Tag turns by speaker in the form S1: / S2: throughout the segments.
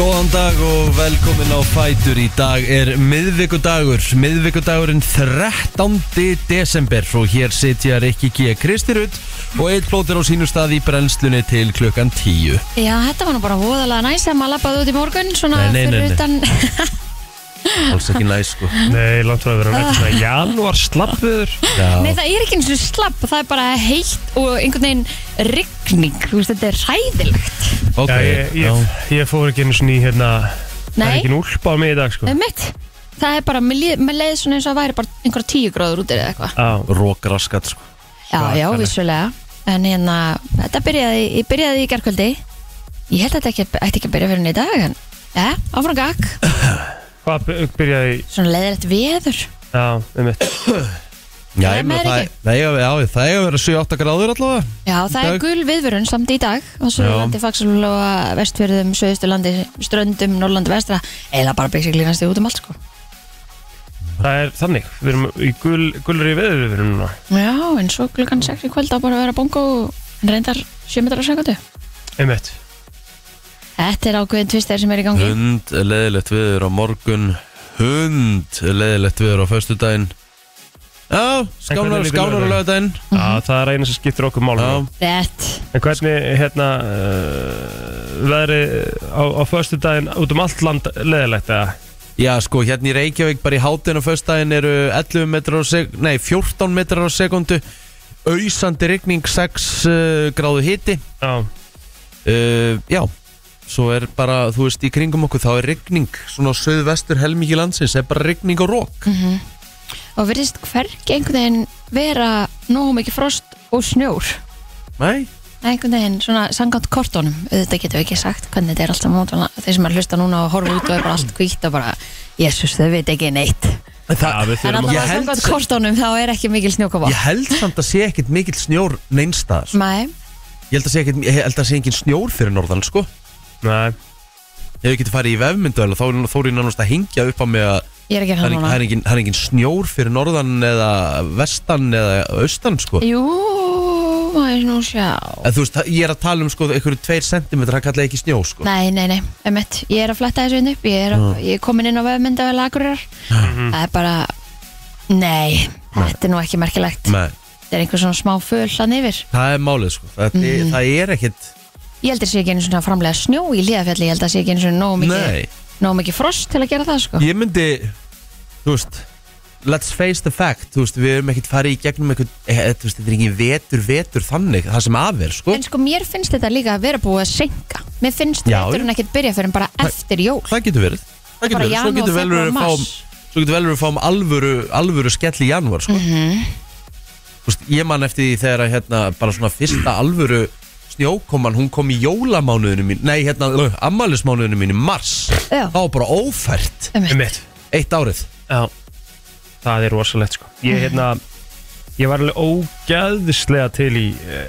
S1: Góðan dag og velkomin á Fætur Í dag er miðvikudagur Miðvikudagurinn 13. desember og hér sitja Rikki G. Kristirud og eitt plótir á sínu stað í brennslunni til klukkan 10
S2: Já, þetta var nú bara hóðalega næs að maður lappaði út í morgun svona
S1: Nei, nei, nei, nei.
S2: fyrir utan
S1: Alls ekki næs sko
S3: Nei, langt frá að vera nættu svona janúar slappur
S2: Nei, það er ekki eins og slapp, það er bara heitt og einhvern veginn rigning, þú veist, þetta er ræðilegt.
S1: Ok,
S3: Já, ég, ég, ég fór ekki einu svona í hérna Það
S2: Nei.
S3: er
S2: Um-
S3: ekki núlpa á mig í dag sko
S2: Það er mitt, það er bara, með, með leið svona eins og það væri bara einhverja tíu gráður út eða eitthvað.
S3: Á,
S1: Rókraskat sko
S2: Já, já,
S3: Svakalegt.
S2: vissulega, en hérna, þetta byrjaði, ég byrjaði í gerkvöldi, ég held að þetta ekki, ætti ekki að byrja fyrir henni í dag, en, ja, áfram gakk,
S3: Hvað by- byrjaði í
S2: svona leiðilegt veður.
S3: Já, um mitt
S1: Já,
S2: Það
S1: ég meina,
S2: er
S1: það
S2: ekki.
S1: það eiga að- já, það eiga að vera 7-8 gráður allavega
S2: Já, það
S1: Í dag.
S2: er gul viðvörun samt í dag á Suðurlandi, Faxalóa, Vestfjörðum, Suðusturlandi, Ströndum, Norrlandi, Vestra eiginlega bara basically næstu út um allt sko
S3: Það er þannig, við erum í gul, gulri veður við erum núna
S2: Já, en svo klukkan 6 í kvöld á bara að vera bongo en reyndar 7 metrar á sekundu
S3: Um mitt
S2: Þetta er ákveðin tvistar sem er í gangi
S1: Hund leðilegt viður á morgun Hund leðilegt viður á föstudaginn Já, skánar,
S3: hvernig lítur
S1: skánar á lögadaginn
S3: Já, það er eina sem skiptir okkur mál
S1: Já,
S2: Rétt
S3: En hvernig, hérna uh, Veðri á, á föstu daginn út um allt land leðilegt eða
S1: Já, sko, hérna í Reykjavík bara í hátinn og föstudaginn eru 11 metrar á sekundu Nei, 14 metrar á sekundu Ausandi rigning 6 uh, gráðu hiti
S3: Já,
S1: uh, Já, svo er bara, þú veist, í kringum okkur þá er rigning Svona á söðvestur helmingi landsins er bara rigning og rók
S2: Mm. Og verðist hvergi einhvern veginn vera nógu mikið frost og snjór
S1: Nei,
S2: einhvern veginn svona sangátt kortónum auðvitað getum við ekki sagt hvernig þetta er alltaf mótana þeir sem er að hlusta núna og horfa út og er bara allt kvítt og bara, jésus, þau veit ekki neitt
S3: Já, við
S2: En
S3: þurfum
S2: alltaf
S1: Ég
S2: að
S1: held
S2: samkvæmt
S1: sem-
S2: kortónum þá er ekki mikil snjókoma
S1: ég held samt að sé ekkit mikill snjór neinstaðar
S2: Nei,
S1: Ég held að sé, ekkit, ég held að sé engin snjór fyrir norðan, sko
S3: Nei,
S1: Ef ég geti farið í vefmyndu þá er þá er ég nánast að hingja upp á mig að
S2: ég er ekki
S1: það er engin- það
S2: hann núna
S1: er engin, það er engin snjór fyrir norðan eða vestan eða austan sko.
S2: Jú, maður nú sjá
S1: En þú veist, það- ég er að tala um sko einhverju tveir sentimetrar, það kallaði ekki snjó sko.
S2: Nei, nei, nei, emitt, ég er að fletta þessu inn upp Ég er, að, ég er komin inn á vefmynda við lagurir Það er bara Nei, þetta er nú ekki merkilegt
S1: Nei,
S2: Þetta er einhver svona smá föl hann yfir
S1: það er málið sko. Það,
S2: Mhm.
S1: það er ekkit,
S2: Ég heldur sé ekki einu svona framlega snjó í liðafjalli Ég held að sé ekki einu svona nógu
S1: Nei.
S2: mikið, nógu mikið frost til að gera það sko
S1: ég myndi, þú veist, let's face the fact, þú veist, við erum ekkit farið í gegnum eitthvað, e, þú veist, þetta er ekki vetur, vetur þannig, það sem af er sko.
S2: En sko, mér finnst þetta líka að vera búið að senka Mér finnst
S1: Já,
S2: þetta hún ekkert byrja fyrir bara eftir jól
S1: Það getur verið, það getur
S2: Bara
S1: verið, svo
S2: janúar,
S1: getur vel
S2: febrúar,
S1: verið að fáum,
S2: mars.
S1: svo getur vel verið að fáum alvöru, alvöru skell í janúar sko.
S2: Mhm.
S1: Þú veist, ég man eftir því þegar að hérna bara svona fyrsta alvöru snjókoman, hún kom í jólamánuðinu mín nei, hérna, uh, ammælismánuðinu mín í mars
S2: Já.
S1: þá var bara ófært
S2: Um
S3: um mitt
S1: eitt árið
S3: Já, það er rosalegt sko Ég, hérna, ég var alveg ógæðislega til í uh,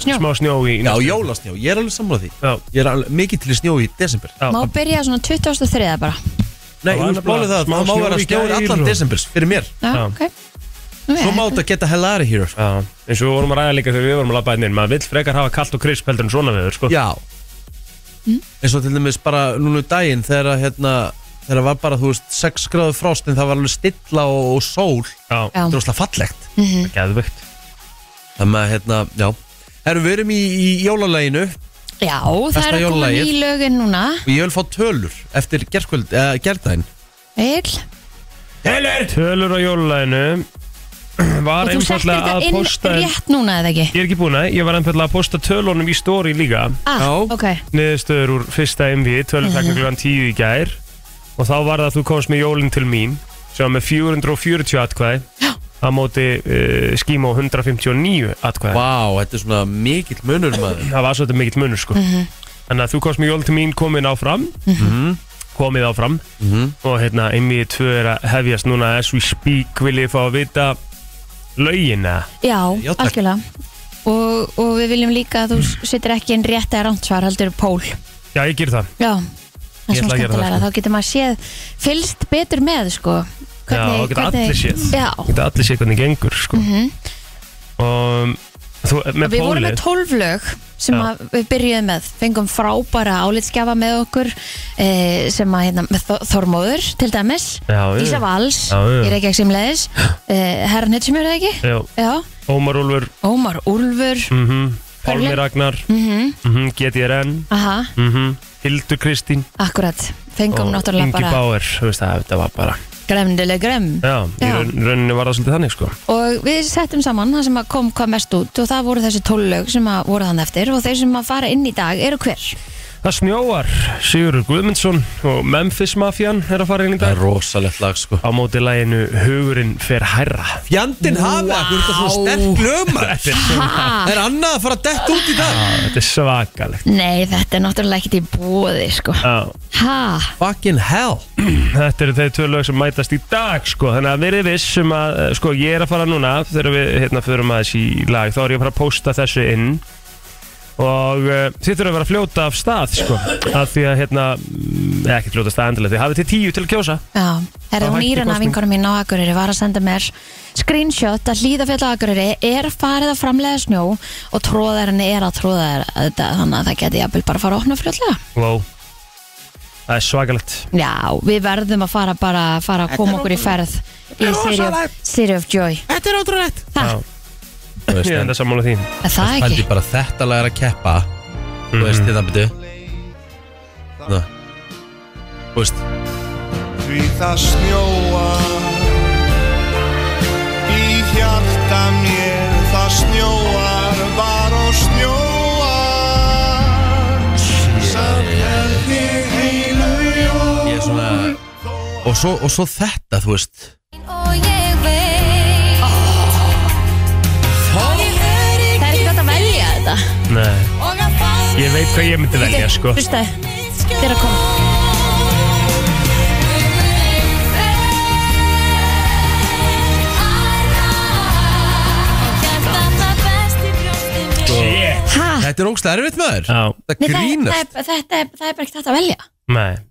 S2: Snjó.
S3: smá snjó í
S1: já, jólasnjó, ég er alveg sammála því
S3: Já,
S1: ég er alveg, mikið til í snjó í desember
S3: já,
S2: Má byrja svona 23. bara
S1: nei,
S3: var
S1: hún
S3: nefnilega
S1: bólið það,
S3: smá
S1: það má
S3: snjór
S1: vera
S3: í
S1: snjó í
S3: gær
S1: allan
S3: og-
S1: desember fyrir mér,
S2: Já,
S3: Já.
S2: ok Nú,
S1: svo
S2: ég-
S1: má þetta geta hell out of here sko.
S3: já Eins og við vorum að ræða líka þegar við vorum að labba hennin Maður vill frekar hafa kallt og krisp heldur en svona viður sko
S1: Já eins og til dæmis bara núna um daginn þegar að hérna þegar var bara þú veist 6 gráðu frost en það var alveg stilla og, og sól
S3: já,
S2: Já.
S1: þetta er óslega fallegt
S3: geðvögt
S1: þannig að hérna já erum við erum í, í jólaleginu og
S2: Já, það
S1: Besta
S2: er að koma
S1: jólalagið.
S2: ný lögin núna
S1: ég vil fá tölur eftir eh, gerðkvöld eða gerðdæn
S2: Egil,
S3: Tölur! Tölur á jólulæðinu
S2: og
S3: Var
S2: þú settir
S3: einfallega
S2: þetta
S3: að
S2: inn
S3: posta
S2: rétt núna eða ekki?
S3: Ég er ekki búin að, ég var einfallega að posta tölunum í story líka
S2: Ah,
S1: Já.
S2: ok
S3: Niðurstöður úr fyrsta MV,
S2: Mhm.
S3: tölutækna klugan 10 í gær Og þá var það að þú komst með jólinn til mín Sem var með 440 atkvæði
S2: Já.
S3: Á móti uh, skíma á 159 atkvæði
S1: vá þetta er svona mikill munur maður
S3: það var svolítið mikill munur sko
S2: Mhm.
S3: þannig að þú komst með jól til mín komin áfram komið áfram og hérna einmitt tvö er að hefjast núna as we speak vil ég fá að vita lögina
S2: Já,
S1: Já, takk.
S2: algjörlega og, og við viljum líka að
S3: Mm.
S2: þú settir ekki inn rétt eða rámt svar, heldur pól
S3: já ég ger það
S2: Já, það er
S3: Ég ætla
S2: svona
S3: að gera það,
S2: skemmtilega
S3: sko.
S2: Þá getur maður séð, fylgst betur með sko
S3: já, og geta allir séð
S2: Já,
S3: geta allir séð hvernig gengur sko. og Þú, með
S2: Mhm. við vorum með
S3: pólið
S2: 12 lög sem
S3: Já.
S2: að við byrjuðum með fengum frábæra álitskjafa með okkur e, sem að hérna, með Þor- Þormóður til dæmis,
S3: Já, já.
S2: Dísa Vals
S3: Já, já.
S2: í Reykjavík sem leiðis e, Herra Netsumjör eða ekki?
S3: Já,
S2: Já,
S3: Ómar Úlfur
S2: Ómar Úlfur
S3: mm
S2: Pálmi.
S3: Pálmi Ragnar
S2: mm
S3: mm -hmm, GTRN
S2: aha,
S3: mm Hildur Kristín
S2: akkurat fengum
S3: og
S2: náttúrulega
S3: Ingi
S2: bara
S3: Bauer þú veist það, þetta var bara
S2: gremdileg grem
S3: Já, í
S2: Já.
S3: raun, rauninni var það svolítið þannig sko
S2: og við settum saman það sem að kom hvað mest út og það voru þessi 12 lög sem að voru þann eftir og þeir sem að fara inn í dag eru hver?
S3: Það snjóar, Sigurður Guðmundsson og Memphis Mafian er að fara inn í
S1: Það
S3: dag
S1: er rosalegt lag sko
S3: á móti læginu Hugurinn fer hærra
S1: Fjandinn hafi það, hvernig það svona sterk lögmar
S3: Þetta er,
S2: Ha?
S1: Er annað að fara að detta út í dag
S3: þetta er svakalegt
S2: Nei, þetta er náttúrulega ekkert í bóði sko.
S3: Já,
S2: Ha?
S1: Fucking hell
S3: þetta eru þeir tvö lög sem mætast í dag sko, þannig að verið viss sem að eh, sko, ég er að fara núna, þegar við hérna förum aðeins í lag, þá er ég að fara að pósta þessu inn og uh, þið þurfum að vera að fljóta af stað sko, af því að hérna mm, eða ekki fljóta af stað endilega, þið hafið til tíu til að kjósa
S2: Já, herra
S3: Það
S2: hún
S3: hætti
S2: Írana
S3: kosning.
S2: vinkona mín á Akureyri var að senda mér screenshot að hlýðafjall á Akureyri er farið að framlega snjó og tróðarinn er að tróða þetta þannig að það geti jafnvel bara að fara að opna fljótlega
S3: wow. það er svakalegt
S2: Já, við verðum að fara bara að fara að koma okkur í ferð í City of, City of Joy
S1: Þetta er ótrúlegt
S2: Ha,
S3: Já,
S1: Þú veist,
S3: ég er
S1: en
S3: enda sammála því
S2: er það
S1: pældi
S2: ekki?
S1: bara þetta lag er að keppa Þú
S3: Mhm.
S1: veist, hérna, þetta byrju Ná. Þú veist,
S4: Því það snjóar Í hjarta mér það snjóar Bara og snjóar Samt held ég heilu jól
S1: ég er svona Og svo, og svo þetta, þú veist
S2: Það er ekki gott að velja þetta
S3: Nei. ég veit hvað ég myndi velja sko.
S2: Hlusta, þetta er að koma
S3: Shit.
S2: Ha?
S1: Þetta er ógstlega erfitt maður
S3: Já,
S1: Þetta
S2: Nei, það, er- það,
S1: grínast
S2: er- þetta er- það er bara ekki þetta að velja
S3: nei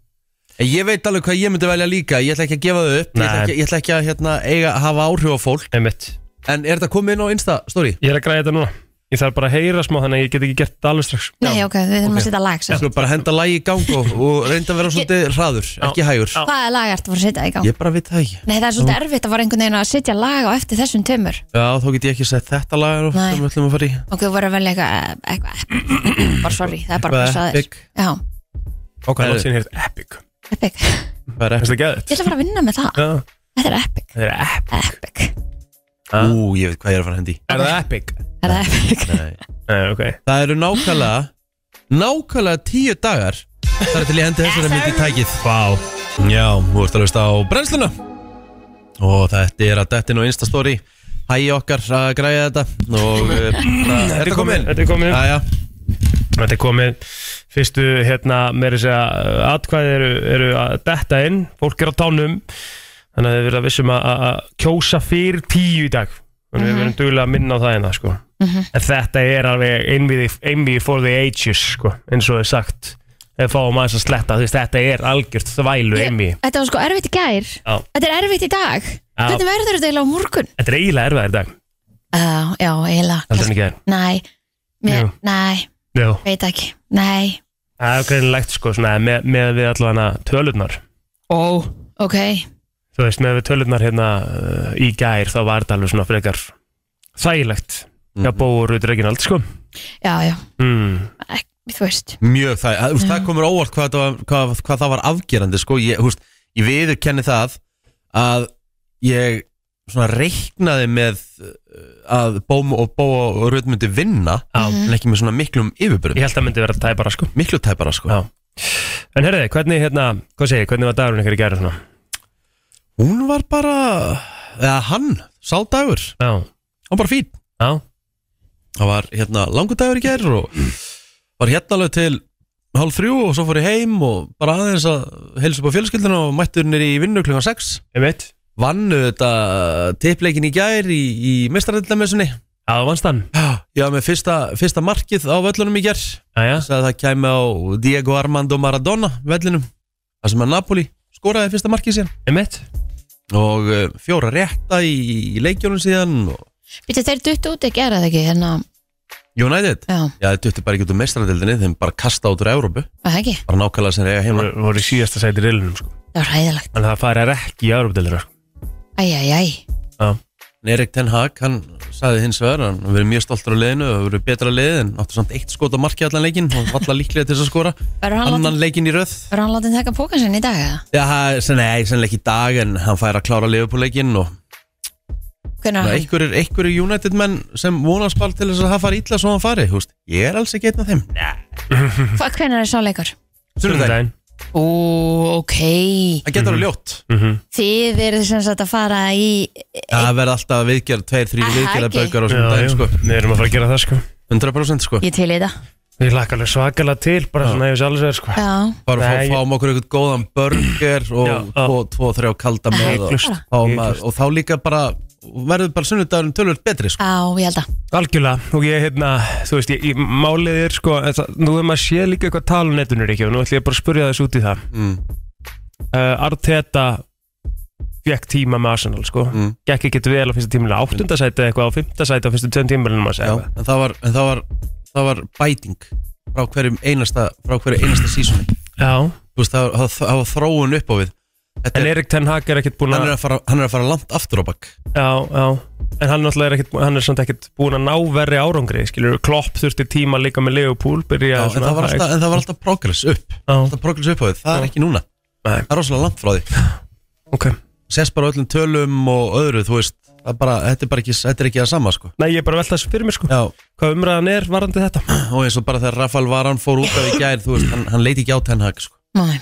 S1: Ég veit alveg hvað ég myndi velja líka Ég ætla ekki að gefa þau upp Ég ætla
S3: Nei.
S1: ekki, ég ætla ekki að hérna, eiga, hafa áhrif á fólk
S3: einmitt.
S1: En er þetta komið inn á Insta story?
S3: ég er að græða þetta núna ég þarf bara að heyra smá þannig að ég get ekki gert þetta alveg strax
S2: Nei, ok, við þurfum
S1: ok.
S2: að setja lag sem
S1: Ég skulle bara henda lagi í gang og, og reynda að vera svolítið hraður Ekki hægur
S3: Já.
S2: Hvaða lag ertu að fara að setja í gang?
S1: Ég bara veit það ekki
S2: Nei, það er svolítið erfitt að fara einhvern veginn að setja lag á eftir þessum tömur
S1: Já, þá get ég ekki sett þetta lag og
S2: Nei.
S1: það við ætlum að fara í
S2: og þú voru að velja eitthvað eh, eitthvað bara sorry, það er bara
S1: Eitthvað epic.
S2: að passa þér Já,
S3: Hvað er
S1: Heyrðu.
S3: langt síðan hér epic?
S2: epic Ég
S1: Hvað er
S3: Finnst það geðið?
S2: ætla að fara að vinna með það
S3: Já,
S2: Þetta er epic,
S3: það er epic
S2: epic
S3: Ha?
S1: Ú, ég veit hvað ég er að fara að hendi í.
S3: Er það epic?
S2: Það er epic
S1: Nei.
S3: Nei, ok
S1: Það eru nákvæmlega Nákvæmlega tíu dagar Það er til ég hendi þessari myndi í tækið Vá Já, þú ert að hlusta á brennsluna Og þetta er að dettin og instastory Hæ okkar að græja þetta Og eh, það- er þetta komin?
S3: Þetta er komin
S1: Jæja,
S3: Þetta er komin Fyrstu hérna meiri segja uh, Atkvæði eru, eru að detta inn Fólk er á tánum Þannig að við verðum að vissum að, að- að kjósa fyrir tíu í dag Þannig að við verðum dugulega að minna á það hérna sko. En þetta er alveg einviði, einviði for the ages sko, eins og er sagt Ef fáum aðeins að sletta þú veist, Þetta er algjört þvælu einviði
S2: Þetta var sko erfitt í gær
S3: Já.
S2: Þetta er erfitt í dag Hvernig verður þetta eiginlega á morgun?
S3: Þetta er eiginlega erfæðir dag
S2: Uh, já, eiginlega
S3: Heldur en ekki þær
S2: Nei, mér,
S3: Jú.
S2: nei,
S3: Jú
S2: veit ekki Nei,
S3: Það er greinilegt sko, svona, með, með við allavega tölurnar
S2: ó, ok
S3: Þú veist, með við tölurnar hérna uh, í gær þá var þetta alveg svona frekar þægilegt mm. Já, bóur út Reginald sko
S2: Já, já,
S3: mm.
S2: ek- þú veist
S1: mjög það að, úst, Það komur óvart hvað, þetta var- hvað, hvað það var afgerandi sko. Ég, úst, ég viður kenni það Að ég svona reiknaði með eh, Að Bóma og Bóa og Röð myndi vinna
S3: Já.
S1: En ekki með svona miklum yfirbyrðum
S3: Ég held að myndi vera tæpara sko
S1: Miklu tæpara sko
S3: Já. En herriði, hvernig hérna, hvað segir, hvernig var dagurinn ykkur í gær og svona?
S1: Hún var bara eða hann, sá dagur
S3: Já,
S1: hann var bara fín
S3: já,
S1: það var hérna langur dagur í gær og var hérna alveg til hálf þrjú og svo fór ég heim og bara aðeins að heilsa upp á fjölskyldina og mættur nýri í vinnu klukkan 6
S3: ég veit
S1: vann þetta tippleikin í gær í, í mestarætlamessunni
S3: Já, þú vannst hann
S1: ég var með fyrsta, fyrsta markið á völlunum í gær sagði
S3: Já, já,
S1: að það kæmi á Diego Armando Maradona völlunum þar sem að Napoli skoraði fyrsta markið síðan
S3: ég veit
S1: og eh, fjóra rétta í, í leikjónum síðan og
S2: Býttu, þeir duttu út ekki, er það ekki? Hérna,
S1: United?
S2: Já.
S1: Já, þetta duttu bara ekki út úr mestradildinni þeim bara kasta út úr Evrópu
S2: var það ekki?
S1: bara nákvæmlega sem reyja heima
S3: Voru voru í síðasta sæti í riðlinum sko.
S2: Það var hæðilegt.
S3: En það færir ekki í Európa-delina sko.
S2: Æj, æj, æj.
S3: Já.
S1: En Erik Ten Hag, hann sagði hins vegar hann verið mjög stoltur á liðinu og verið betra liðið en áttu samt eitt skot á marki allan leikinn og valla líklega til þess að skora
S2: Verður hann
S1: annan
S2: látið-
S1: leikinn í röð
S2: verður hann látið taka pókan sinni í dag eða?
S1: Já, það- sem nei, sennilega ekki í dag en hann fær að klára leikinn og
S2: Hvernig er hann?
S1: einhverjir einhver United menn sem vonast bara til þess að það fari illa svo hann fari, húst, ég er alls ekki einn af þeim Nei,
S2: Hva- Hvenær er sá leikur?
S1: sunnudaginn,
S3: Sunnudaginn.
S2: Ó, ok.
S1: það getur alveg ljótt
S3: Mhm.
S2: Þið eru sem sagt að fara í...
S1: Það verður alltaf viðgerð, tveir, þrý
S2: Aha,
S1: viðgerða
S2: ekki.
S1: baukar á
S3: Já,
S1: sunnudaginn,
S3: já.
S1: sko
S3: Við erum að fara að gera það sko
S1: 100% sko
S2: Ég til í þetta.
S3: Ég lakka alveg svakalega til Bara svona ef ég alls er sko
S2: Já.
S1: bara fá,
S3: Nei, ég-
S1: fáum okkur eitthvað góðan burger og
S3: Já, já.
S1: tvo, tvo, þrjá kalda með og,
S3: Hiklaust.
S1: fáum að,
S3: Hiklaust.
S1: og þá líka bara verður bara sunnudagurinn tölvöld betri sko.
S2: Já, ég held að.
S3: Algjörlega, og ég, hérna, þú veist, ég, ég, málið er sko, það, nú er maður séð líka eitthvað tal um netunur ekki og nú ætlum ég bara að spurja þessu út í það.
S1: mm.
S3: Uh, Arteta fekk tíma með Arsenal, sko,
S1: Mm.
S3: gekk ekki vel á fyrsta tímulina, áttundasæti eitthvað á fymtasæti á fyrstu tveim tímulinum
S1: Já,
S3: að segja. eitthvað.
S1: en það var, en það var, það var bæting frá hverjum einasta frá hverju einasta sísoni
S3: Já,
S1: Þú veist, það, var- það, það var þróun upp á við Þetta
S3: en
S1: er,
S3: Erik Ten Hag er ekkert búin
S1: hann,
S3: að,
S1: er að fara, hann er að fara langt aftur á bakk
S3: já, já, en hann náttúrulega er ekkert, hann er samt ekkert búin að ná verri árangri, skilur, Klopp þurfti tíma líka með Leopold,
S1: Já,
S3: byrja
S1: en, það var alltaf, en það var alltaf progress upp
S3: Já,
S1: alltaf progress upp á við, það er
S3: Já.
S1: ekki núna
S3: Nei.
S1: það er rosalega langt frá því
S3: ok.
S1: sérst bara á öllum tölum og öðru þú veist, það er bara, þetta er bara ekki, þetta er ekki það sama sko.
S3: Nei, ég er bara að velta þessu fyrir mér, sko,
S1: Já,
S3: hvað umræðan er varandi þetta.
S1: og eins og bara þegar Rafal Varan fór út af í gær, þú veist, hann, hann leiti ekki á Ten Hag sko.
S2: Nei.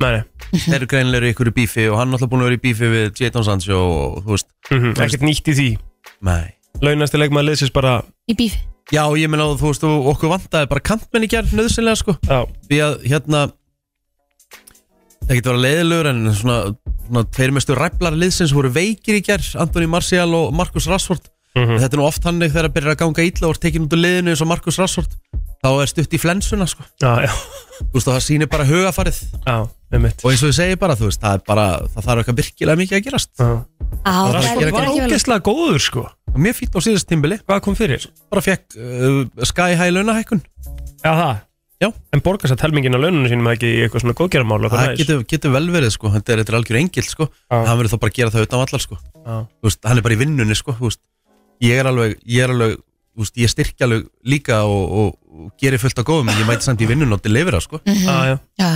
S3: Nei, nei.
S1: þeir eru greinilega ykkur í bífi og hann er alltaf búin að vera í bífi við Jadon Sancho og þú veist,
S3: Mm Ekkert nýtt í því
S1: nei
S3: Launasti leikmaður liðsins bara
S2: Í bífi.
S1: Já, ég meina að þú veist, og okkur vantaði bara kantmenn í gær nöðsynlega sko,
S3: Já,
S1: því að hérna það getur að vera leiðilegur en svona, svona tveir mestu ræflar liðsins voru veikir í gær Antoni Marcial og Markus Rashford
S3: Mhm.
S1: þetta er nú oft hannig þegar það byrjar að ganga illa og er tekin út úr liðinu eins og Markus Rashford þá er stutt í flensuna sko
S3: já, já,
S1: þú veist og það sýnir bara hugafarið
S3: já, með mitt
S1: og eins og ég segi bara þú veist það er bara það þarf eitthvað virkilega mikið að gerast
S2: Á, það
S1: Rashford
S2: er
S3: Rastford var
S2: ekki vel.
S3: ógeðslega góður sko
S1: og mér fýtt á síðast tímbili
S3: Hvað kom fyrir?
S1: bara fekk uh, sky high launahækkun
S3: Já, það
S1: Já.
S3: En borgar satt helmingin á laununum sínum ekki í eitthvað svona góðgerðamál og
S1: það
S3: eitthvað
S1: getur, getur vel verið sko þetta er, þetta er algjör engil sko
S3: Já.
S1: hann verður þá bara að gera það utan vallar sko
S3: Já.
S1: Þú veist, hann er bara í vinnunni sko þú veist. ég er alveg, ég er alveg þú veist, ég styrkja alveg líka og, og, og gerir fullt af góðum en ég mæti samt í vinnunni og delivera sko
S3: Já, já,
S2: Já,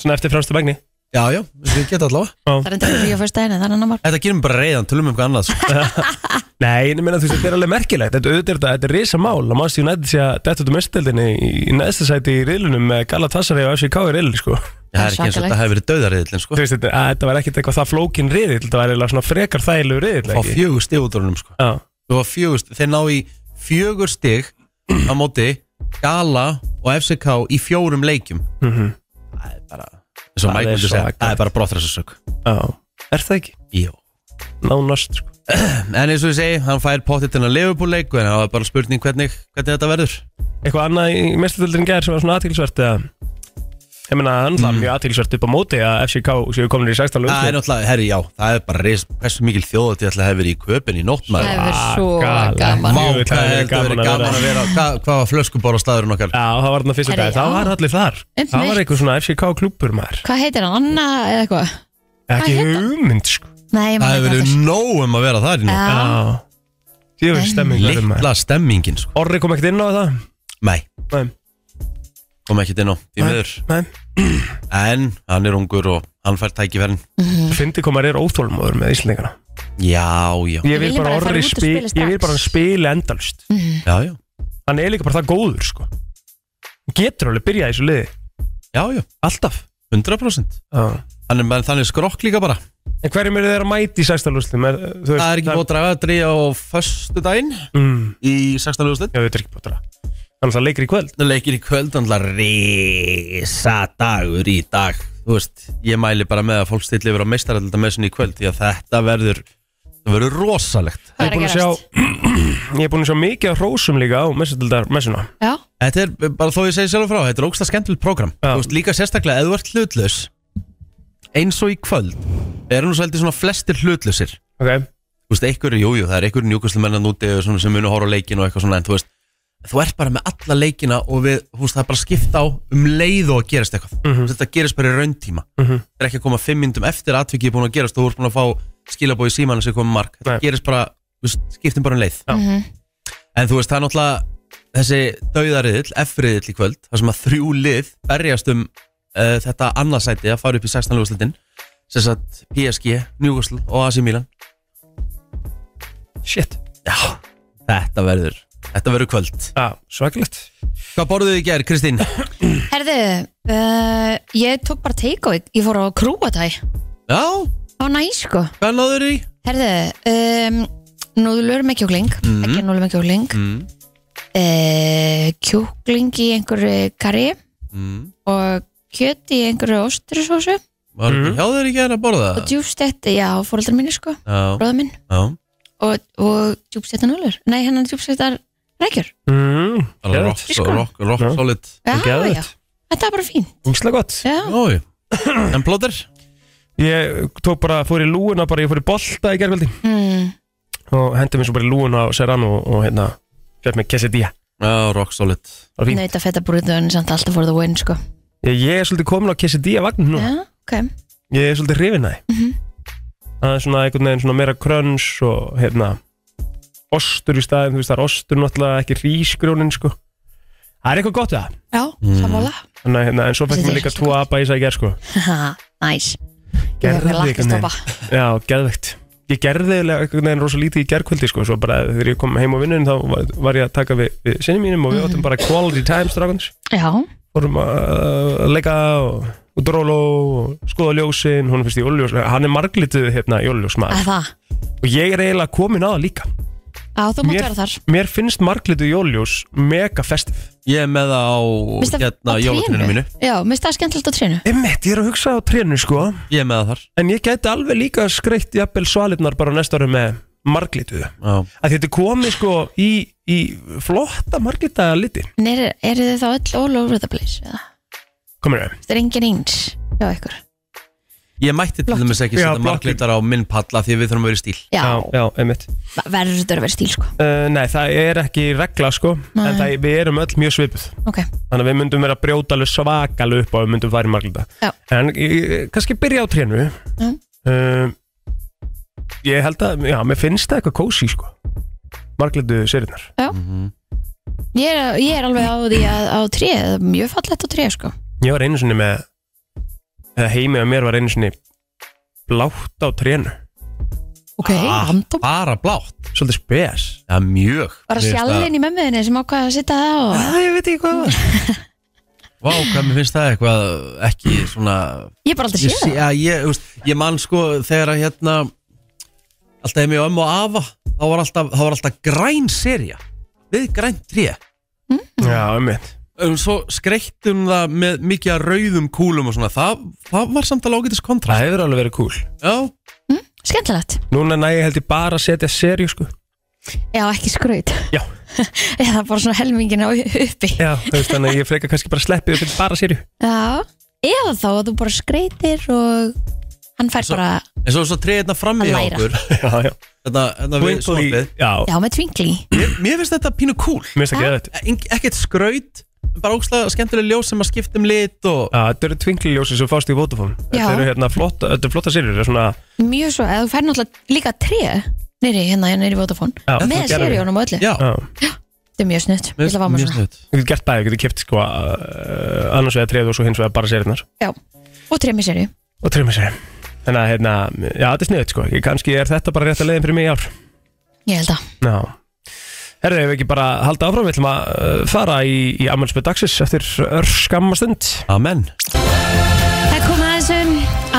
S3: svona eftir fremstu begni
S1: já já, við geta allavega
S2: það er endur fyrir að fyrsta einu, það er annar mál.
S1: þetta gerum bara reyðan, tölum um eitthvað annað sko.
S3: Nei, en ég meina þú veist, þetta er alveg merkilegt Þetta auðvitað er þetta, þetta er risa mál að mannstu United sé að detta út um mestildinni í næsta sæti í riðlunum með Galatasaray og FCK í riðlun sko
S1: það er ekki eins og þetta hefur verið döðariðillin
S3: Þú
S1: sko
S3: veist, þetta, að þetta var ekkert eitthvað það flókin riðil þetta var eiginlega svona frekar þægilegu riðil
S1: fá
S3: ekki?
S1: fjögur stig út úr húnum sko
S3: Já,
S1: Þú var fjögur, stig- þeir ná í fjögur stig á móti Gala og FCK í fjórum leikjum
S3: Mhm.
S1: það er bara eins og
S3: Það
S1: Mike
S3: er
S1: myndi segja,
S3: svakalegt.
S1: það er bara brottræðsasök
S3: já, er það ekki?
S1: Jó
S3: Nánast sko
S1: En eins og ég segi, hann fær pottitinn að leifubúleik en það var bara spurning hvernig, hvernig þetta verður
S3: eitthvað annað í mestaröldurinn gerð sem var svona aðtilsvert eða ég meina hann var mjög aðtilsvert upp á móti að FCK séu komin í sko. 16
S1: Mm. Það er
S3: lögum
S1: náttúrulega, herri, já, það er bara reis, hversu mikil þjóðat ég ætla að hefur í köpinn í nótt
S2: Það
S1: maður
S2: hefur svo
S1: Vá,
S3: Svakalega.
S2: gaman.
S1: hvað
S3: Jú,
S1: er
S3: það hefur verið
S1: þetta verið
S3: gaman að
S1: gaman að vera Hvað, hvað var flöskubor á staðurinn okkar?
S3: Já, það var þarna fyrsta
S2: Herri,
S3: dag, þá
S2: já.
S3: var allir þar
S2: Einmitt.
S3: Það var eitthvað svona FCK klúpur maður
S2: Hvað heitir hann? Anna eða eitthvað?
S3: Ekki
S2: hét það?
S3: hugmynd sko
S2: Nei, ég
S1: Það
S2: maður
S1: hefur
S2: ekki
S1: verið
S2: aftur.
S1: nóg um að vera þar í nótt
S2: Já,
S3: Já Ég veist stemming verið maður
S1: Littla stemmingin, sko
S3: Orri kom ekkert inn á það
S1: Nei,
S3: Nei,
S1: kom ekki inn á, því
S3: Nei.
S1: miður
S3: nei
S1: En hann er ungur og hann fær tækifærin
S2: Mm.
S3: Fyndi komar er óþólmóður með Íslandingana
S1: Já, já,
S3: Ég
S2: Við
S3: vil
S2: viljum
S3: bara
S2: bara fara
S3: Orri
S2: út og spila strax.
S3: spila
S2: Mm.
S3: Ég vil bara hann spila endalust
S1: já, já,
S3: Hann er líka bara það góður sko Hann Getur alveg byrjað í þessu liði
S1: já, já
S3: Alltaf
S1: 100%
S3: Já
S1: Hann er bara þannig skrokk líka bara
S3: En hverjum eru þeir að mæti í sextalúslum? Það
S1: Það er ekki búið að draga að á föstu daginn
S3: Mm,
S1: í 16. úrslit
S3: já, þetta er ekki búið að draga. Þannig að það leikir í kvöld.
S1: leikir í kvöld alltaf risa dagur í dag þú veist, ég mæli bara með að fólk stilli yfir á meistarallita með sinni í kvöld því að þetta verður, það verður rosalegt
S2: það er að
S3: Ég er búinn að
S2: gerast.
S3: sjá- Ég er búin að sjá mikið af hrósum líka á messutildar messuna.
S2: Já,
S1: þetta er, bara þó ég segi sjálf frá, þetta er ógsta skemmtilegt program
S3: Já.
S1: þú veist, líka sérstaklega, ef þú ert hlutlaus eins og í kvöld eru nú svolítið svona flestir hlutlausir
S3: Ok,
S1: þú veist, einhverju, jújú, það er einhverju njúkastlumennan úti sem, sem munu horfa á leikin og eitthvað svona en þú veist, þú ert bara með alla leikina og við, þú veist, það er bara að skipta á um leið og að gerist eitthvað
S3: Mhm.
S1: þetta gerist bara í rauntíma þetta er ekki að koma fimm myndum eftir að atvikið er búin að gerast og þú ert búin að fá skilabói í símanu sem komið mark þetta
S3: Nei.
S1: gerist bara, þú veist, skiptum bara um leið
S3: Já.
S2: Mhm.
S1: en þú veist, það er náttúrulega þessi dauðariðill, F-riðill í kvöld þar sem að þrjú lið berjast um uh, þetta annarsæti að fara upp í 16. lúgastlutin sem sagt PSG, Newcastle og AC Milan
S3: Shit
S1: Já, þetta verður Þetta verður kvöld
S3: Já, svaklegt
S1: Hvað borðuðu í gerð, Kristín?
S2: Herðu, uh, ég tók bara take-away Ég fór á krúatæ
S1: Já,
S2: Á næs sko
S1: hvað náður í?
S2: Herðu, um, núðlur með kjúkling
S1: Mhm.
S2: Ekki núðlur með kjúkling
S1: Mm,
S2: uh, Kjúkling í einhverju karri
S1: mm.
S2: Og kjöt í einhverju osturisósu
S1: Var mm.
S3: Mhm.
S1: hjá þér í gerð að borða?
S2: Og djúbstett, já, fóreldrar minni sko
S1: Já,
S2: Bróða minn
S1: já
S2: Og, og djúbstettar núðlur Nei, hennan djúbstettar rækjur
S3: mm,
S1: Bara rock,
S2: Í sko.
S1: rock, rock
S3: Já.
S1: solid
S2: Já,
S3: Geðveikt.
S2: já, þetta er bara fín
S3: Úslega gott
S2: Já,
S1: Jói En plóter?
S3: Ég tók bara, fór í lúuna, bara ég fór í bolta í gerðvöldi
S2: mm,
S3: og hendi mér svo bara í lúuna á Serrano og, og hérna, fjöld mig quesadilla
S1: Já, rock solid
S3: Það var fínt.
S2: nöyta feta brúðun Mm, samt alltaf for the win sko
S3: Ég, ég er svolítið komin á quesadilla vagn núna
S2: Já, ok
S3: Ég er svolítið hrifin að því Það er svona einhvern veginn svona meira kröns og hérna ostur í staðin, þú veist það er ostur náttúrulega ekki rísgrjónin sko Það er eitthvað gott við það
S2: Já,
S1: Mm.
S2: sammála
S3: Þannig, að, hérna, En svo fættum
S2: Þetta
S3: við
S2: er
S3: líka
S2: ekki
S3: tvo apa í þess að gera sko
S2: Haha, næs
S3: Gerðu
S2: Gerðu
S3: einhvern veginn.
S2: lakkastoppa
S3: Já, geðvegt Ég gerði eiginlega einhvern veginn rosa lítið í gerkvöldi sko, svo bara þegar ég kom heim á vinnunum þá var, var ég að taka við, við sinni mínum og við áttum bara quality time strákunis
S2: Já,
S3: fórum að að leika og, og dróla og skoða ljósin hún finnst í óljós, hann er marglituð hérna í óljós
S2: að það
S3: og ég er eiginlega komin að það líka
S2: Já, þú mátt
S3: Mér-
S2: vera þar
S3: mér finnst marglituð í óljós mega festiv
S1: Ég er með það á
S2: Minnst það
S1: hérna
S2: á
S1: jólatinu
S2: trénu?
S1: mínu
S2: Já, minnst það skemmtilegt á trínu
S3: Einmitt, ég er að hugsa á trénu sko
S1: Ég er með það þar
S3: en ég gæti alveg líka skreitt jafnvel svalirnar bara á næsta ári með marglituðu
S1: Já
S3: að þetta komi sko í, í flotta marglitaða liti
S2: En eru er þið þá öll all over the place? eða?
S3: komin við
S2: Það er engin eins hjá ykkur
S1: Ég mætti til
S2: Blokkin.
S1: dæmis ekki
S3: Já,
S1: setja
S3: blokkin.
S1: marglitar á minn palla því að við þurfum að vera í stíl
S2: Já,
S3: já, einmitt
S2: verður þetta að vera stíl sko
S3: uh, Nei, það er ekki regla sko
S2: Nei.
S3: En það, við erum öll mjög svipuð
S2: Ok,
S3: Þannig að við myndum vera að brjóta alveg svakalega upp á að við myndum fara í marglita
S2: Já.
S3: En ég, kannski byrja á trénu
S2: Já.
S3: uh, Ég held að, já, mér finnst það eitthvað kósi sko Marglitu serinnar
S2: ég er, ég er alveg á því að á tríu, það er mjög fallegt á tríu sko
S3: Ég var einu sinni með Eða heimi að mér var einu sinni Blátt á trénu
S2: Ok,
S1: Ah,
S2: random
S1: Bara blátt
S3: Svolítið spes
S1: Já, mjög
S2: Bara
S1: Mér finnst það-
S2: sjallin í mömmuðinni sem ákvaði að sitta það og
S3: Æ, ég veit ekki hvað það var
S1: Vá, hvað mér finnst það eitthvað ekki svona
S2: Ég er bara aldrei
S1: ég,
S2: séð
S1: sé,
S2: það
S1: ja, ég, úst, ég man sko þegar að hérna alltaf heim í ömmu og afa þá var alltaf, þá var alltaf græn seria við grænt tré
S3: Já, einmitt
S1: Um, svo skreittum það með mikið af rauðum kúlum og svona það, það var samt alveg ágætis kontrast
S3: Það hefur alveg verið cool
S1: já,
S2: Skemmtilegt
S3: Núna næ ég held ég bara að setja serju sko
S2: Já, ekki skraut
S3: Já.
S2: Eða bara svona helmingin á uppi
S3: Já, þú veist, þannig að ég frekar kannski bara sleppið og setja bara serju
S2: Já Eða þá að þú bara skreitir og hann fær
S1: Svo-
S2: bara
S1: en svo, svo tré hérna frammi
S2: Að
S1: hjá
S2: læra.
S1: okkur
S3: Já, já
S1: hérna, hérna við
S3: Twinkle í-
S1: svampið
S3: Já,
S2: Já, með tvinkli
S1: mér, mér finnst þetta pínu kúl
S3: mér finnst það geðvægt
S1: Eng- ekkert skraut bara ógslag skemmtileg ljós sem að skipta um lit og
S3: Já, Ah, þetta eru tvingliljósi sem fást í Vodafone
S2: Já.
S3: Þetta eru hérna flotta, þetta eru flotta serjur þetta er svona,
S2: Mjög svo, eða þú fær náttúrulega líka tré Nýri hérna, nýri Vodafone
S3: Já,
S2: Með
S3: það gerðum við.
S2: serjónum og öllu
S1: já,
S3: já,
S2: Þetta er mjög snutt Ég ætla að fá mér svona
S1: snutt
S3: Þú getur gert bæði, þú getur kipt sko uh, annars vegar treð og svo hins vegar bara serjurnar
S2: Og tré með serjú
S3: og treyma serjum Þannig að hérna, já þetta er sniðut sko Ég- kannski er þetta bara rétt að leiðin fyrir mig í ár
S2: Ég held að
S3: Já Herðu, ef við ekki bara halda áfram, við ætlum að uh, fara í, í ammælspöð dagsins eftir örskamastund
S1: amen
S2: Það kom að þessum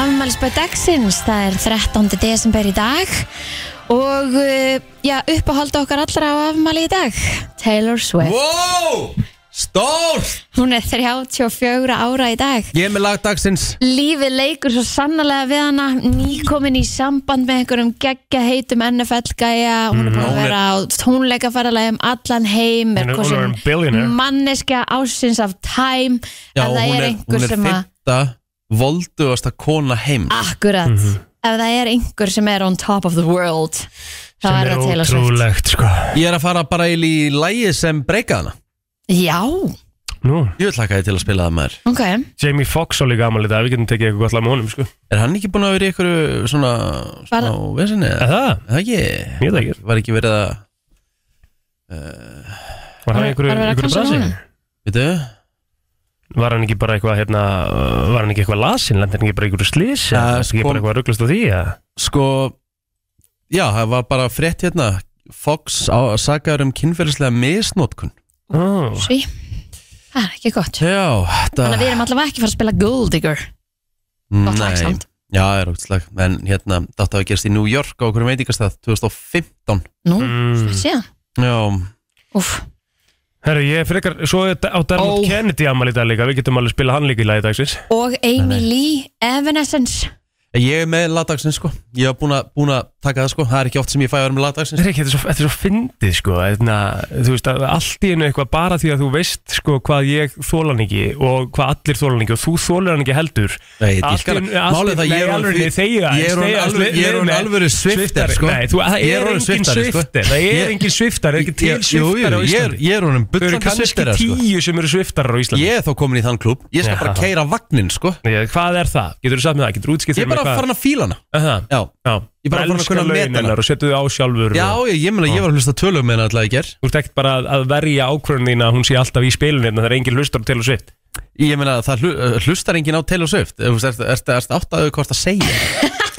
S2: afmælsbæð dagsins Það er 13. desember í dag Og uh, já, uppáhald okkar allra á afmæli í dag Taylor Swift
S1: wow, stórt
S2: Hún er 34 ára í dag
S1: Ég er með lagdagsins
S2: Lífið leikur svo sannlega við hana Nýkomin í samband með einhverjum geggja heitum NFL-gæja Hún er búin að
S1: Hún er-
S2: vera á tónleikaferðalagi um allan heim
S3: Hún er- hún er
S2: kosin
S3: billionaire.
S2: Manneskja ásins af time
S1: Já,
S2: Ef það
S1: hún
S2: er
S1: er,
S2: einhver sem að
S1: fyrta voldugasta kona heims
S3: Mhm.
S2: Akkurat Ef það er einhver sem er on top of the world Þá er það Taylor Swift.
S3: ótrúlegt sko
S1: Ég er að fara bara í lægi sem breyka hana
S2: Já,
S3: Nú,
S1: Ég vil laka þið til að spila það maður
S2: ok
S3: Jamie Foxx á líka amal í dag, við getum tekið eitthvað allar með honum sko
S1: Er hann ekki búin að vera í ykkur svona, svona
S2: Bara-
S1: vesinni?
S3: Er Það,
S1: Það ekki
S3: ég veit það ekki
S1: Var ekki verið að
S3: Var
S2: Var-
S3: hann einhverju
S2: var verið að
S3: einhverju
S2: cancela
S3: brasi?
S2: honum?
S1: Veitu?
S3: Var hann ekki bara eitthvað hérna, uh, var hann ekki eitthvað lasin, lendi hann ekki bara í einhverju slís
S1: Ja,
S3: ja, sko. Ekki
S1: sko-
S3: bara eitthvað rugglast á því ja.
S1: Sko Já, það var bara frétt hérna Fox á, sakaður um kynferðislega misnótkun
S3: oh.
S2: Sví, það er ekki gott
S1: Já, þetta
S2: Þannig að við erum allavega ekki að fara að spila Gold Digger gott lag
S1: Nei.
S2: samt.
S1: Já, það er ógstlag En hérna, þetta hafa gerst í New York á okkur veitingastað 2015
S2: Nú,
S3: mm.
S2: síðan
S1: Já,
S2: Úff,
S3: Herru, ég er frekar, svo er á Dermot
S1: Ó.
S3: Kennedy amal í dag líka Við getum alveg spila hann líka í lagi dagsins
S2: og Amy Lee Evanescence
S1: ég er með lagdagsins sko Ég hef búin að- búin að taka það sko Það er ekki oft sem ég fæ að vera með lagdagsins
S3: Þetta er ekki, þetta er svo, þetta er svo fyndið sko Eðna, Þú veist, að allt í einu eitthvað bara því að þú veist sko hvað ég þólan ekki og hvað allir þólan ekki og þú þólar hann ekki heldur
S1: Nei, ég
S3: Allt í
S1: dýrkar
S3: einu- allt
S1: Málið er það, ég
S3: í- nei,
S1: er
S3: alveg
S1: orðinn
S3: niður, þegja
S1: því-
S3: aðeins,
S1: Ég er
S3: þegja
S1: orðinn
S3: aðeins,
S1: alveg-
S3: le-
S1: ég er orðinn
S3: leiðum-
S1: alvöru sviftar sko
S3: Nei, þú, það
S1: Ég er
S3: er
S1: orðinn
S3: engin
S1: sviftari, sko.
S3: sviftar Það
S1: Ég-
S3: er engin sviftar, það er ekki til
S1: Ég- jú,
S3: sviftar á
S1: jú, ég er-
S3: Íslandi
S1: Ég er honum
S3: Þau eru
S1: bullandi
S3: kannski
S1: sviftara sko
S3: tíu sem eru sviftar á Íslandi
S1: Ég er þó komin í þann klub Ég skal
S3: Já.
S1: bara keira vagnin sko
S3: Ég- Hvað er það? Getur þú sagt með það? Getur þú útskipt
S1: Ég er bara farin að fíla hana Já,
S3: Já,
S1: Ég er bara farin að kunna meta hana.
S3: hennar og setu þau á sjálfur
S1: já
S3: og-
S1: ég, ég meina ég var að hlusta tölum með hana alltaf í ger
S3: Þú ert ekkert bara að- að verja ákvörðun þín að hún sé alltaf í spilinu hérna en það er engin hlustur til og svift
S1: Ég meina það hlu- uh, hlustar enginn á Taylor Swift Þú veist, ert- ert ert áttaðu hvort að segja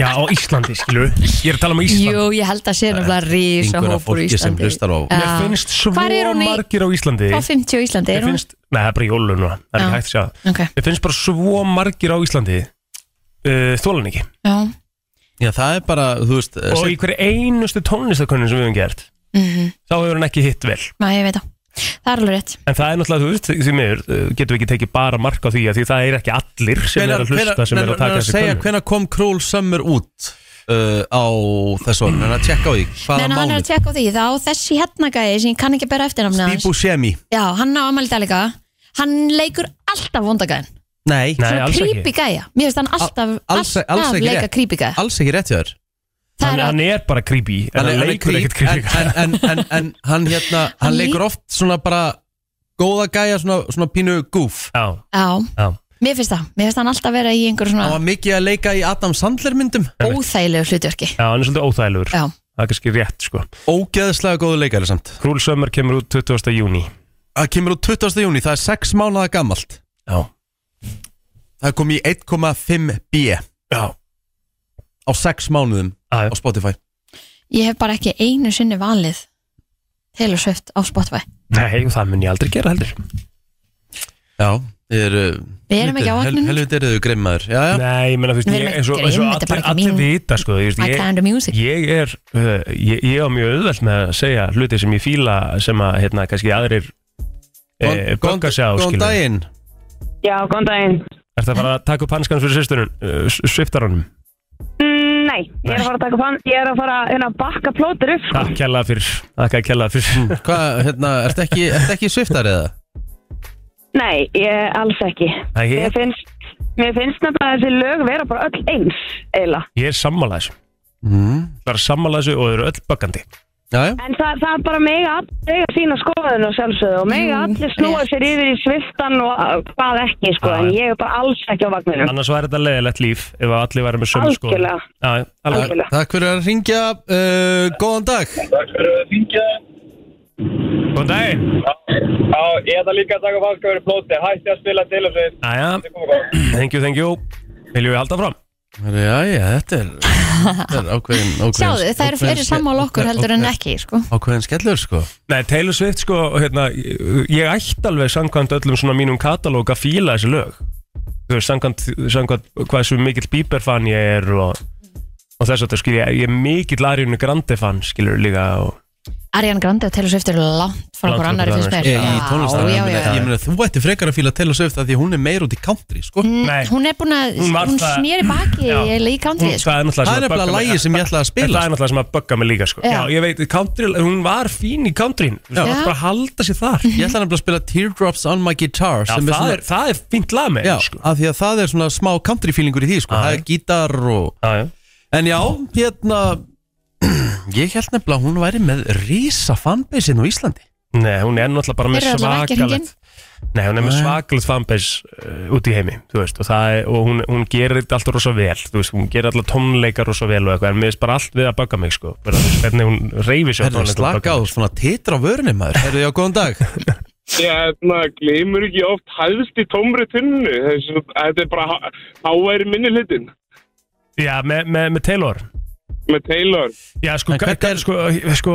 S3: Já, á Íslandi, skilur Ég er að tala um Íslandi
S2: Jú, ég held að sé nefnilega rísa
S1: Einhverja
S2: hópur í
S1: fólki sem
S2: Íslandi
S1: hlustar á
S2: Já.
S3: Mér finnst svo
S2: uh, Hvar er hún í-
S3: margir á Íslandi
S2: Á 50 á Íslandi,
S3: Mér
S2: er hún?
S3: finnst, nei, það er bara í jólu núna Það er
S2: Já.
S3: ekki hægt að sjá það.
S2: Ok,
S3: Mér finnst bara svo margir á Íslandi uh, Þólan ekki
S2: já
S1: Já, það er bara, þú veist uh,
S3: Og í hverju einustu tónlistakönnun sem við höfum gert
S2: Mhm.
S3: Þá hefur hann ekki hitt vel
S2: Má, ég veit það Það er alveg rétt
S3: En það er náttúrulega, þú veist, því miður uh, Getum við ekki tekið bara mark á því að Því það er ekki allir sem er að hlusta sem er að taka þessi
S1: segja
S3: könnun
S1: hvenær kom Cruel Summer út uh, á þessu orðin En að tjekka á því
S2: Nei,
S1: Hvaða
S2: en hann er að
S1: mánuð
S2: tjekka á því Þá þessi hérna gæði sem ég kann ekki bera eftir
S1: Steve Buscemi
S2: Já, hann á ammæli dag líka Hann leikur alltaf vondagæðin
S1: Nei,
S3: Nei, alls
S2: Creepy
S3: ekki
S2: gæja Mér finnst hann alltaf,
S1: alls-
S2: alltaf
S1: alls ekki
S2: leika
S1: rétt.
S2: creepy gæja
S1: alls ekki rétt hjá þér
S2: Það
S3: hann,
S2: er
S3: hann er bara creepy En hann leikur ekkert
S1: creep,
S3: creepy
S1: en, en, en, en, en hann hérna Hann
S2: Hann lí-
S1: leikur oft svona bara Góða gæja, svona, svona pínu goof
S3: Já,
S2: Já,
S3: já
S2: mér finnst það Mér finnst hann alltaf vera í einhver
S1: Hann
S2: svona
S1: var mikið að leika í Adam Sandler myndum
S2: óþægilegu hlutverki
S3: Já, hann er svolítið óþægilegur
S2: Já,
S3: Það er kannski rétt, sko
S1: Ógeðslega góðu leikari samt
S3: Krúl Sömmar kemur út 20. júni
S1: Það kemur út 20. júni, það er 6 mánuða gamalt
S3: Já
S1: Það er komið í 1,5 B
S3: Já
S1: á 6 mánuðum
S3: Já.
S1: á Spotify
S2: ég hef bara ekki einu sinni valið Taylor Swift á Spotify
S3: Nei, og það mun ég aldrei gera heldur
S1: Já, þið eru
S2: Við erum ekki á
S1: Hel-
S2: vagninum.
S1: Helviti eru þau grimmaður Já, já,
S3: Nei, ég menna, þú veist,
S2: Við erum
S3: ég,
S2: ekki
S3: eins og,
S2: að gera
S3: eins og
S2: inn, þetta er bara
S3: allir,
S2: ekki
S3: allir
S2: mín-
S3: vita, sko þú veist,
S2: My
S3: ég,
S2: kind of music
S3: ég er uh, ég, ég á mjög auðvelt með að segja hluti sem ég fíla sem að, hérna, kannski aðrir eh,
S1: Góðan-
S3: bögga sig á,
S1: góðan
S3: skilur
S1: daginn
S5: Já, góðan daginn.
S3: Er það bara að taka upp hanskan fyrir sýstunum, uh, sviftaranum
S5: Mm, nei, ég er að fara að taka fann, ég er að fara hérna, að bakka plótur upp, sko.
S3: Takk kjalla fyrir, takk að kjalla fyrir
S1: Hvað, hérna, ertu ekki, ert ekki sviftar eða?
S5: Nei, ég alls ekki.
S3: Nei, ég-
S5: Mér finnst, mér finnst nefnilega þessi lög vera bara öll eins, eiginlega.
S3: Ég er sammála þessu,
S1: Mm.
S3: það er sammála þessu og þau eru öll böggandi
S1: Já, já
S5: En það, það er bara mega allir eiga sína skoðun og sjálfsögðu og mega
S2: Jú,
S5: allir snúa
S2: rétt.
S5: sér yfir í sviftan og uh, hvað ekki, sko.
S3: Já,
S5: en
S3: já.
S5: ég er bara alls ekki á vagninum.
S3: Annars var þetta leiðilegt líf ef að allir væri með sömu sko
S5: Algjörlega.
S3: Já, alveg
S5: Algjörlega.
S1: Takk fyrir að ringja, uh, góðan dag
S3: Góðan daginn
S6: Já, ég ætla líka að taka falska verið plóti. Hætti að spila til og sveit.
S3: Jæja,
S6: Kom og kom.
S3: thank you, thank you Viljum við halda fram?
S1: Já, já, þetta er, þetta er ákveðin, ákveðin
S2: Sjáðu, það eru fleiri sammála okkur heldur en ekki sko.
S1: Ákveðin skellur, sko
S3: Nei, Taylor Swift sko, hérna, ég, ég ætti alveg samkvæmt öllum svona mínum katalóg að fíla þessi lög Þú veist, samkvæmt, samkvæmt hvað svo mikill Bieber-fan ég er og, og þess að það skilja, ég er mikill Ariana Grande-fan, skilur líka og,
S2: Ariana Grande og Taylor Swift eru langt frá
S3: Langt
S2: okkur
S3: frá
S2: annari
S3: hvor
S2: fyrst mér
S3: annarri,
S1: Ég, í tónlistar,
S2: Já, já, já.
S1: ég meina, þú ætti frekar að fíla Taylor Swift af því að hún er meir út í country, sko
S2: Mm,
S3: Nei.
S2: Hún er búin að,
S3: Hún var
S2: hún
S3: það-
S2: snýri baki
S3: Já.
S2: eiginlega í country
S3: Hún-
S2: sko.
S3: það er
S1: Það
S3: náttúrulega
S1: er
S3: sem að bugga
S1: nefnilega
S3: mig-
S1: lægi sem ég ætlaði að
S3: En
S1: spila
S3: það er náttúrulega sem að bugga mig líka sko.
S2: Já.
S3: Já, ég veit, country, hún var fín í countryn Þú
S1: Já.
S3: veist, bara halda sér þar
S1: Ég ætla nefnilega að spila Teardrops on my guitar
S3: Já,
S1: sem
S3: það,
S1: svona-
S3: er, það er fínt lag með
S1: Já,
S3: henni, sko. Ah,
S1: af því að það er svona smá country feelingur í því sko.
S3: Já,
S1: Það
S3: já.
S1: er gítar og
S3: Já, já.
S1: En já, hérna Ég held nefnilega að hún væri með rísa fanbase inn á Íslandi
S3: Nei, hún er náttúrulega bara með
S2: Þeir eru allavega ekki
S3: svakalegt Nei, hún er með
S1: Nei.
S3: svakalegt fanbase uh, út í heimi, þú veist, og, það er, og hún, hún gerir þetta alltaf rosa vel, þú veist, hún gerir alltaf tónleikar rosa vel og eitthvað, en mér finnst bara allt við að baka mig, sko, bara þú veist, hvernig hún reyfi sér á
S1: Herðu,
S3: tónleikum og
S1: slaka á,
S3: baggar mig.
S1: svona titra vörunni maður Herðu, já, góðan dag
S7: Hérna, gleymur ekki oft hæðst í tómri tunnu. Þessu, þetta er bara há- háværi minni hlutin
S3: Já, með, með, með Taylor.
S7: með Taylor.
S3: Já, sko,
S1: En hvert
S3: er...
S1: er-
S3: sko, sko,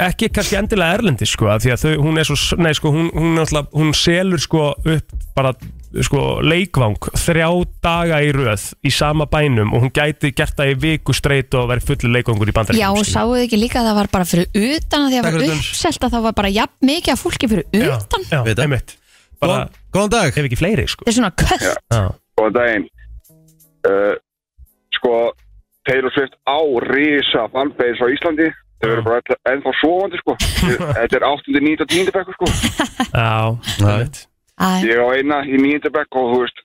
S3: ekki kannski endilega erlendi, sko, af því að þau, hún er svo, s- nei, sko, hún, hún, alltaf, hún selur, sko, upp bara, sko, leikvang þrjá daga í röð í sama bænum og hún gæti gert það í viku streit og verið fullu leikvangur í bandaríkjum.
S2: Já, og
S3: skilur.
S2: sáu þið ekki líka að það var bara fyrir utan að því að
S1: Takk
S2: það
S1: fyrir
S2: var
S1: þetta.
S2: uppselt að það var bara jafn mikið að fólki fyrir
S3: Já,
S2: utan
S3: Já,
S1: Veit það.
S3: einmitt. Bara,
S1: Góðan- Góðan dag
S3: ef ekki fleiri, sko.
S2: Þetta er svona köll
S3: Já.
S8: Góðan daginn uh, Sko, Taylor Swift á Risa fanbase á Íslandi Þau eru bara ennþá- ennþá sofandi sko Þetta er 8. 9. 10. bekku sko
S3: Já, einmitt.
S2: Æ,
S8: Ég á eina í 9. bekku og þú veist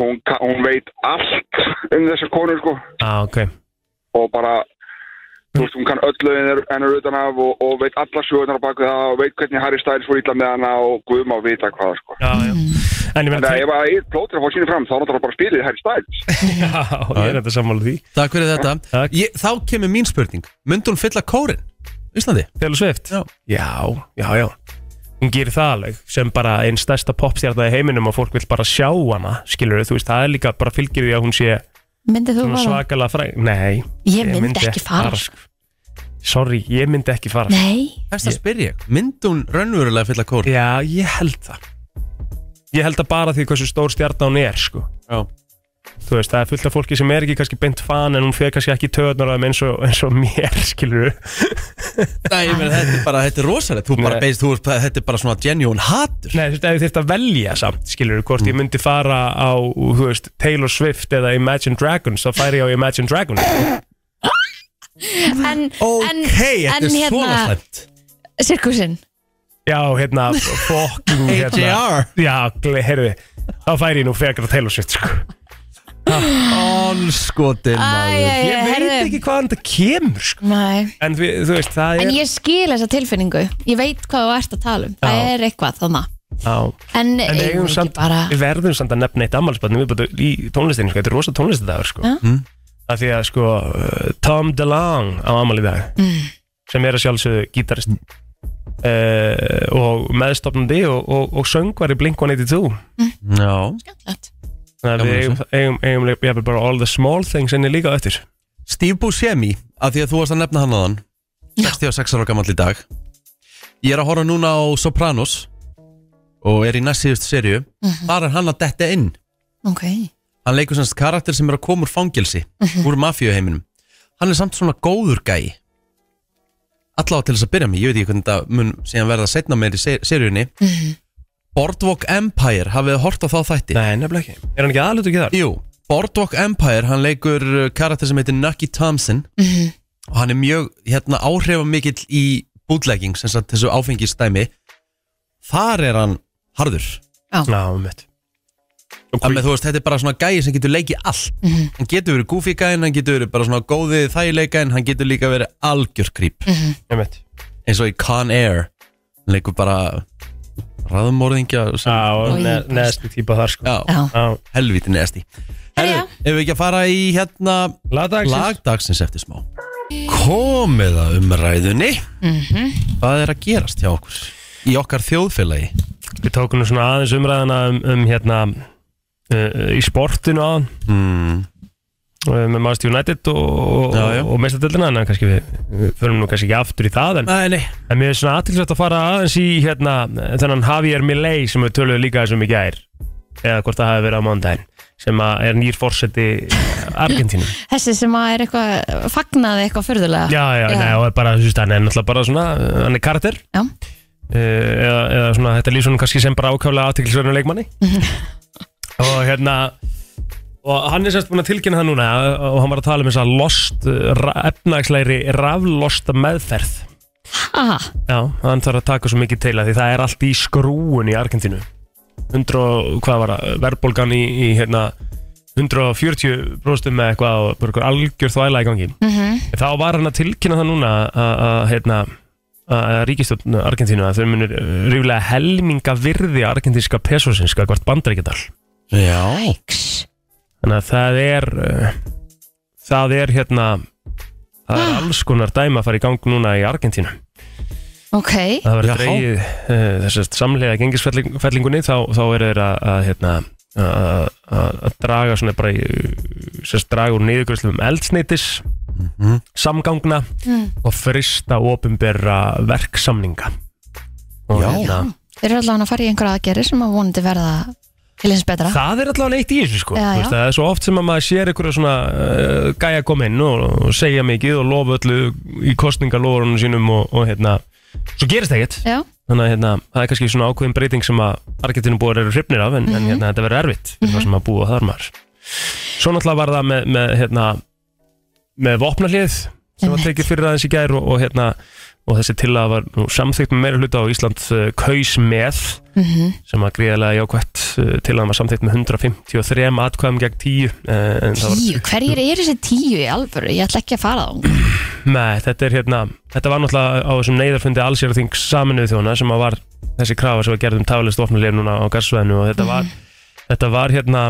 S8: hún, ka- hún veit allt um þessar konur sko
S3: Já, ok.
S8: og bara þú veist, hún kann öllu hennar, hennar utan af og, og veit alla sögurnar á baku það og veit hvernig Harry Styles fór illa með hana og guð má vita hvað sko
S3: Já, já.
S2: Mm.
S3: En ég
S8: En
S3: meina,
S8: það
S3: Taylor-
S8: ef að ég plótir að fá síni fram þá er náttúrulega bara spilið Harry Styles
S3: já, ég er þetta sammála því.
S1: Takk fyrir þetta
S3: Takk.
S1: ég, Þá kemur mín spurning Myndi hún fylla kórin? Íslandi?
S3: Taylor Swift?
S1: Já.
S3: Já, já, já. Hún gerir það alveg sem bara einn stærsta popstjarna í heiminum og fólk vil bara sjá hana, skilur þú veist, það er líka bara fylgir því að hún sé
S2: myndið þú
S3: svona
S2: bara?
S3: svakalega fræg. Nei.
S2: Ég myndi ekki fara.
S3: sko. Sorry, ég myndi ekki fara.
S2: Nei,
S1: Þess að spyrja ég Myndi hún raunverulega fylla kórin?
S3: sko. Já, ég held það. Ég held það bara því hversu stór stjarna hún er, sko.
S1: Já.
S3: Þú veist, það er fullt af fólki sem er ekki kannski beint fan en hún fer kannski ekki töðnur af þeim eins og, eins og mér, skilur
S1: Nei, ég menn, þetta er bara, þetta er rosalegt Þú bara
S3: Nei.
S1: beist, þú veist, þetta er bara svona genuine hatur
S3: Nei, þú veist, ef þið þurft að velja samt, skilur hvort ég myndi fara á, þú veist, Taylor Swift eða Imagine Dragons, þá færi ég á Imagine Dragons.
S2: en, en,
S1: Ok, þetta
S2: en
S1: er svona
S2: hérna,
S1: slæmt
S2: sirkusinn
S3: Já, hérna, fucking, hérna.
S1: AJR
S3: Já, gle- heyrðu, þá færi ég nú frekar á Taylor Swift, sko.
S1: Allskotin
S2: Æ, æ,
S1: maður
S2: æ,
S3: Ég veit
S2: herðu.
S3: ekki hvaðan þetta kemur, sko.
S2: Nei.
S3: En við, þú veist, það
S2: En
S3: er...
S2: ég skil þessa tilfinningu Ég veit hvað þú ert að tala um Það
S3: Já.
S2: er eitthvað þannig
S3: Já,
S2: En,
S3: en við
S2: eigum
S3: eigum
S2: við ekki
S3: samt,
S2: bara
S3: við verðum samt að nefna eitt ammálsbarn, við bara í tónlistinu, sko, þetta er rosa tónlistadagur, sko.
S2: Já.
S1: Mm.
S3: Af því að, sko, uh, Tom DeLong á ammál í dag.
S2: mm,
S3: sem er að sjálfsögðu gítarist uh, og meðstofnandi og, og, og söngvari Blink-182
S1: Já
S2: skemmtilegt.
S3: þannig að við eigum, eigum, eigum, eigum bara all the small things inni líka á eftir
S1: Steve Buscemi, að því að þú varst að nefna hann aðan 66 ára gammal í dag Ég er að horfa núna á Sopranos og er í næst síðust serju
S2: Mhm.
S1: Þar er hann að detta inn
S2: Ok
S1: Hann leikur semst karakter sem er að koma úr fangelsi
S2: Mhm.
S1: úr mafíuheiminum Hann er samt svona góður gæi Allá til þess að byrja með, ég veit ekki hvernig þetta mun síðan verða setna meir í ser serjunni
S2: Mhm.
S1: Boardwalk Empire, hafið þið hort á þá þætti?
S3: Nei, nefnilega ekki Er hann ekki aðlutu ekki þar?
S1: Jú, Boardwalk Empire, hann leikur uh, karakter sem heitir Nucky Thompson
S2: Mhm.
S1: og hann er mjög hérna, áhrifamikill í bootlegging, sem sagt þessu áfengistæmi þar er hann harður
S3: Ná, mitt
S1: Þannig að þú veist, þetta er bara svona gæi sem getur leikið allt Hann getur verið goofy gæin, hann getur verið bara svona góði þægileikain Hann getur líka verið algjör creep
S3: Einmitt.
S1: Eins og í Con Air Hann leikur bara raðumorðingja sem...
S3: Já, og
S2: Oj,
S3: ne-
S2: bara-
S3: neðstu típa þar sko
S1: Já,
S2: Já.
S3: Já,
S1: helviti neðasti
S2: Herra,
S1: Herðu, ef við ekki að fara í hérna
S3: lagdagsins
S1: Lagdagsins eftir smá Komið að umræðunni Hvað er að gerast hjá okkur? Í okkar þjóðfélagi
S3: Við tókum nú svona aðeins umræðana um, um hérna uh, í sportinu aðan
S1: mm.
S3: uh, með Master United og, og,
S1: Já, já.
S3: og meistardöldina en kannski við, við förum nú kannski ekki aftur í það en
S1: Nei, nei
S3: En mér er svona aðtilsvægt að fara aðeins í hérna, þennan Javier Milei sem við töluðum líka þessum í gær eða hvort það hafi verið á mándaginn sem að er nýr fórseti Argentínum
S2: þessi sem að er eitthvað Fagnaði eitthvað furðulega
S3: Já, já,
S2: Já.
S3: Nei, og er bara, þú veist, hann er náttúrulega bara svona uh, hann er karakter
S2: Já.
S3: uh, eða, eða svona, þetta lýsum kannski sem bara ákjálega aðtilsvæðinu leikmanni og hérna og hann er sérst búin að tilkynna það núna og hann var að tala um þess að lost uh, ra- efnagslegri raflosta meðferð
S2: Aha,
S3: Já, hann þarf að taka svo mikið til að því það er allt í skrúun í Argentínu 100 og hvað var það, verðbólgan í, í hérna 140% með eitthvað og bara einhver algjör þvæla í gangi
S2: Mhm.
S3: En Þá var hann að tilkynna það núna að- að hérna, að ríkistjórn Argentínu að þau munir uh, ríflega helminga virði argentinska pesosins hvert bandaríkjadal
S1: Já
S3: Þannig að það er uh, það er hérna það er alls konar dæma að fara í gang núna í Argentínu
S2: Ok
S3: það verður
S1: Já.
S3: dreigið uh, þessast samlega gengisfellingunni þá, þá er þeir að, að hérna að- að að draga svona bara í- sérst draga úr niðurgröðslum eldsneitis samgangna
S2: Mm.
S3: og frista ofinberra verksamninga og hérna,
S1: Já.
S2: Þeir eru allavega að fara í einhverja aðgerðir sem að vonandi verða til eins betra
S3: Það er allavega neitt í þessu sko
S2: Já,
S3: Þú
S2: já.
S3: veist, Það er svo oft sem að maður sér einhverja svona uh, gæja koma inn og, og segja mikið og lofa öllu í kostningalofurunum sínum og, og hérna Svo gerist ekkert
S2: Já,
S3: Þannig að hérna, það er kannski svona ákveðin breyting sem að Argentinum búar eru hrifnir af en,
S2: Mhm.
S3: en hérna, þetta verður erfitt fyrir það sem að búa þar maður Svo náttúrulega var það með, með, hérna, með vopnahlið sem var
S2: Einmitt.
S3: tekið fyrir aðeins í gær og, og, hérna, og þessi tillaga var nú samþykkt með meira hluta og Ísland uh, kaus með
S2: mm
S3: sem að greiðlega jákvætt uh, til að maður samþýtt með 153 atkvæðum gegn 10 uh, en það
S2: tíu, hverjir er þessi tíu í alvöru? Ég ætla ekki að fara þá
S3: var, með, þetta er hérna þetta var náttúrulega á þessum neyðarfundi allsýrþing saminuð þjóna sem að var þessi krafa sem var gerð um taflist ofnuleg núna á gasvæðinu og þetta var, þetta var hérna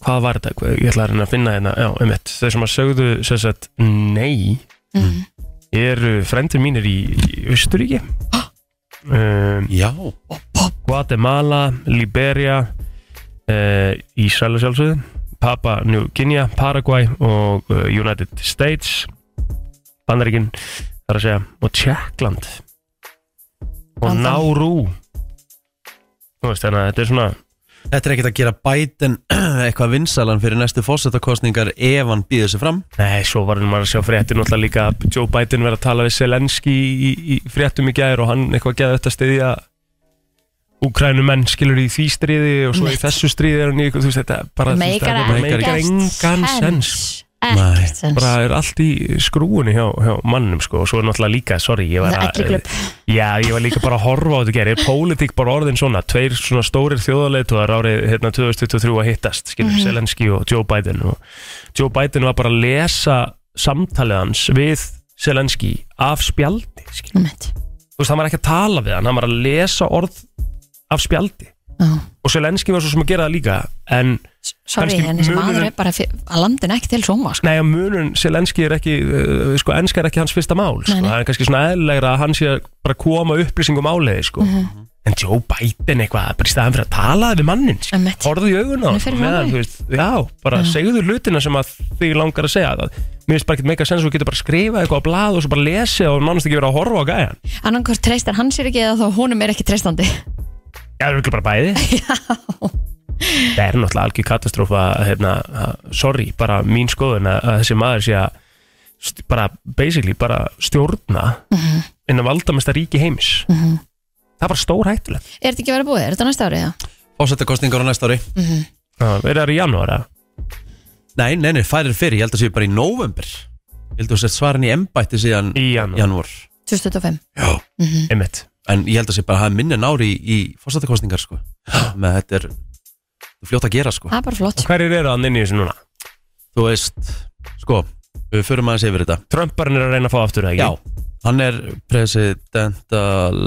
S3: hvað var þetta, Hvað- ég ætla að reyna að finna hérna já, einmitt, þau sem að sögðu sem sagt, nei
S2: mm.
S3: eru frendur mínir í, í Austuríki um,
S1: Já
S3: Guatemala, Liberia uh, Ísrael að sjálfsögðu Papa New Guinea, Paraguay og uh, United States Bandaríkin þar að segja og Tjekkland og
S2: Bandaríkin.
S3: Nauru Þú veist þannig að þetta er svona
S1: Þetta er ekkert að gera bætin eitthvað vinsalan fyrir næstu fósettakostningar ef hann býður sér fram
S3: Nei, svo var maður að sjá fréttir náttúrulega líka að Joe Biden verið að tala við Zelensky í, í, í fréttum í gær og hann eitthvað geða þetta stiðja Ukrænumenn skilur í því stríði og svo í
S2: Mitt.
S3: þessu stríði er hann í eitthvað, þú veist þetta bara, þú veist,
S2: Meikar
S3: þetta bara meikar
S2: ekkert
S3: engan sens
S2: sens. Ekkert sens
S3: bara er allt í skrúinu hjá, hjá mannum sko og svo er náttúrulega líka, sorry ég var
S2: Það er
S3: að-
S2: ekki glöp
S3: Já, ég var líka bara að horfa á þetta gerir Er pólitík bara orðin svona? Tveir svona stórir þjóðarleiðtogar árið hérna 2023 að hittast Skilur, Zelensky og Joe Biden og Joe Biden var bara að lesa samtalið hans við Zelensky af spjaldi skilur. Þú veist, hann var ekki að tala við hann Hann var að lesa orð af spjaldi Og Zelensky var svo sem að gera það líka En
S2: Sorry,
S3: Kannski
S2: en þessi
S3: munurinn-
S2: maður er bara fyr- að landin ekki til sjóma sko.
S3: Nei, að munun Selenski er ekki uh, sko, ennska er ekki hans fyrsta mál sko.
S2: Nei, nei.
S3: það er kannski svona eðlilegra að hann sé að bara koma upplýsingum áleiði sko.
S2: Mhm.
S3: en Joe Biden eitthvað bara í staðan fyrir að tala við mannin sko.
S2: Einmitt.
S3: horfðu í augun á
S2: Nei,
S3: honum,
S2: fyrir honum.
S3: þú veist, já, bara segðu hlutina sem að þig langar að segja það mér finnst bara ekki meika sens að þú getur bara skrifað eitthvað á blað og svo bara lesi og nánast ekki verið að horfa á gæjan
S2: Annarkvort treystar hann sér ekki eða þá honum er ekki treystandi
S3: Já, það er ekki bara bæði Það er náttúrulega algjör katastrófa hérna, að- sorry, bara mín skoðun að, að þessi maður sé að st- bara, basically, bara stjórna mm -hmm. innan valdamesta ríki heimis
S2: Mhm.
S3: Það var stór hættulegt
S2: Er þetta ekki að vera búið? Er þetta næsta árið? eða?
S1: Fósettakostningar á næsta ári
S3: Er það í janúara?
S1: Nei, nei, nei, færir fyrir, ég held að séu bara í november Ég held að séu svarin í embætti síðan
S3: Í janúar,
S1: janúar
S2: 2025
S3: einmitt
S1: En ég held að séu bara að hafa minni en ári í, í fósettakostningar sko Með þetta er þetta er fljótt að gera sko
S2: Það er bara flott
S3: Hverjir eru að nynni þessu núna?
S1: Þú veist, sko, við förum aðeins yfir þetta
S3: Trumparinn er að reyna að fá aftur, eða ekki?
S1: Já, hann er presidental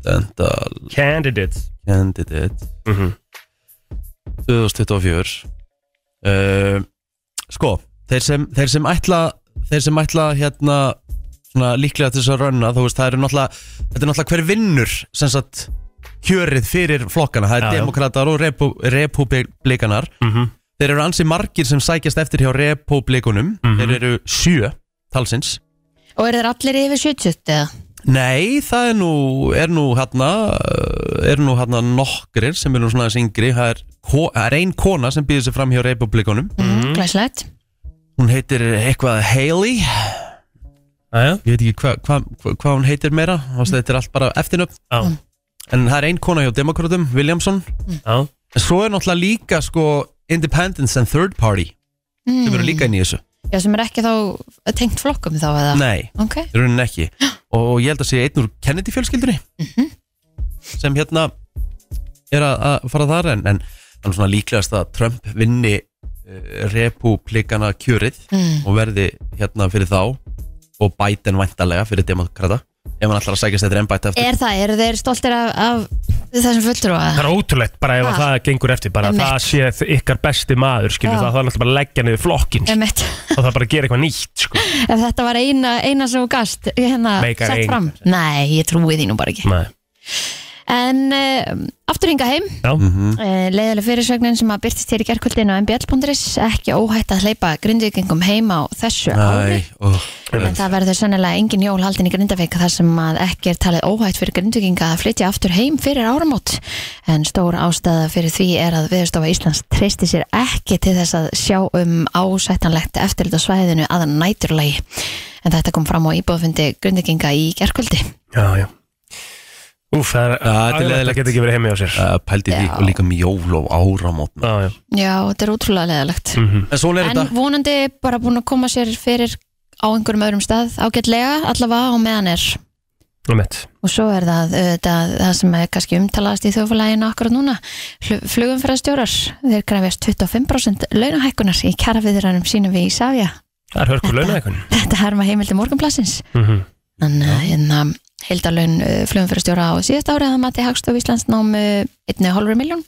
S1: dental
S3: Candidates
S1: candidate
S3: mm
S1: 2024 uh, Sko, þeir sem, þeir sem ætla þeir sem ætla hérna svona líklega til þess að rönna þú veist, það eru náttúrulega, þetta er náttúrulega hver vinnur sem sagt kjörið fyrir flokkana, það er
S3: Já, Mhm. já.
S1: demokratar og repu, republikanar þeir eru ansi margir sem sækjast eftir hjá republikunum,
S3: Mhm.
S1: þeir eru sjö talsins
S2: Og eru þeir allir yfir 70 eða?
S1: Nei, það er nú, er nú hérna, uh, er nú hérna nokkrir sem er nú svona aðeins yngri, það er, ko- það er ein kona sem býður sér fram hjá republikunum,
S2: Mm. Glæslegt
S1: hún heitir eitthvað Haley,
S3: Aja.
S1: ég veit ekki hvað hva, hva, hva hún heitir meira, Vastu, þetta er allt bara eftirnöfn,
S3: Já,
S2: Mm.
S1: en það er ein kona hjá demokratum, Williamson,
S3: já,
S1: en svo er náttúrulega líka sko independence and third party
S2: mm.
S1: sem eru líka inn í þessu,
S2: Já, sem er ekki þá tengt flokkum þá eða
S1: nei,
S2: Ok,
S1: í rauninni ekki og ég held að sé einn úr
S2: Mhm.
S1: Kennedy fjölskyldunni sem hérna er að, að fara þar en, en hann er svona líklegast að Trump vinni uh, republikana kjörið
S2: Mm.
S1: og verði hérna fyrir þá og Biden væntalega fyrir demokrata ef hann ætlar að sækja sér embætt eftir
S2: Er það, eru þeir stoltir af, af þessum fulltrúa?
S3: Það er ótrúlegt bara ef
S2: Ha.
S3: að það gengur eftir bara
S2: Ah.
S3: að
S2: Einmitt.
S3: það sé þ- ykkar besti maður skilur
S2: Já.
S3: það, það er náttúrulega bara að leggja niður flokkin og
S2: Emmett,
S3: það er bara að gera eitthvað nýtt sko.
S2: ef þetta var eina, eina sem þú gast hérna
S3: Meikar
S2: sett
S3: engu
S2: fram Nei, ég trúi því nú bara ekki
S3: Nei.
S2: En uh, aftur hinga heim
S3: Já.
S2: uh, leiðileg fyrirsögnin sem að byrtist hér í gerkvöldinu á mbl.is ekki óhætt að hleypa grindvíkingum heim á þessu ári
S1: Æ, ó,
S2: En það verður sennilega engin jól haldin í Grindavík þar sem að ekki er talið óhætt fyrir Grindvíkinga að flytja aftur heim fyrir áramót. En stór ástæða fyrir því er að Viðurstofa Íslands treysti sér ekki til þess að sjá um ásættanlegt eftirlit á svæðinu að næturlagi. En þetta kom fram á íbúðfundi Grindvíkinga í gerkvöldi.
S3: Já, já Úf, það er
S1: Já, þetta er
S3: ægilegt að
S1: leiðilegt.
S3: geta ekki verið heimi á sér
S1: uh, pældi því
S2: Já.
S1: og líka um jól og áramótna
S3: Já, já Mhm.
S2: Já, þetta er útrúlega leðalegt.
S1: en svo er
S2: En
S1: þetta
S2: vonandi bara búin að koma sér fyrir á einhverjum öðrum stað ágætlega, allavega á meðan er.
S3: Einmitt.
S2: Og svo er það það, það sem er kannski umtalaðast í þjóflæginu akkurat núna. Fl- Flugumferðarstjórar, þeir græfjast 25% launahækkunar í kjarafiðranum sínum við Ísafja.
S3: Það er hörkur launa eitthvað
S2: Þetta herma heimildi morgunplassins.
S3: Mhm.
S2: Þannig að hérna, heildalaun uh, flugumferðarstjóra á síðast árið að mati Hagstof Íslands nám uh, 1,5 miljón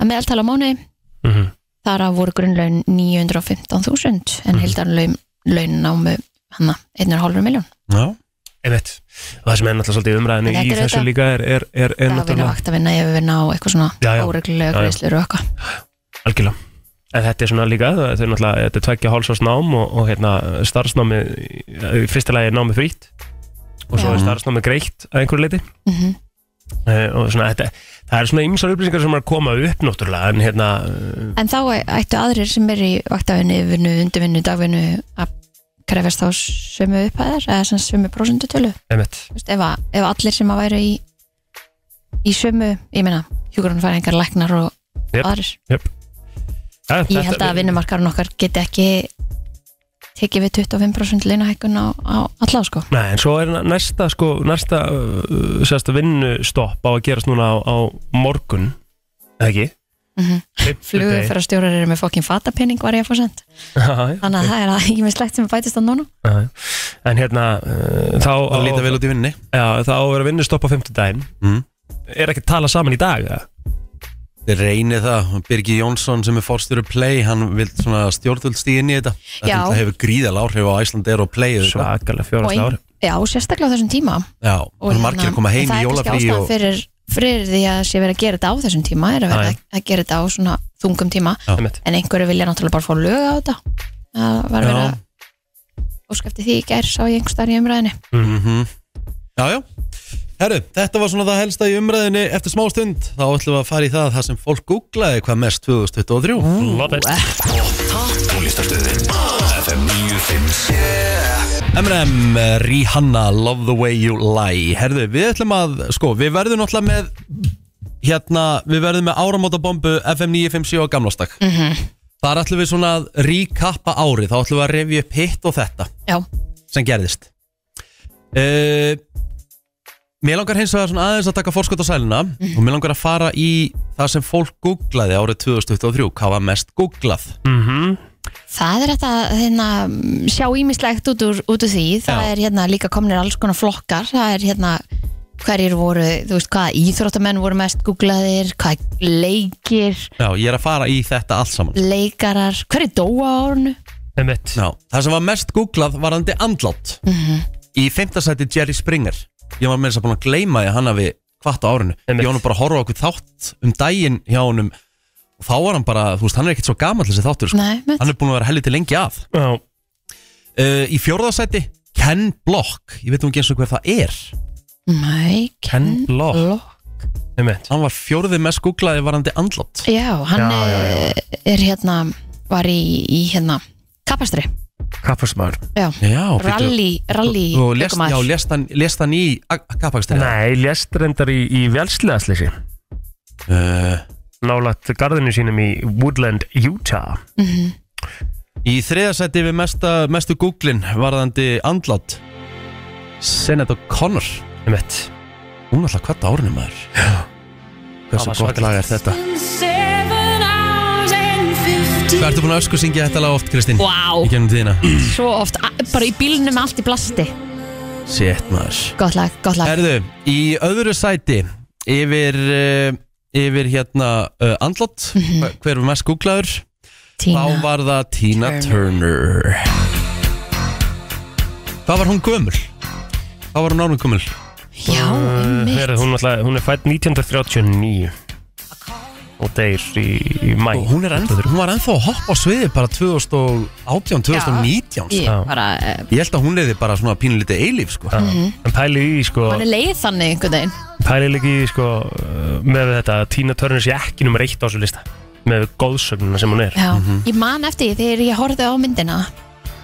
S2: að meðaltala á mánuði.
S3: Mhm.
S2: Þar að voru grunnlaun 915.000
S3: Mhm.
S2: en heildalaun laun nám uh, hana, 1,5 miljón.
S1: já,
S3: Einmitt Og það sem er náttúrulega svolítið í umræðinu
S2: En þetta
S3: í
S2: er
S3: þessu
S2: auðvitað-
S3: líka er, er, er, er
S2: Það vinna
S3: náttúrulega
S2: vakt að vinna ef við vinna á eitthvað
S3: Já,
S2: svona
S3: já.
S2: óreglulega
S3: Já, já.
S2: greiðslur og eitthvað.
S3: algjörlega En þetta er svona líka, það- þetta er náttúrulega, þetta er tveggja hálsás nám og, og hérna starfsnámi, í fyrsta lagi er námi frýtt og svo
S2: Já.
S3: er starfsnámi greitt að einhverju leiti
S2: Mm -hmm.
S3: Eh, og svona, þetta, það er svona ymsar upplýsingar sem er að koma upp náttúrulega en hérna,
S2: En þá ættu aðrir sem er í vaktavinnu, vinnu, undirvinnu, dagvinnu að krefjast þá sömu upphæðar eða sem sömu prósendutölu
S3: emitt
S2: Vist, ef, að, ef allir sem að væru í í sömu, ég meina hjúgrunfæringar, læknar og
S3: Jep.
S2: aðrir
S3: ja,
S2: Ég held að vinnumarkarinn okkar geti ekki tekið við 25% launahækkun á, á alla sko
S3: Nei, en svo er næsta, sko, næsta uh, sérst, vinnustopp á að gerast núna á, á morgun eða
S2: mm
S3: ekki?
S2: -hmm.
S3: Fimmtudegi.
S2: Flugumferðarstjórar eru með fokkin fatapening var ég að fá sent
S3: Já, já,
S2: Þannig að það er að ég með slægt sem bætist á núna
S3: já, já. En hérna uh, þá, á,
S1: það líta vel út í vinninni
S3: já, þá er vinnustopp á fimmtudaginn
S1: Mm.
S3: Er ekki að tala saman í dag? eða?
S1: reyni það, Birgir Jónsson sem er fórstjóru Play, hann vil svona stjórnvöld stíð inn í þetta,
S2: Já.
S1: þetta hefur gríðal áhrif á Æslandeir og Play auðvitað.
S3: Svakalega
S2: Og
S3: fjórasta
S2: ein-
S3: ári
S2: Já, sérstaklega á þessum tíma
S1: já, það er margir að koma heim í jólafrí
S2: hérna, Það er kannski ástæðan
S1: og
S2: fyrir, fyrir því að sé verið að gera þetta á þessum tíma er að
S3: Já,
S2: vera
S3: já.
S2: að, að gera þetta á svona þungum tíma
S1: Já.
S3: Einmitt.
S2: en einhverju vilja náttúrulega bara fá lög á þetta það var verið
S1: Já.
S2: að óskæfti því í gær sá ég einhver starf í umræðinni
S1: já, já Herru, þetta var svona það helsta í umræðinni eftir smá stund, þá ætlum við að fara í það það sem fólk googlaði hvað mest 2023
S3: Love it
S2: eh.
S1: M&M, eh, Rihanna, Love the way you lie Herðu, við ætlum að, sko, við verðum náttúrulega með hérna, við verðum með áramótabombu FM 957 á gamlástak mm -hmm. Þar ætlum við svona að ríkappa árið, þá ætlum við að revja upp hitt og þetta
S2: Já,
S1: sem gerðist uh, Mér langar hins vegar svona aðeins að taka fórskot á sæluna og mér langar að fara í það sem fólk googlaði árið 2023 hvað var mest googlað
S2: það er þetta hérna, sjá ímislegt út úr, út úr því það
S1: Já.
S2: er hérna líka komnir alls konar flokkar það er hérna hverjir voru, þú veist hvað íþróttamenn voru mest googlaðir, hvað leikir,
S1: Já, ég er að fara í þetta allt saman
S2: leikarar hverju dóa á árunu
S3: Emitt
S1: Já, það sem var mest googlað varandi andlátt
S2: Mhm.
S1: Í fimmtasæti Jerry Springer Ég var með þess að búin að gleyma því að hann hafi hvart á árinu
S3: Einmitt.
S1: Ég var nú bara að horfa okkur þátt um daginn hjá honum og þá var hann bara, þú veist, hann er ekkert svo gamall þessi þáttur, sko.
S2: Nei, með
S1: hann er búin að vera helviti lengi að
S3: Já,
S1: uh, Í fjórðasæti Ken Block, ég veit nú ekki eins og hver það er
S2: Nei,
S3: Ken Block. emitt
S1: Hann var fjórði mest googlaði varandi andlátt
S2: Já, hann
S3: Já, já, já.
S2: Er, er hérna var í, í hérna kapastri,
S3: Kapparsmaður
S2: já,
S1: Já,
S2: rally rally
S1: bíddu, og lest,
S2: ökumaður.
S1: já, lest, hann, lest hann í kappakstir
S3: Nei, lést reyndar í, í velsliðasleysi
S1: uh,
S3: nálægt garðinu sínum í Woodland, Utah
S1: Í þriðasæti við mesta, mestu googlin varðandi andlátt Senator Connor
S3: Emitt
S1: Hún er alltaf hvað árinu maður Hversu
S3: var
S1: gott
S3: svakalegt.
S1: lag er þetta
S9: Seven
S1: Hvað ertu búin að ösku syngja þetta lag oft, Kristín?
S2: Vá.
S1: Í gennum tíðina
S2: Svo oft, a- bara í bílnum með allt í plasti
S1: Sétt maður
S2: Gott lag, gott lag
S1: Erðu, í öðru sæti yfir, uh, yfir hérna uh, andlott, hver var mest googlaður?
S2: Tína
S1: Þá var það Tina Turner. Hvað var hún gömul? Hvað var hún ánum gömul?
S2: Já, einmitt
S3: Herið, hún, alltaf, hún er fætt 1939 og deyr í, í mæ
S1: Og hún, er ennþá, hún var ennþá að hoppa á sviði bara 2018, 2019 sko.
S2: Ég
S3: Já.
S2: bara, eh,
S1: Ég held að hún leiði bara svona pínlítið eilíf sko.
S2: Mhm.
S3: en pælið í því, sko
S2: hann er leið þannig einhvern veginn
S3: pælið líka í því, sko með þetta að Tina Turner sé ekki nummer eitt á þessu lista með góðsögnuna sem hún er
S2: Já, ég man eftir því þegar ég horfði á myndina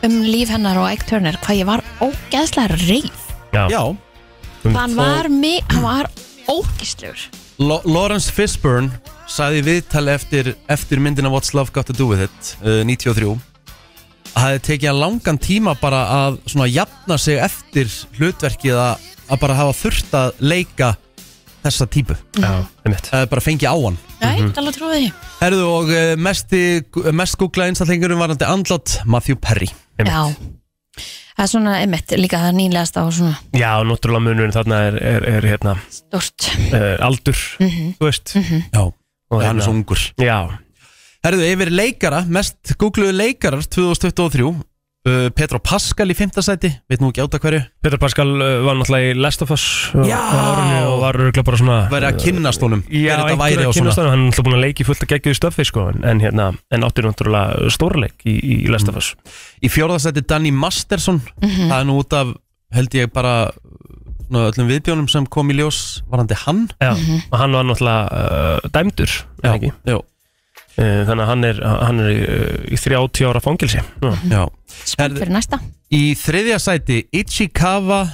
S2: um líf hennar og Egg Turner hvað ég var ógeðslega reif
S1: Já,
S3: Um
S2: hann var, mi- hann var ógeðslegur
S1: Lo Lawrence Fishburne sagði í viðtal eftir, eftir myndina What's Love Got To Do With It uh, 93 að það hefði tekið hann langan tíma bara að svona jafna sig eftir hlutverkið að, að bara hafa þurft að leika þessa típu
S3: Já, einmitt.
S1: það er Eh, bara fengið á hann
S3: Mhm.
S2: Já, ég get alveg trúið því
S1: Herðu og uh, mesti, mest googla einstaklingurum varandi andlát Matthew Perry
S3: Einmitt.
S2: Já Það er svona, einmitt, líka það nýlegast á svona
S3: Já, og náttúrulega munurinn þarna er, er, er hérna,
S2: stort
S3: uh, aldur
S2: Mhm.
S3: þú veist
S1: Já,
S3: og hérna-
S1: hann er svo ungur
S3: Já,
S1: hérna- Herðu, yfir leikara, mest googluðu leikarar 2023 uh, Petro Pascal í fymtasæti, veit nú ekki áta hverju
S3: Petra Pascal uh, var náttúrulega í Last of Us uh,
S1: Já.
S3: á árinu og var örgulega bara svona uh,
S1: verið að kynnast honum hver
S3: Já,
S1: þetta væri
S3: einhverja
S1: og svona
S3: kynastöðum, hann er alltaf búin að leiki fullt að geggjuðu stöfi sko, en, en, hérna, en áttir náttúrulega stórleik í, í Last of
S1: Mm.
S3: Us
S1: í fjórðasæti Danny Masterson það er nú út af held ég bara svona, öllum viðbjónum sem kom í ljós varandi hann
S3: Já, og hann var náttúrulega uh, dæmdur, eða ekki?
S1: já,
S3: Uh, þannig að hann er, hann er uh, í 30 ára fangilsi. Nú,
S1: já.
S2: Spennt
S1: Herðu-
S2: fyrir næsta
S1: í þriðja sæti Ichikawa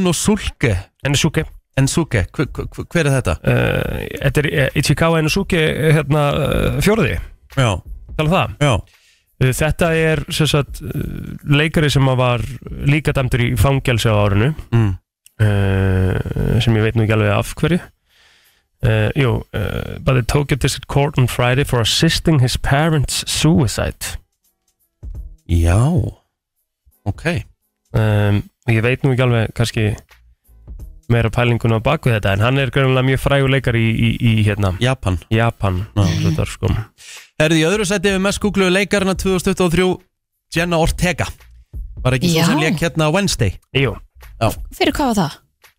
S1: Enosuke
S3: Enosuke,
S1: Ensuke, hver, hver, hver er þetta?
S3: uh, þetta er eh, Ichikawa Enosuke eh, hérna, uh, fjórði,
S1: já,
S3: tala um það.
S1: já,
S3: Uh, þetta er sem sagt, uh, leikari sem að var líka dæmdur í fangelsi á árinu,
S1: mm.
S3: uh, sem ég veit nú ekki alveg af hverju. Uh, jú, uh, by the Tokyo District Court on Friday for assisting his parents' suicide.
S1: já ok,
S3: um, og ég veit nú ekki alveg kannski meira pælingun á baku þetta en hann er greinlega mjög frægur leikari í, í, í hérna,
S1: Japan
S3: Japan svo þar, sko.
S1: er í öðru sæti við mest googluðu leikarina 2023 Jenna Ortega var ekki svo
S2: Já.
S1: sem leik hérna á Wednesday
S3: Jú,
S2: Fyrir hvað var það?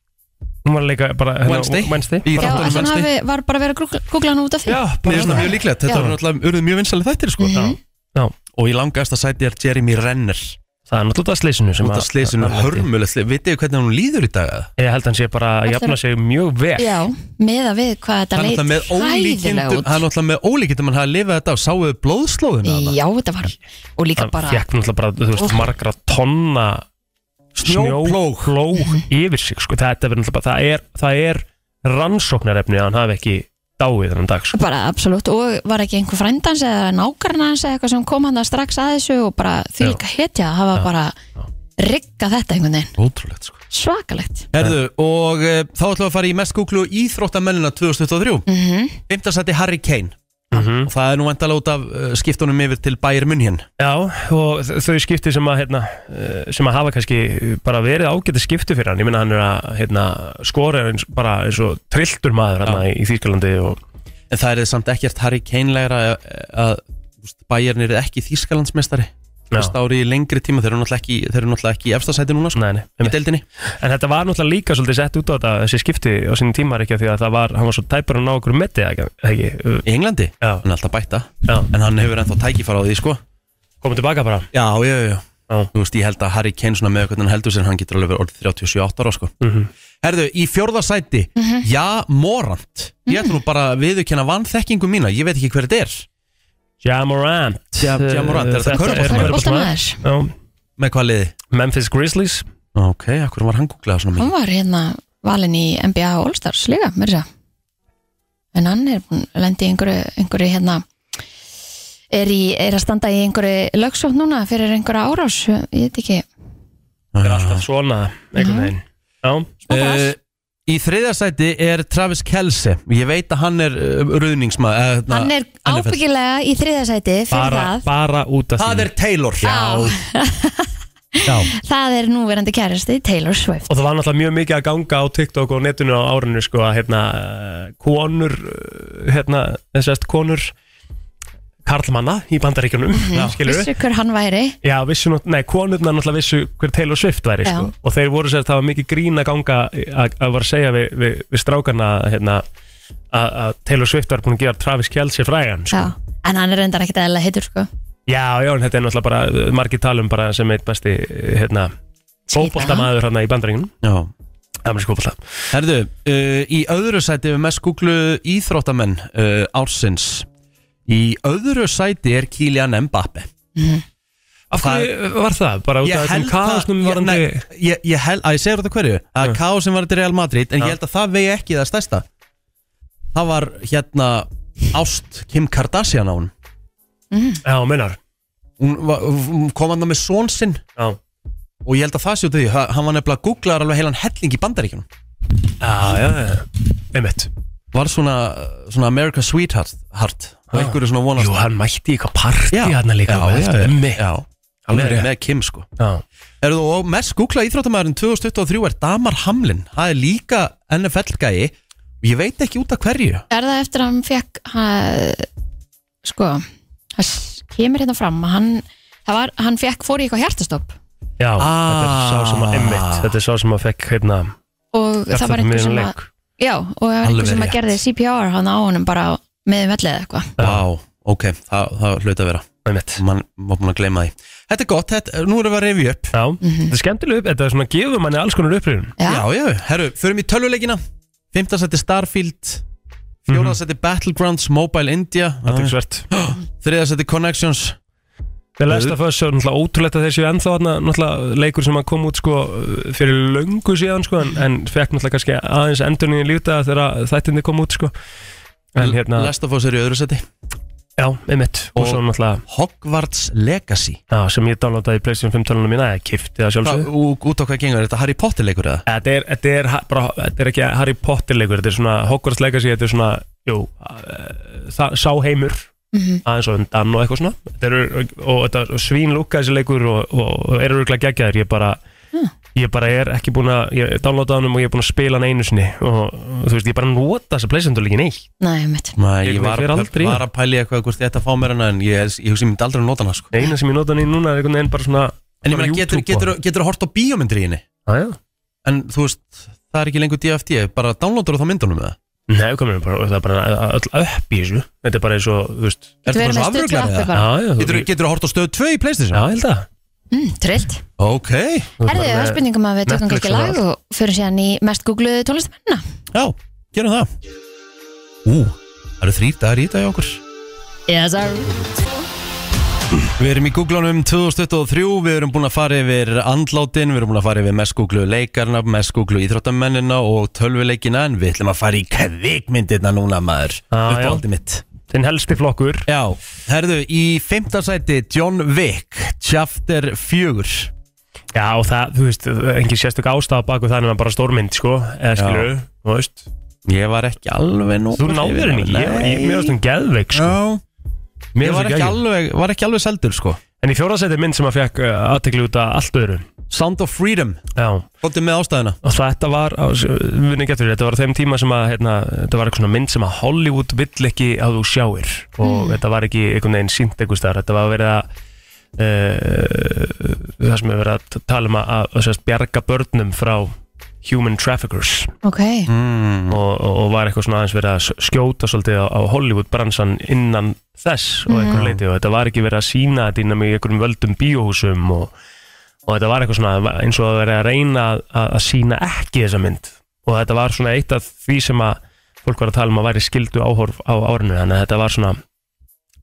S3: hún var að leika bara hérna,
S1: Wednesday,
S3: Wednesday.
S1: í
S2: Já,
S1: þáttunum
S2: ætli hann
S1: Wednesday
S2: hafi, var bara að vera að grúgla- googla hann út af því
S3: Já,
S1: Mér
S3: bara
S1: finnst það mjög líklegt, þetta
S2: Já.
S1: var náttúrulega urðu mjög vinsæli þættir sko
S2: Mhm.
S3: Já. Já.
S1: Og í langasta sæti er Jeremy Renner
S3: það er náttúrulega slísinu sem
S1: Út af slísinu,
S3: að- að-
S1: hörmulegt slís Vitið þið hvernig hún líður í dag? eða?
S3: Ég held að hann sé bara að
S2: Ætlar-
S3: jafna sig mjög vel
S2: Já, meða við hvað þetta
S1: Hann er
S2: leit
S1: náttúrulega með
S2: hræðilega
S1: ólíkindum
S2: út
S1: Hann er náttúrulega með ólíkindum Hann hafa lifað þetta og sáuðu blóðslóðina þarna?
S2: Já, þetta var, og líka
S3: Hann
S2: bara
S3: fekk náttúrulega bara, þú veist,
S2: Úff.
S3: margra tonna
S1: Snjóplóg.
S3: snjóplóg yfir sig, sko, þetta verður náttúrulega bara, það er, það er rannsóknarefni að hann hafi ekki dáið þennan dag, sko.
S2: bara absolutt og var ekki einhver frændans eða nákarnans eða eitthvað sem kom hann strax að þessu og bara því líka hetja að hafa bara rigga þetta einhvern veginn
S1: Ótrúlegt sko
S2: svakalegt
S1: Herðu, og e, þá ætlum við að fara í mest googlu Íþróttamennina 2023 mm -hmm. sæti Harry Kane
S3: Mhm.
S1: Og það er nú endala út af uh, skiptunum yfir til Bayern München
S3: Já, og þ- þau skipti sem að, hérna, eh, sem að hafa kannski bara verið ágæti skipti fyrir hann. Ég minna hann er að hérna, skora eins, bara eins og trilltur maður hérna, í Þýskalandi og
S1: En það er þið samt ekkert Harry Kane legra að, að úst, Bayern er ekki Þýskalandsmeistari Fyrst ári í lengri tíma Þeir eru náttúrulega ekki, þeir eru náttúrulega ekki í efstasæti núna sko
S3: Nei, nei,
S1: í
S3: einmitt.
S1: deildinni
S3: en þetta var náttúrulega líka svolítið sett út á þetta þessi skipti á sínum tímar ekki af því að það var, hann var svo tæpur að ná okkur meti ekki, ekki.
S1: í Englandi
S3: Já.
S1: hann er alltaf bæta
S3: Já.
S1: en hann hefur ennþá tækifara á því sko
S3: komið tilbaka bara
S1: já, já, já,
S3: Já.
S1: þú veist, ég held að Harry Kane svona með hvernig hann heldur sér hann getur alveg verið orðið 37 ára sko
S3: Mhm.
S1: herðu, í fjórða sæti
S2: Mhm.
S1: já, Morant ég ætlum nú bara að viðurkenna vanþekkingu mína ég veit ekki hver þetta er
S3: Jamorant
S1: Ja- Ja Morant, er þetta
S2: körfuboltamaður?
S3: Já,
S1: með hvað liði?
S3: Memphis Grizzlies
S1: ok, akkur var hann googlað svona
S2: hann
S1: mikið
S2: var hérna valin í NBA All-Stars líka, mér sér en hann er búinn að lendi einhverju, einhverju hérna er, í, er að standa í einhverju lögsótt núna fyrir einhverja árás ég veit ekki
S3: er alltaf svona einhvern veginn Já,
S2: Smá bras.
S1: Eh, í Í þriðja sæti er Travis Kelce Ég veit að hann er uh, ruðningsmaður uh,
S2: Hann er ábyggilega í þriðasæti fyrir
S1: bara,
S2: það.
S1: bara út af því Það er Taylor Já, Já.
S2: Það er núverandi kærasti Taylor Swift.
S3: Og það var náttúrulega mjög mikið að ganga á TikTok og netinu á árinu sko að hérna eh, konur, eh, hérna þess að konur karlmanna í bandaríkjunum,
S2: Mhm.
S3: skilur
S2: Vissu hver hann væri?
S3: Já, vissu, nú- nei, konurnar náttúrulega vissu hver Taylor Swift væri sko.
S2: Já.
S3: og þeir voru sér að það var mikið grín að ganga að, að var að segja við, við, við strákarna hérna, að, að Taylor Swift var búin að gera Travis Kelce frægan sko.
S2: Já. En hann er reyndar ekkert eðla heitur sko.
S3: Já, já, en þetta er náttúrulega bara eh, margir talum bara sem eitt besti eh, hérna, fótboltamaður hérna í bandaríkjunum
S1: Já
S3: Amerísku fótbolta
S1: Herðu, uh, í öðru sæti við mest googlu íþróttamenn uh, ársins Í öðru sæti er Kylian Mbappe
S3: Af hverju eh, var það? Bara út af þessum kaosnum
S1: ég,
S3: varandi
S1: nei, ég, ég held að ég segir þetta hverju að kaosnum varandi Real Madrid en
S3: Já.
S1: ég held að það vegi ekki það stærsta það var hérna Ást Kim Kardashian á hún
S3: Já, meinar
S1: hún, var- hún kom hann með són sinn
S3: Já
S1: og ég held að það sé út af því ha- hann var nefnilega googlaðar alveg heilan helling í bandaríkjunum
S3: Já, já, já Einmitt
S1: var svona, svona America's Sweetheart heart, og einhverju svona vonast
S3: Ah. Jú, hann mætti í eitthvað partí
S1: Já,
S3: hann líka
S1: já, já, já,
S3: Emmi
S1: já.
S3: Alveg
S1: með,
S3: rétt.
S1: með Kim sko
S3: Já
S1: Eru þú og mest googla íþróttamæðurinn 2023 er Damar Hamlin Það er líka NFL-gæi og ég veit ekki út af hverju
S2: Er það eftir að hann fekk ha, sko, það s- kemur hérna fram að hann, það var, hann fekk fór í eitthvað hjartastopp
S3: Já, þetta
S2: Ah.
S3: er sá sem að Emmitt Þetta er sá sem að fekk hérna
S2: og það var einhver sem að
S3: leik.
S2: já, og það var
S1: Alveg
S2: einhver sem að
S1: rétt.
S2: gerði CPR hann á honum bara meðum vellið eða eitthvað
S1: Vá, ok, það, það hluta að vera
S3: Einmitt
S1: Man var búin að gleyma því Þetta er gott, þetta, nú erum við að revi upp
S3: Já,
S2: Mhm.
S3: þetta er skemmtileg upp Þetta er svona gefur manni alls konar upprýðum
S2: Já.
S1: Já, já, herru, förum í tölvuleikina 15 seti Starfield
S3: Mhm.
S1: 4 seti Battlegrounds, Mobile India
S3: Aðtingsvert
S2: Ah.
S1: 3 seti Connections
S3: The Last of Us er náttúrulega ótrúlegt að þeir séu ennþá þarna, náttúrulega leikur sem að kom út sko fyrir löngu síðan sko en, en fekk náttúrulega kannski aðeins endurinn í líta þegar þættinni kom út sko en hérna,
S1: Last of Us er í öðru seti
S3: já, einmitt og,
S1: Og-
S3: svo náttúrulega,
S1: Hogwarts Legacy
S3: já, sem ég downloadaði í Playstation 5 talunum mína, ég kifti
S1: Hvað,
S3: það sjálfsög
S1: ú- Út á hvað gengur, er þetta Harry Potter leikur eða?
S3: þetta er, þetta er, ha- bara, þetta er ekki Harry Potter leikur, þetta er svona Hogwarts Legacy þetta er svona, jú eh, það, sá heimur aðeins og undan og eitthvað svona Þetta eru, og þetta svín lúka þessi leikur og, og, og eru örgulega geggjaðir ég bara, ég bara er ekki búin að ég downloada hann og ég er búin að spila hann einu sinni og, og þú veist, ég bara nota þessa playstation líka neitt
S2: Nei, mitt
S1: Nei,
S3: Ég
S1: ég var,
S3: fer aldrei í
S1: var að pæli eitthvað hvort ég ætti að fá mér hana en ég, ég, ég hugsi, ég myndi aldrei að nota hana sko.
S3: eina sem ég nota hann í núna er einhvern veginn bara svona Ah,
S1: En ég meina, getur, getur, getur að horta á bíómyndir í henni
S3: aðja
S1: En þú veist, það er ekki lengur DFT bara downloadar þú þá myndunum með það
S3: Nei, komum við bara, það er bara öll upp í þessu Þetta er bara eins og, þú veist
S1: Ertu
S2: Við
S1: bara
S2: erum
S1: svo
S2: með stullu
S1: afruglari
S2: appi
S1: eða?
S2: bara
S3: já, þú,
S1: Getur,
S3: ég,
S1: getur að horta á stöð 2 í
S3: já,
S1: Playstation?
S3: ég held að
S2: mm, Trillt
S1: Ok,
S3: Þú ert
S2: Herðu,
S3: bara
S2: það er
S3: með-
S2: spurningum að við tökum
S3: Netflix
S2: ekki
S3: og
S2: lag
S3: það.
S2: og fyrir síðan í mest googluðu tónlistamennina
S1: já, gerum það Ú, það eru þrýr dagar í dag hjá okkur
S2: Yes, sir
S1: Við erum í Google-unum 2023, við erum búin að fara yfir andlátin, við erum búin að fara yfir mest Google leikarna, mest Google íþróttamennina og tölvuleikina en við ætlum að fara í kvikmyndirna núna maður,
S3: Já, já.
S1: uppáldið mitt.
S3: Þinn helsti flokkur
S1: Já, herðu, í fimmta sæti John Wick, chapter 4
S3: Já, og það, þú veist, engin sérstök ástæða baku það en bara stórmynd, sko Eða skilur, þú veist
S1: Ég var ekki alveg nú
S3: Þú náður henni, ég, ég, mér varst um geðveik sko.
S1: Já,
S3: Mér
S1: ég
S3: varst
S1: var
S3: um
S1: ekki,
S3: geðveik
S1: alveg, var ekki alveg seldur sko
S3: En í fjóðarsæti mynd sem að fekk uh, aðtekli út af allt öðru
S1: Sound of Freedom,
S3: Já, og
S1: gottum með ástæðina
S3: þetta var, á- s- við nefnum getur, þetta var á þeim tíma sem að, hérna, þetta var eitthvað svona mynd sem að Hollywood vill ekki að þú sjáir og þetta var ekki einhvern veginn sínt einhvers staðar, þetta var verið að uh, það sem er verið að t- tala um að, að, að sérst, bjarga börnum frá human traffickers
S2: Ok,
S1: mm.
S3: og, og, og var eitthvað svona aðeins verið að s- skjóta svolítið á, á Hollywood bransan innan þess og einhver leiti og þetta var ekki verið að sína þetta innan með einhverjum völdum bíóhúsum og, og þetta var eitthvað svona eins og að verið að reyna að, að, að sína ekki þessa mynd og þetta var svona eitt af því sem að fólk var að tala um að væri skildu áhorf á árinu þannig að þetta var svona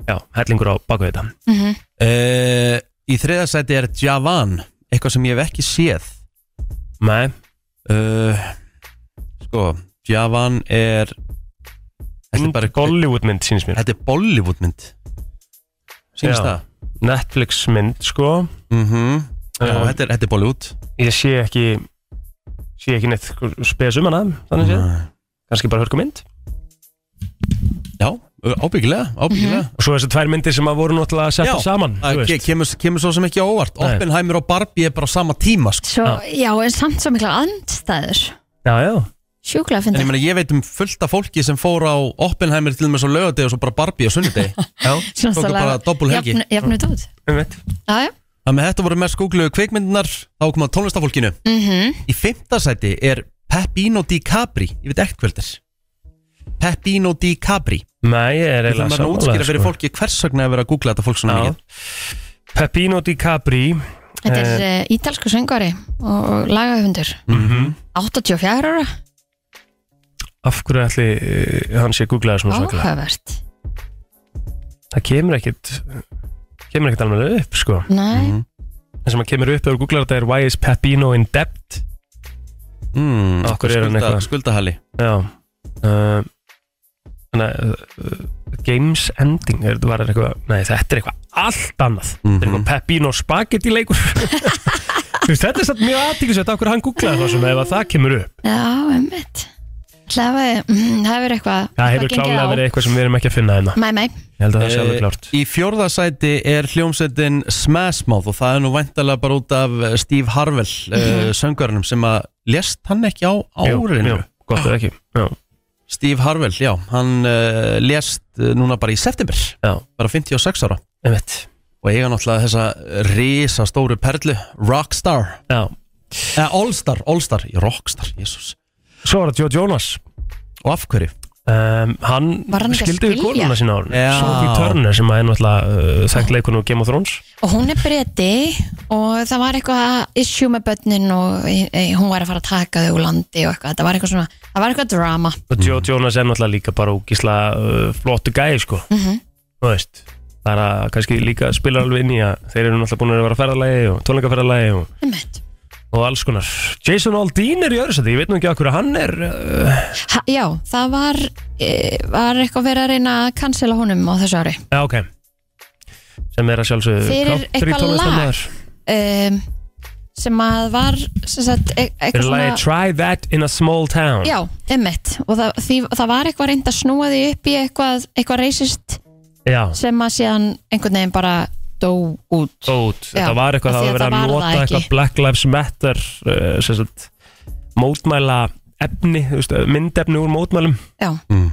S3: já, hellingur á baku þetta
S1: uh, Í þriða sæti er Javan, eitthvað sem ég hef ekki séð
S3: Nei,
S1: uh, Sko, Javan er Þetta er bara
S3: Bollywood mynd sínst mér
S1: Þetta er Bollywood mynd Sýnist
S3: Já.
S1: það?
S3: Netflix mynd sko
S1: Mhm, Já,
S3: Um,
S1: þetta er, þetta er Bollywood
S3: ég sé ekki sé ekki neitt spes um hana þannig séð, kannski bara hörku mynd
S1: Já, ábyggilega, ábyggilega
S3: og svo þessar tvær myndir sem að voru náttúrulega að setja saman
S1: það ke- kemur, kemur svo sem ekki á óvart
S3: Nei.
S1: Oppenheimer og Barbie er bara á sama tíma sko.
S2: Svo, já, en samt svo mikla andstæður
S3: já, já,
S2: Sjúklega
S1: En
S2: fyndi
S1: ég, meina, ég veit um fullt af fólki sem fór á Oppenheimer til með svo lögadeg og svo bara Barbie á sunnudeg
S2: Svona
S1: Tóku
S2: stóla-
S1: bara doppul helgi
S2: jafn- Jafnut út
S3: um veit
S2: Já, já
S1: Þannig að þetta voru mest googluðu kveikmyndunar þá komum að tónlistafólkinu
S2: mm
S1: Í fimmtasæti er Peppino Di Capri Ég veit ekkert hvernig Peppino Di Capri
S3: Nei, ég
S1: Það
S3: er eiginlega
S1: maður að
S3: sammála,
S1: útskýra fyrir
S3: sko.
S1: fólki hvers vegna er verið að googla þetta fólk svona
S3: Já.
S1: mikið
S3: Peppino Di Capri
S2: Þetta er uh, ítalsku söngvari og, og lagahundur
S3: mm
S2: 84 ára,
S3: Af hverju ætli uh, hann sé googlaður svona svaklega?
S2: áhugavert
S3: Það kemur ekkit kemur ekkit alveg upp, sko
S2: Nei,
S3: Það sem að kemur upp þegar þú googlar þetta er Why is Peppino in debt?
S1: mm,
S3: Af hverju er hann
S1: skulda-
S3: eitthvað?
S1: Skuldahalli
S3: Já uh, Þannig að uh, Games Ending er, var eitthvað, Nei, þetta er eitthvað allt annað Þetta er
S1: Mhm.
S3: eitthvað Peppino Spagetti leikur Þú veist, Þetta er satt mjög aðtíkisvægt af hverju hann googlaði það svona ef að það kemur upp
S2: já, emmitt Það hefur eitthvað
S3: Það
S2: eitthvað
S3: hefur
S2: gengið
S3: klálega
S2: á.
S3: verið eitthvað sem við erum ekki að finna hérna
S2: Mæ, mæ,
S3: Ég held að það sé alveg
S1: Eh,
S3: klárt
S1: Í fjórðasæti er hljómsveitin Smashmouth og það er nú væntalega bara út af eh, Steve Harvell mm söngarinnum sem að lést hann ekki á
S3: Mhm. Jú,
S1: árinu
S3: jú, Gott eða ekki Já,
S1: Steve Harvell, já, hann uh, lést eh, núna bara í september
S3: já,
S1: bara 56 ára
S3: einmitt
S1: og eiga náttúrulega þessa risa stóru perlu Rockstar,
S3: Já,
S1: eh, Allstar, Allstar Rockstar, jésús
S3: svo var það Joe Jonas
S1: Og af hverju?
S3: um, Hann
S2: Var hann ekki að
S3: skildi við
S2: skilja?
S3: konuna sína árun
S1: Já.
S3: Sophie Turner sem að er náttúrulega uh, þekkt leikun og Game of Thrones
S2: og hún er breyti og það var eitthvað issue með börnin og e, e, hún var að fara að taka þau úr landi og eitthvað, það var eitthvað svona, það var eitthvað drama
S3: og Joe Jonas er náttúrulega líka bara úkisla uh, flottu gæði sko
S2: Mhm.
S3: þú veist það er að kannski líka spilar alveg inn í að þeir eru náttúrulega búin að vera ferðalagi og tónleikaferðalagi og,
S2: Einmitt.
S3: og alls konar Jason Aldean er í öðru sæti, ég veit nú ekki okkur hann er uh,
S2: Ha, já, það var, e, var eitthvað verið að reyna að cancela honum á þessu ári
S3: já ok sem er að sjálfsögðu
S2: Fyrir
S3: country
S2: eitthvað
S3: Eh, tónlistarmaður.
S2: um, sem að var sem sagt, e
S3: fyrir
S2: eitthvað
S3: lagi Try That in a Small Town
S2: já, emmitt og það, því, það var eitthvað reynd að snúa því upp í eitthvað, eitthvað reysist
S3: já.
S2: sem að síðan einhvern veginn bara dó út
S3: út
S2: Já,
S3: þetta var eitthvað
S2: af
S3: það
S2: því að
S3: var verið
S2: það
S3: að
S2: var
S3: nota
S2: það
S3: eitthvað
S2: ekki.
S3: Black Lives Matter uh, sem sagt, mótmæla efni, þú veist, myndefni úr mótmælum
S2: Já.
S1: Mm.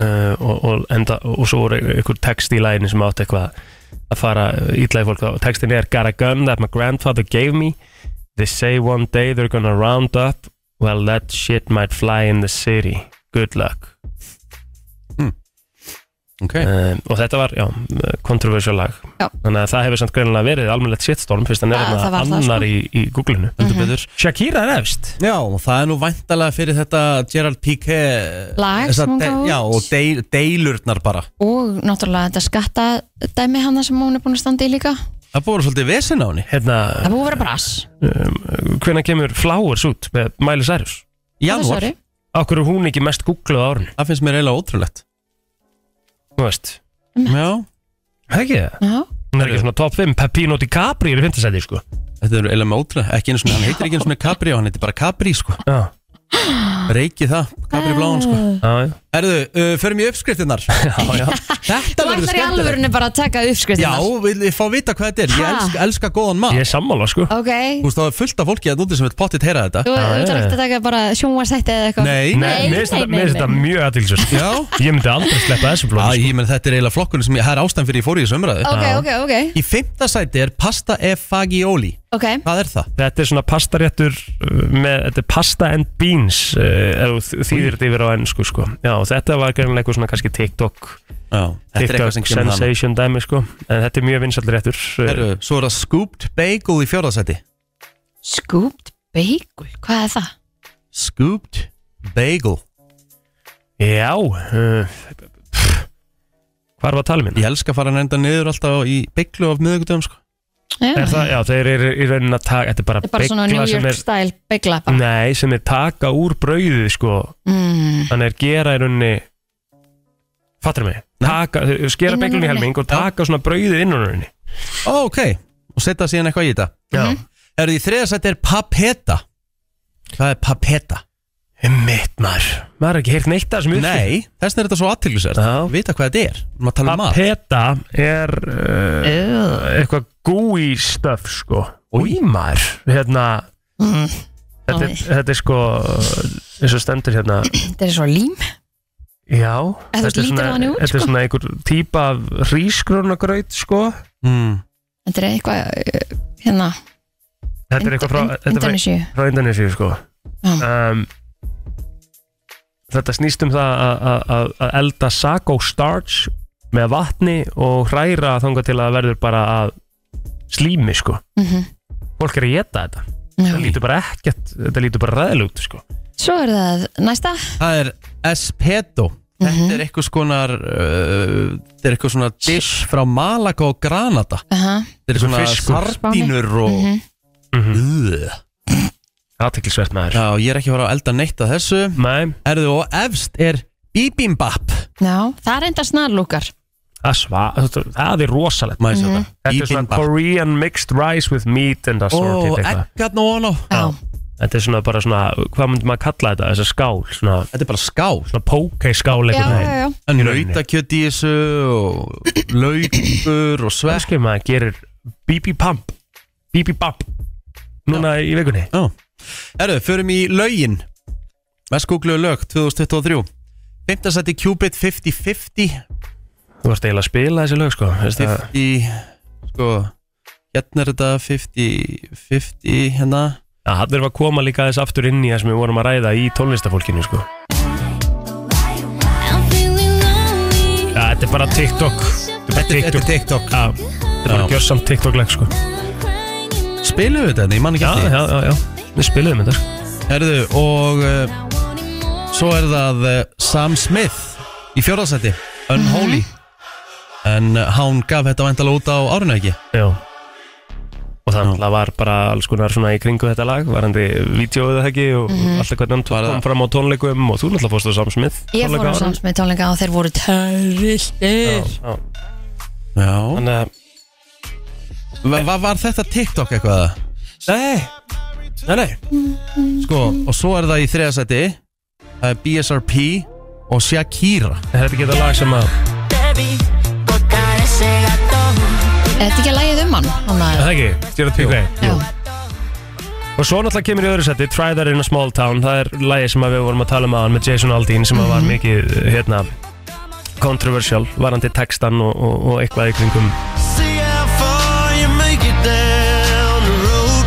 S3: uh, og, og, enda, og svo voru einhver text í læginu sem átti eitthvað að fara ítlaði fólk og textin er Got a gun that my grandfather gave me They say one day they're gonna round up Well that shit might fly in the city Good luck
S1: Ok,
S3: um, og þetta var, já, kontroversjál lag
S2: Já.
S3: þannig að það hefur samt greinilega verið almennilegt shitstorm fyrst að
S2: Ja, það
S3: nefna
S2: var það, sko.
S3: annar í, í googlinu
S1: heldur
S2: Mhm.
S1: betur
S3: Shakira er efst
S1: Já, og það er nú væntalega fyrir þetta Gerald Piqué
S2: Lag
S1: þessa
S2: sem hún
S1: de-
S2: gaf út.
S1: Já, og deil, deilurnar bara
S2: og náttúrulega þetta skattadæmi hana sem hún er búin að standa í líka það
S1: Það búið að vera svolítið vesen á henni
S3: hérna, um,
S2: búið að vera brass
S3: hvenær kemur Flowers út með Miley Cyrus?
S1: Í
S2: á
S1: Janúar,
S2: þessu ári.
S3: Akkur er hún ekki mest googluð á árun,
S1: það finnst mér eiginlega ótrúlegt
S3: þú veist
S1: Já,
S3: ekki það?
S2: Já.
S3: Hún er ekki svona top 5, Peppino Di Capri er í fintastæti sko
S1: þetta er eiginlega með ótrúlegt Ekki einu svona, hann heitir ekki einu svona Capri og hann heitir bara Capri sko
S3: Já,
S2: Ah.
S1: Reiki það, Capri bláan sko
S3: já, já,
S1: Herðu, uh, förum í uppskriftinnar
S3: já, já.
S1: Þetta
S2: þú
S1: verður
S2: ætlar í
S1: skemmtilegt
S2: alvörinu bara að taka uppskriftina
S1: Já, vil ég fá að vita hvað þetta er Ég
S2: Ha?
S1: elska, elska góðan
S3: Ég
S1: mat
S3: er sammála sko
S2: ok,
S1: Þú veist, það er fullt af fólki að núti sem vil pottit heyra þetta
S2: þú þú
S3: Já,
S2: ætlar
S3: já.
S2: ekki að taka bara sjónvarsætti eða eitthvað
S1: Nei,
S2: Nei,
S3: Mér finnst
S2: nei, nei,
S3: þetta- mér finnst þetta
S2: nei.
S3: mjög aðtilsvist
S1: Já
S3: Ég myndi aldrei sleppa þessu
S1: Æ,
S3: sko. blóð
S1: ég menn þetta er eiginlega flokkunum sem ég, það er ástæðan fyrir ég fór í þessu umræðu
S2: ok, ok, ok,
S1: Í fimmta sæti er pasta e fagioli
S2: ok
S1: Hvað er það?
S3: Þetta er svona pastaréttur uh, með, þetta er pasta and beans uh, eða þú þýðir þetta yfir á ennsku sko. Já, og þetta var greinlega eitthvað svona kannski TikTok,
S1: Já, þetta er
S3: TikTok
S1: eitthvað sem kemur þannig
S3: sensation dæmi sko. en þetta er mjög vinsall réttur uh,
S1: Heru, Svo er það scooped bagel í fjórðasæti
S2: scooped bagel, hvað er það?
S1: Scooped bagel
S3: Já uh, pff, Hvað er að tala minna?
S1: Ég elska að fara að enda niður alltaf í bagelu af miðugudum sko.
S2: Já.
S3: Er það, já, þeir eru í rauninina taka, þetta er bara,
S2: Þetta er bara svona
S3: beygla
S2: New York
S3: sem er,
S2: style begla bara.
S3: nei, sem er taka úr brauðið sko,
S2: Mm.
S3: þannig er gera í rauninni fattur mig,
S2: Mhm.
S3: taka, þau skera
S2: Innan úr
S3: beglunni
S2: henni.
S3: helming og taka svona brauðið innan úr henni
S2: Mhm.
S1: Ó, Ok, og setja síðan eitthvað í þetta
S3: Já,
S1: Heru, Í þriðasæti er papeta Hvað er papeta?
S3: Mitt maður Maður er ekki heyrt neitt af þessum uppskrift.
S1: Nei, þess vegna er þetta svo aðtillisert Vita hvað þetta er, maður tala um mat
S3: Papeta er uh, eitthvað gooey stuff sko Ímar hérna,
S2: mm.
S3: þetta, er- þetta er sko eins og stendur hérna
S2: Þetta er svo lím
S3: Já
S2: Ef þú
S3: þetta er
S2: lítur á
S3: svona,
S2: hann út,
S3: þetta
S2: sko.
S3: er svona einhver típa af rísgrónagraut sko
S1: mm.
S2: Þetta er eitthvað uh, hérna
S3: Þetta er eitthvað frá,
S2: Ind-
S3: þetta er frá,
S2: Indonesíu
S3: frá Indonesia sko um, Þetta snýst um það að- að- að að elda sago starch með vatni og hræra þangað til að það verður bara að slími sko
S2: Mhm.
S3: Fólk er að geta þetta
S2: Já.
S3: Þetta lítur bara ekkert, þetta lítur bara ræðilegt sko
S2: Svo er það næsta
S1: Það er espeto
S3: Mhm.
S1: Þetta er eitthvað skonar uh, Þetta er eitthvað svona dish frá Malaga og Granada
S2: uh -huh.
S1: Þetta er svona
S3: fiskur. Mhm.
S1: sardínur og Ugh.
S3: Aðteklisvert maður
S1: Já, ég er ekki að fara að elda neitt að þessu
S3: Nei,
S1: Erðu og efst er bibimbap
S2: Já, það er enda snarlúkar
S3: það, sva, þetta- það er rosalegt
S1: Mæs þetta
S3: Mhm. Þetta er svona
S1: Bibimbap
S3: Korean mixed rice with meat and assorted
S1: Ó,
S3: eitthvað
S1: ekkarn og ono
S2: Já,
S3: Þetta er svona bara svona, hvað myndum maður kalla þetta, þessa skál, svona,
S1: Þetta er bara skál
S3: svona pókei
S2: já,
S3: skál einhvern
S2: já,
S3: veginn
S2: já.
S1: En
S3: rauninni.
S1: nautakjöt í þessu og laukur og svekk
S3: Kanski maður gerir bíbí-pamp Bíbí-bamp Núna í vikunni
S1: Já Erðu, förum í lögin Mest googluðu lög 2023 5. seti Cupid 50-50
S3: Þú varst eiginlega að spila þessi lög sko veist
S1: Ah.
S3: það?
S1: 50 Sko Hérna er þetta 50-50 Hérna
S3: Já, hann er að koma líka aðeins aftur inn í það sem við vorum að ræða í tónlistafólkinu sko Já, þetta er bara TikTok Þetta
S1: Þetta er TikTok
S3: Já, þetta er bara
S1: Já.
S3: gjörsamt TikTok-leg sko
S1: Spilum við þetta, nei, ég man ekki
S3: Já,
S1: eftir því.
S3: já, já, já Við spiluðum þetta sko
S1: Herðu, og uh, svo er það uh, Sam Smith í fjórðarsæti Unholy En uh, hán gaf þetta væntalega út á árinu ekki
S3: Já Og þannig að var bara alls konar svona í kringu þetta lag Varandi vídeoið það ekki og
S2: Mhm.
S3: alltaf hvernig hann
S1: Var það-
S3: kom fram á tónleikum og þú náttúrulega fórst á Sam Smith
S2: Ég fór á
S3: tónleika áður.
S2: sams með tónleika og þeir voru
S3: Já,
S2: törvillir
S3: já.
S1: Já
S3: Þannig að
S1: Va Var þetta TikTok eitthvað?
S3: Nei, nei, nei
S1: Sko, og svo er það í þriðarsæti Það er BSRP og Shakira
S3: Þetta geta lag sem að
S2: Er þetta ekki að lægið um hann? hann
S3: Er
S2: að,
S3: Það ekki, Gerard Piquet
S2: já,
S3: Og svo náttúrulega kemur í öðru seti Try That In A Small Town Það er lagi sem að við vorum að tala um aðan með Jason Aldean sem að var
S2: Mhm.
S3: mikið, hérna controversial, varandi textan og, og, og eitthvað í kringum
S4: See how far you make it down the road.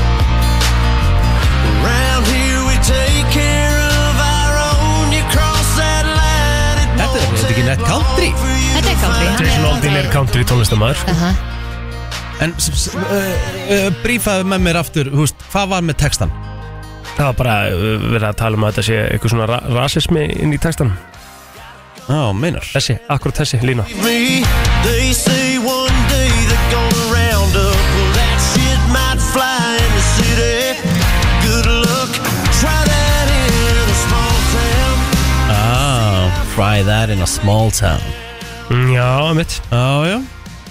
S4: Round here we take care of our own. You cross that line, it
S1: Þetta er-
S4: won't
S1: þetta er ekki
S4: take
S1: net
S4: long
S1: country.
S4: for you
S2: Þetta er
S4: to
S2: country,
S4: find
S2: hann
S3: Jason Aldean er country sko. tónlistamæður
S2: aha.
S1: En s- s- uh, uh, brífaðu með mér aftur húst, Hvað var með textan?
S3: Það var bara uh, verið að tala um að þetta sé eitthvað svona ra rasismi inn í textan
S1: Já, meinar
S3: Þessi, akkurat þessi lína
S4: me. They say one day they're gonna round up. Well, that shit might fly in the city. Good luck, try that in a small town.
S1: ah, Try that in a small town
S3: mm, Já, mitt
S1: Já, já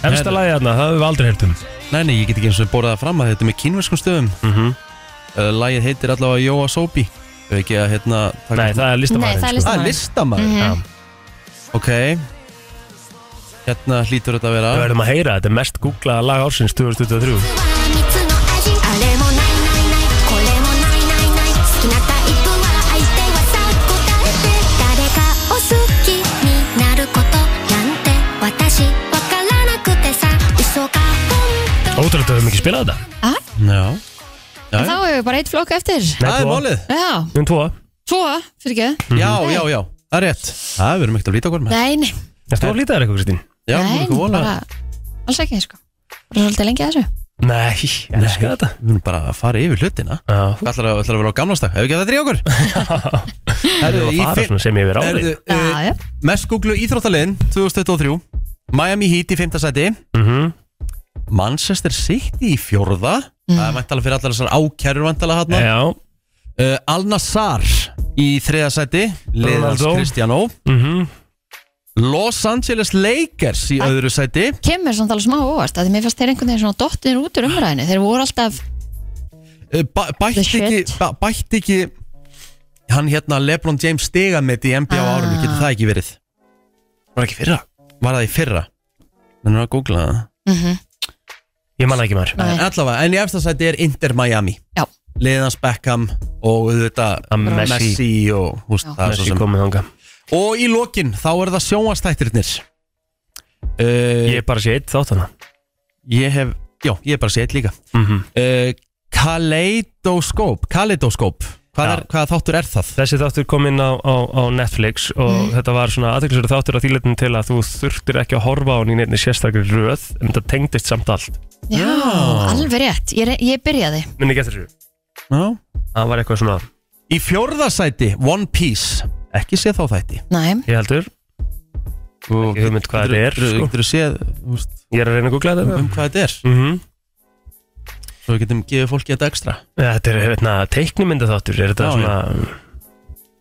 S3: Efsta lagi þarna, það hefur við aldrei heyrt um
S1: Nei, nei, ég get ekki eins og borðað fram að þetta er með kínverskum stöðum
S3: mm
S1: uh, Lægið heitir allavega Jóa Sobi Þau ekki að hérna taka-
S3: Nei, það er Sko.
S2: Nei,
S3: listamæður
S2: það er Mhm.
S1: Það
S2: listamæður
S1: er listamæður Ok Hérna hlýtur þetta að vera
S3: Við verðum að heyra, þetta er mest googlaða lag ársins 2023Ótrúlega að við höfum ekki spilað þetta
S1: Já Já,
S2: Þá
S1: já.
S2: hefur við bara eitt flokk eftir
S1: Það er málið
S2: Já,
S3: Um tvo
S2: svo, fyrir ekki
S1: Já, já, já Það er rétt Það Mhm. við erum ekkert að líta okkur með
S2: Nei, nei,
S3: Erstu að flýta þér eitthvað Kristín?
S1: Já, við erum
S2: nei,
S1: ekki vola
S2: bara Alls ekki, sko Bara svolítið lengi að þessu
S3: Nei, ég elska þetta
S1: Við erum bara að fara yfir hlutina
S3: Já,
S1: Hvað ætlar að, ætlar að vera á gamlastak? Hefur ekki að þetta í okkur?
S3: það
S1: Herðu,
S3: er
S1: í
S3: að fara
S1: fi-
S3: svona sem ég verið árið
S1: Herðu, uh,
S2: Já, já,
S1: Mest googlu íþróttaliðin 2023 Miami Heat í 5. seti
S3: Mhm.
S1: Manchester City í fjórða Það er vantala fyrir allar þessar ákærur vantala hann
S3: Já,
S1: uh, Al-Nassar í þriða sæti Leðans
S3: Ronaldo.
S1: Cristiano
S3: mhm
S1: Los Angeles Lakers í öðru sæti
S2: kemur samt alveg smá óvast að mér fannst þeir einhvern veginn svona dottir út úr umræðinu þeir voru alltaf
S1: Eh, ba- Bætti ekki, ba- bætti ekki Hann hérna Lebron James stiga með í NBA á árunni Getur það ekki verið? Var það ekki í fyrra? Var það í fyrra? Menn að googla það
S3: Ég manna ekki maður
S1: En Allavega, en í efstasæti er Inter Miami
S2: Eh. Já.
S1: Liðans Beckham og auðvitað
S3: Messi.
S1: Messi og húst, það er svo
S3: Messi
S1: sem
S3: komið þanga
S1: Og í lokin, þá er það sjónastættirnir uh,
S3: Ég er bara sé eitt þátt hana
S1: Ég hef, já, ég hef bara séð líka
S3: Mhm.
S1: uh, Kaleidoskóp Kaleidoskóp hvað,
S3: Já.
S1: er, hvað þáttur er það?
S3: Þessi þáttur kom inn á, á, á Netflix og þetta var svona aðteklisverð þáttur á þýletin til að þú þurftir ekki að horfa á hann í neinni sérstakri röð en þetta tengdist samt allt
S2: Já, alveg rétt, ég, re- ég byrjaði
S3: Minni ekki eftir þessu
S1: Já.
S3: Það var eitthvað svona
S1: Í fjórðasæti, One Piece Ekki séð þá þætti
S2: Næm,
S3: Ég heldur
S1: Ekki
S3: hugmynd hvað þetta er, sko.
S1: Getur þú séð úst,
S3: Ég er að reyna að googla þetta
S1: um hvað þetta er
S3: mm
S1: Svo við getum gefið fólki þetta ekstra
S3: ja, Þetta er hérna, teiknumynda þáttur Er þetta
S1: Já,
S3: svona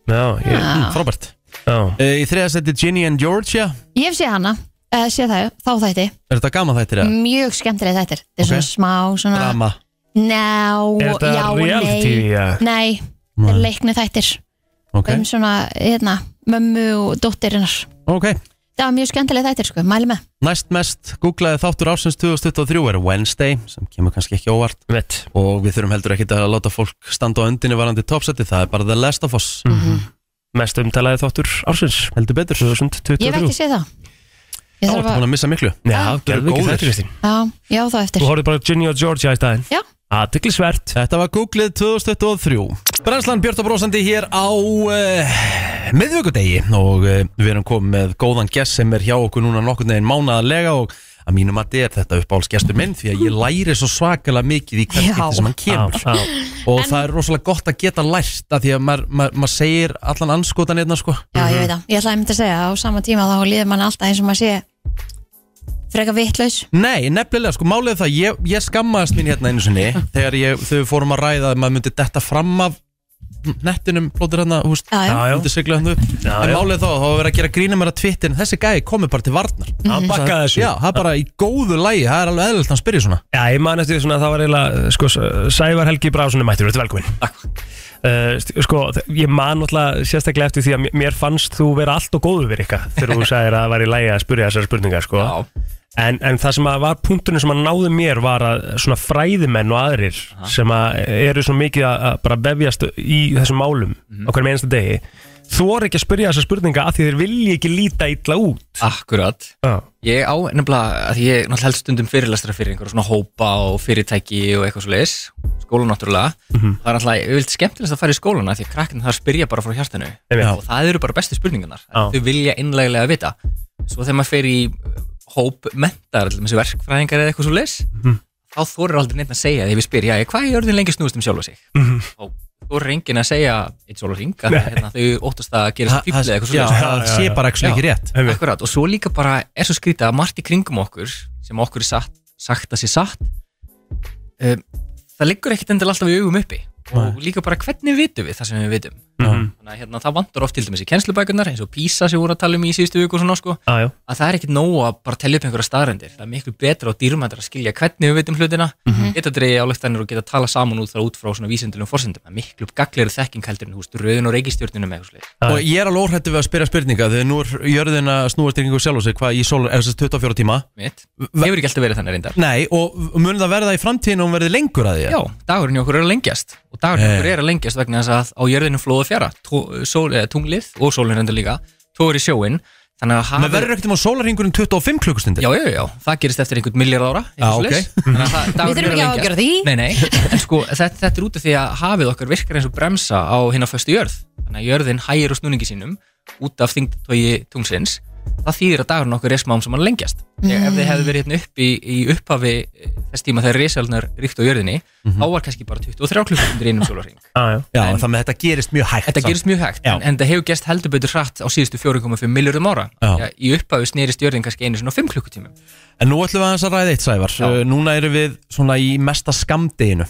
S3: Já, ég,
S2: Já.
S1: mm, Frábært
S3: já.
S1: uh, Í þriðasæti, Ginny and Georgia
S2: ég hef séð hana uh, séð það, þá þætti,
S1: Er þetta gama þættir? Mm.
S2: mjög skemmtilega þættir þetta er
S1: Ok.
S2: svona smá, svona
S1: Drama
S2: Ná,
S3: Er þetta
S2: já og
S3: reality,
S2: nei
S3: eða?
S2: Nei, þetta er leikni þættir
S1: Ok,
S2: um svona, hérna, mömmu og dóttirinnar
S1: ok
S2: Það var mjög skemmtilega þættir, sko, mæli með
S1: Næst mest googlaði þáttur ársins 2023 er Wednesday sem kemur kannski ekki óvart
S3: Vett
S1: og við þurfum heldur ekkit að láta fólk standa á öndinni varandi topsæti, það er bara The Last of Us
S3: Mest umtalaði þáttur ársins
S1: heldur betur Þú
S3: 2023
S2: Ég hef ekki séð það Ég
S1: ert
S2: þarf
S1: búin
S2: að,
S1: að missa miklu
S3: Já,
S1: Þeir eru
S3: gerðu ekki
S1: góðir.
S3: þetta Kristín
S2: já, já þá eftir
S3: Þú horfði bara á Ginny og Georgia í staðinn
S2: Já.
S3: Athyglisvert
S1: Þetta var Googlið 2023 Brænslan Björn og Brósandi hér á uh, miðvöggudegi og uh, við erum komið með góðan gest sem er hjá okkur núna nokkurn veginn mánaðarlega og að mínum að er þetta uppáhalsgestur minn því að ég læri svo svakalega mikið í hvert
S2: Já.
S1: skipti sem hann kemur
S3: Já, já.
S1: og það er rosalega gott að geta lært að því að maður mað, mað segir allan anskotan einna sko
S2: Já, ég veit það. Ég ætlaði einmitt að segja að á sama tíma þá líður mann alltaf eins og maður sé frekar vittlaus.
S1: Nei, nefnilega, sko, málið er það, ég, ég skammaðist mín hérna einu sinni þegar ég, þau fórum að ræða að maður myndi detta fram af nettinum, plótur hérna, húst,
S2: Já, já.
S3: Já, já.
S1: myndi sigla hérna upp
S3: Já,
S1: en
S3: já.
S1: málið er þá, þá var verið að gera grína mér að tvittin þessi gæi komið bara til varnar
S3: Hann bakkaði þessu
S1: Já, það er bara í góðu lægi, það er alveg eðlilt að hann spyrja svona
S3: Já, ég man eftir því svona að það var eiginlega uh, sko, S- Sævar Helgi Brásun er mættur, þetta er velkomin uh, Sko, þ- ég man náttúrulega sérstaklega eftir því að mér- mér fannst þú vera allt og góðu verið ykkar þegar þú sagðir að það var í lægi að spyrja þessar spurningar sko. en, en það sem að var punktunum sem að náði mér var að svona fræðimenn og aðrir sem að eru svona mikið að að bara vefjast í þessum málum á hverjum einasta degi þú orð ekki að spyrja þessar spurninga af því þeir vilji ekki líta illa út
S9: Akkurat
S3: Já,
S9: Ég á nefnilega að ég náttúrulega held stundum fyrirlestra fyrir einhverja svona hópa og fyrirtæki og eitthvað svo leis skóla náttúrulega
S1: Mhm.
S9: það er náttúrulega yfirleitt skemmtilegst að fara í skólana því að krakkin þar spyrja bara frá hjartanu
S3: einmitt.
S9: og það eru bara bestu spurningarnar
S3: Já.
S9: þau vilja innleglega vita svo þegar maður fer í uh, hóp mentar, allir með þessi verkfræðingar eða eitthvað svo leis
S1: Mhm.
S9: þá þorir aldrei neitt að segja þegar við spyrja, já, hvað er jörðin lengi snúist um sjálfa sig
S1: Mhm.
S9: og þorir enginn að segja eitt sólarring, að hérna, þau óttast að gera
S1: Það-
S9: fíflið
S1: það-
S9: eitthvað svo
S1: Já, það
S3: Já, já,
S1: sé
S3: já.
S1: bara ekki
S9: Já.
S1: ekki rétt
S3: Einmitt.
S9: Akkurat, og svo líka bara er svo skrítið að margt í kringum okkur sem okkur er satt, sagt að sé satt um, það liggur ekkit endil alltaf í augum uppi og líka bara hvernig vitum við það sem við vitum
S3: Mhm.
S9: þannig að hérna, það vantur oft til dæmis í kennslubækunar eins og PISA sem við vorum að tala um í síðustu viku og svona, sko,
S3: Ah, Já, já.
S9: að það er ekkit nóg að bara telja upp einhverja staðrendir, það er miklu betra og dýrmættar að skilja hvernig við vitum hlutina geta dreigja álektanir og geta tala saman út þar út frá svona vísindunum forsendum, það er miklu gagliru þekking heldur en húst, röðun og reikistjörnunum eða eitthvað svoleiðis.
S3: Já.
S1: Og ég er alveg óhrættu við að spyrja spurninga þegar nú er jörðin að snúast ykkur sjálf og sig hvað í sólar, eða þess 24 tíma
S9: Mitt.
S1: Va-
S9: Hefur ekki alltaf verið þannig reyndar
S1: Nei, og mun það verða í framtíðin og hún verði lengur að því?
S9: Já, dagurinn í okkur er að lengjast og dagurinn í
S1: Eh.
S9: okkur er að lengjast vegna þess að á jörðinu flóðu fjara tó- sól, eh, tunglið og sólinn reyndar líka tóður í sjóin þannig að
S1: Men verður ekkert um á sólarhingurinn 25 klukkustundir?
S9: Já, já, já, það gerist eftir einhvern miljard ára
S1: Já,
S9: eitthvað svoleiðis.
S1: Mhm.
S9: Þannig að það-
S2: Við
S9: dagurinn
S2: þurfum
S9: er
S2: ekki
S9: lengjast.
S2: að ágjöra því.
S9: Nei, nei, en sko þetta, þetta er út af því að hafið okkar virkar eins og bremsa á hinn á föstu jörð þannig að jörðin hægir á snúningi sínum út af þingtói tungsins það þýðir að dagurinn okkar er smám sem hann lengjast mm. ef þið hefðu verið hérna upp í, í upphafi eh, þess tíma þegar risalnar ríkt á jörðinni
S1: Mhm.
S9: þá var kannski bara 23 klukkundir einum sólarhing
S3: Ah, Já, já.
S1: Já, en, það með þetta gerist mjög hægt
S9: Þetta
S1: samt.
S9: gerist mjög hægt,
S1: Já.
S9: en, en það hefur gerst heldur betur hratt á síðustu 4,5 miljardum ára
S1: Já.
S9: Því að í upphafi snerist jörðin kannski einu svona 5 klukkutímum
S1: En nú ætlum við aðeins að ræða eitt sævar
S9: Já.
S1: uh, Núna erum við svona í mesta skamdeginu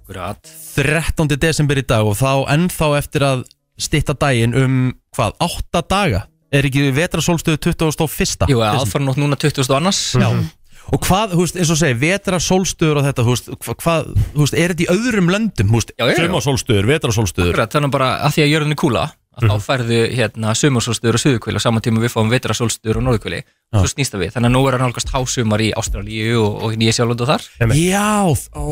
S9: Akkurat
S1: 13. desember í dag og þá ennþá eftir að stitta daginn um hvað, 8 daga? Er ekki vetrasólstöðu 21.
S9: Jú,
S1: desember?
S9: aðfara núna 2000 og annars
S1: Já. Og hvað, þú veist, eins og segja, vetra sólstöður og þetta, þú veist, hva- hvað, þú veist, er þetta í öðrum löndum, þú veist,
S9: já, já.
S1: sömur sólstöður, vetra sólstöður
S9: Akkurat, þannig bara að því að jörðin er kúla að þá færðu hérna sumarsólstöður og suðukvili og saman tíma við fáum vetrasólstöður og norðukvili og svo snýst það við, þannig að nú er að nálgast hásumar í Ástralíu og, og nýja sjálfland og þar
S1: Já, ó,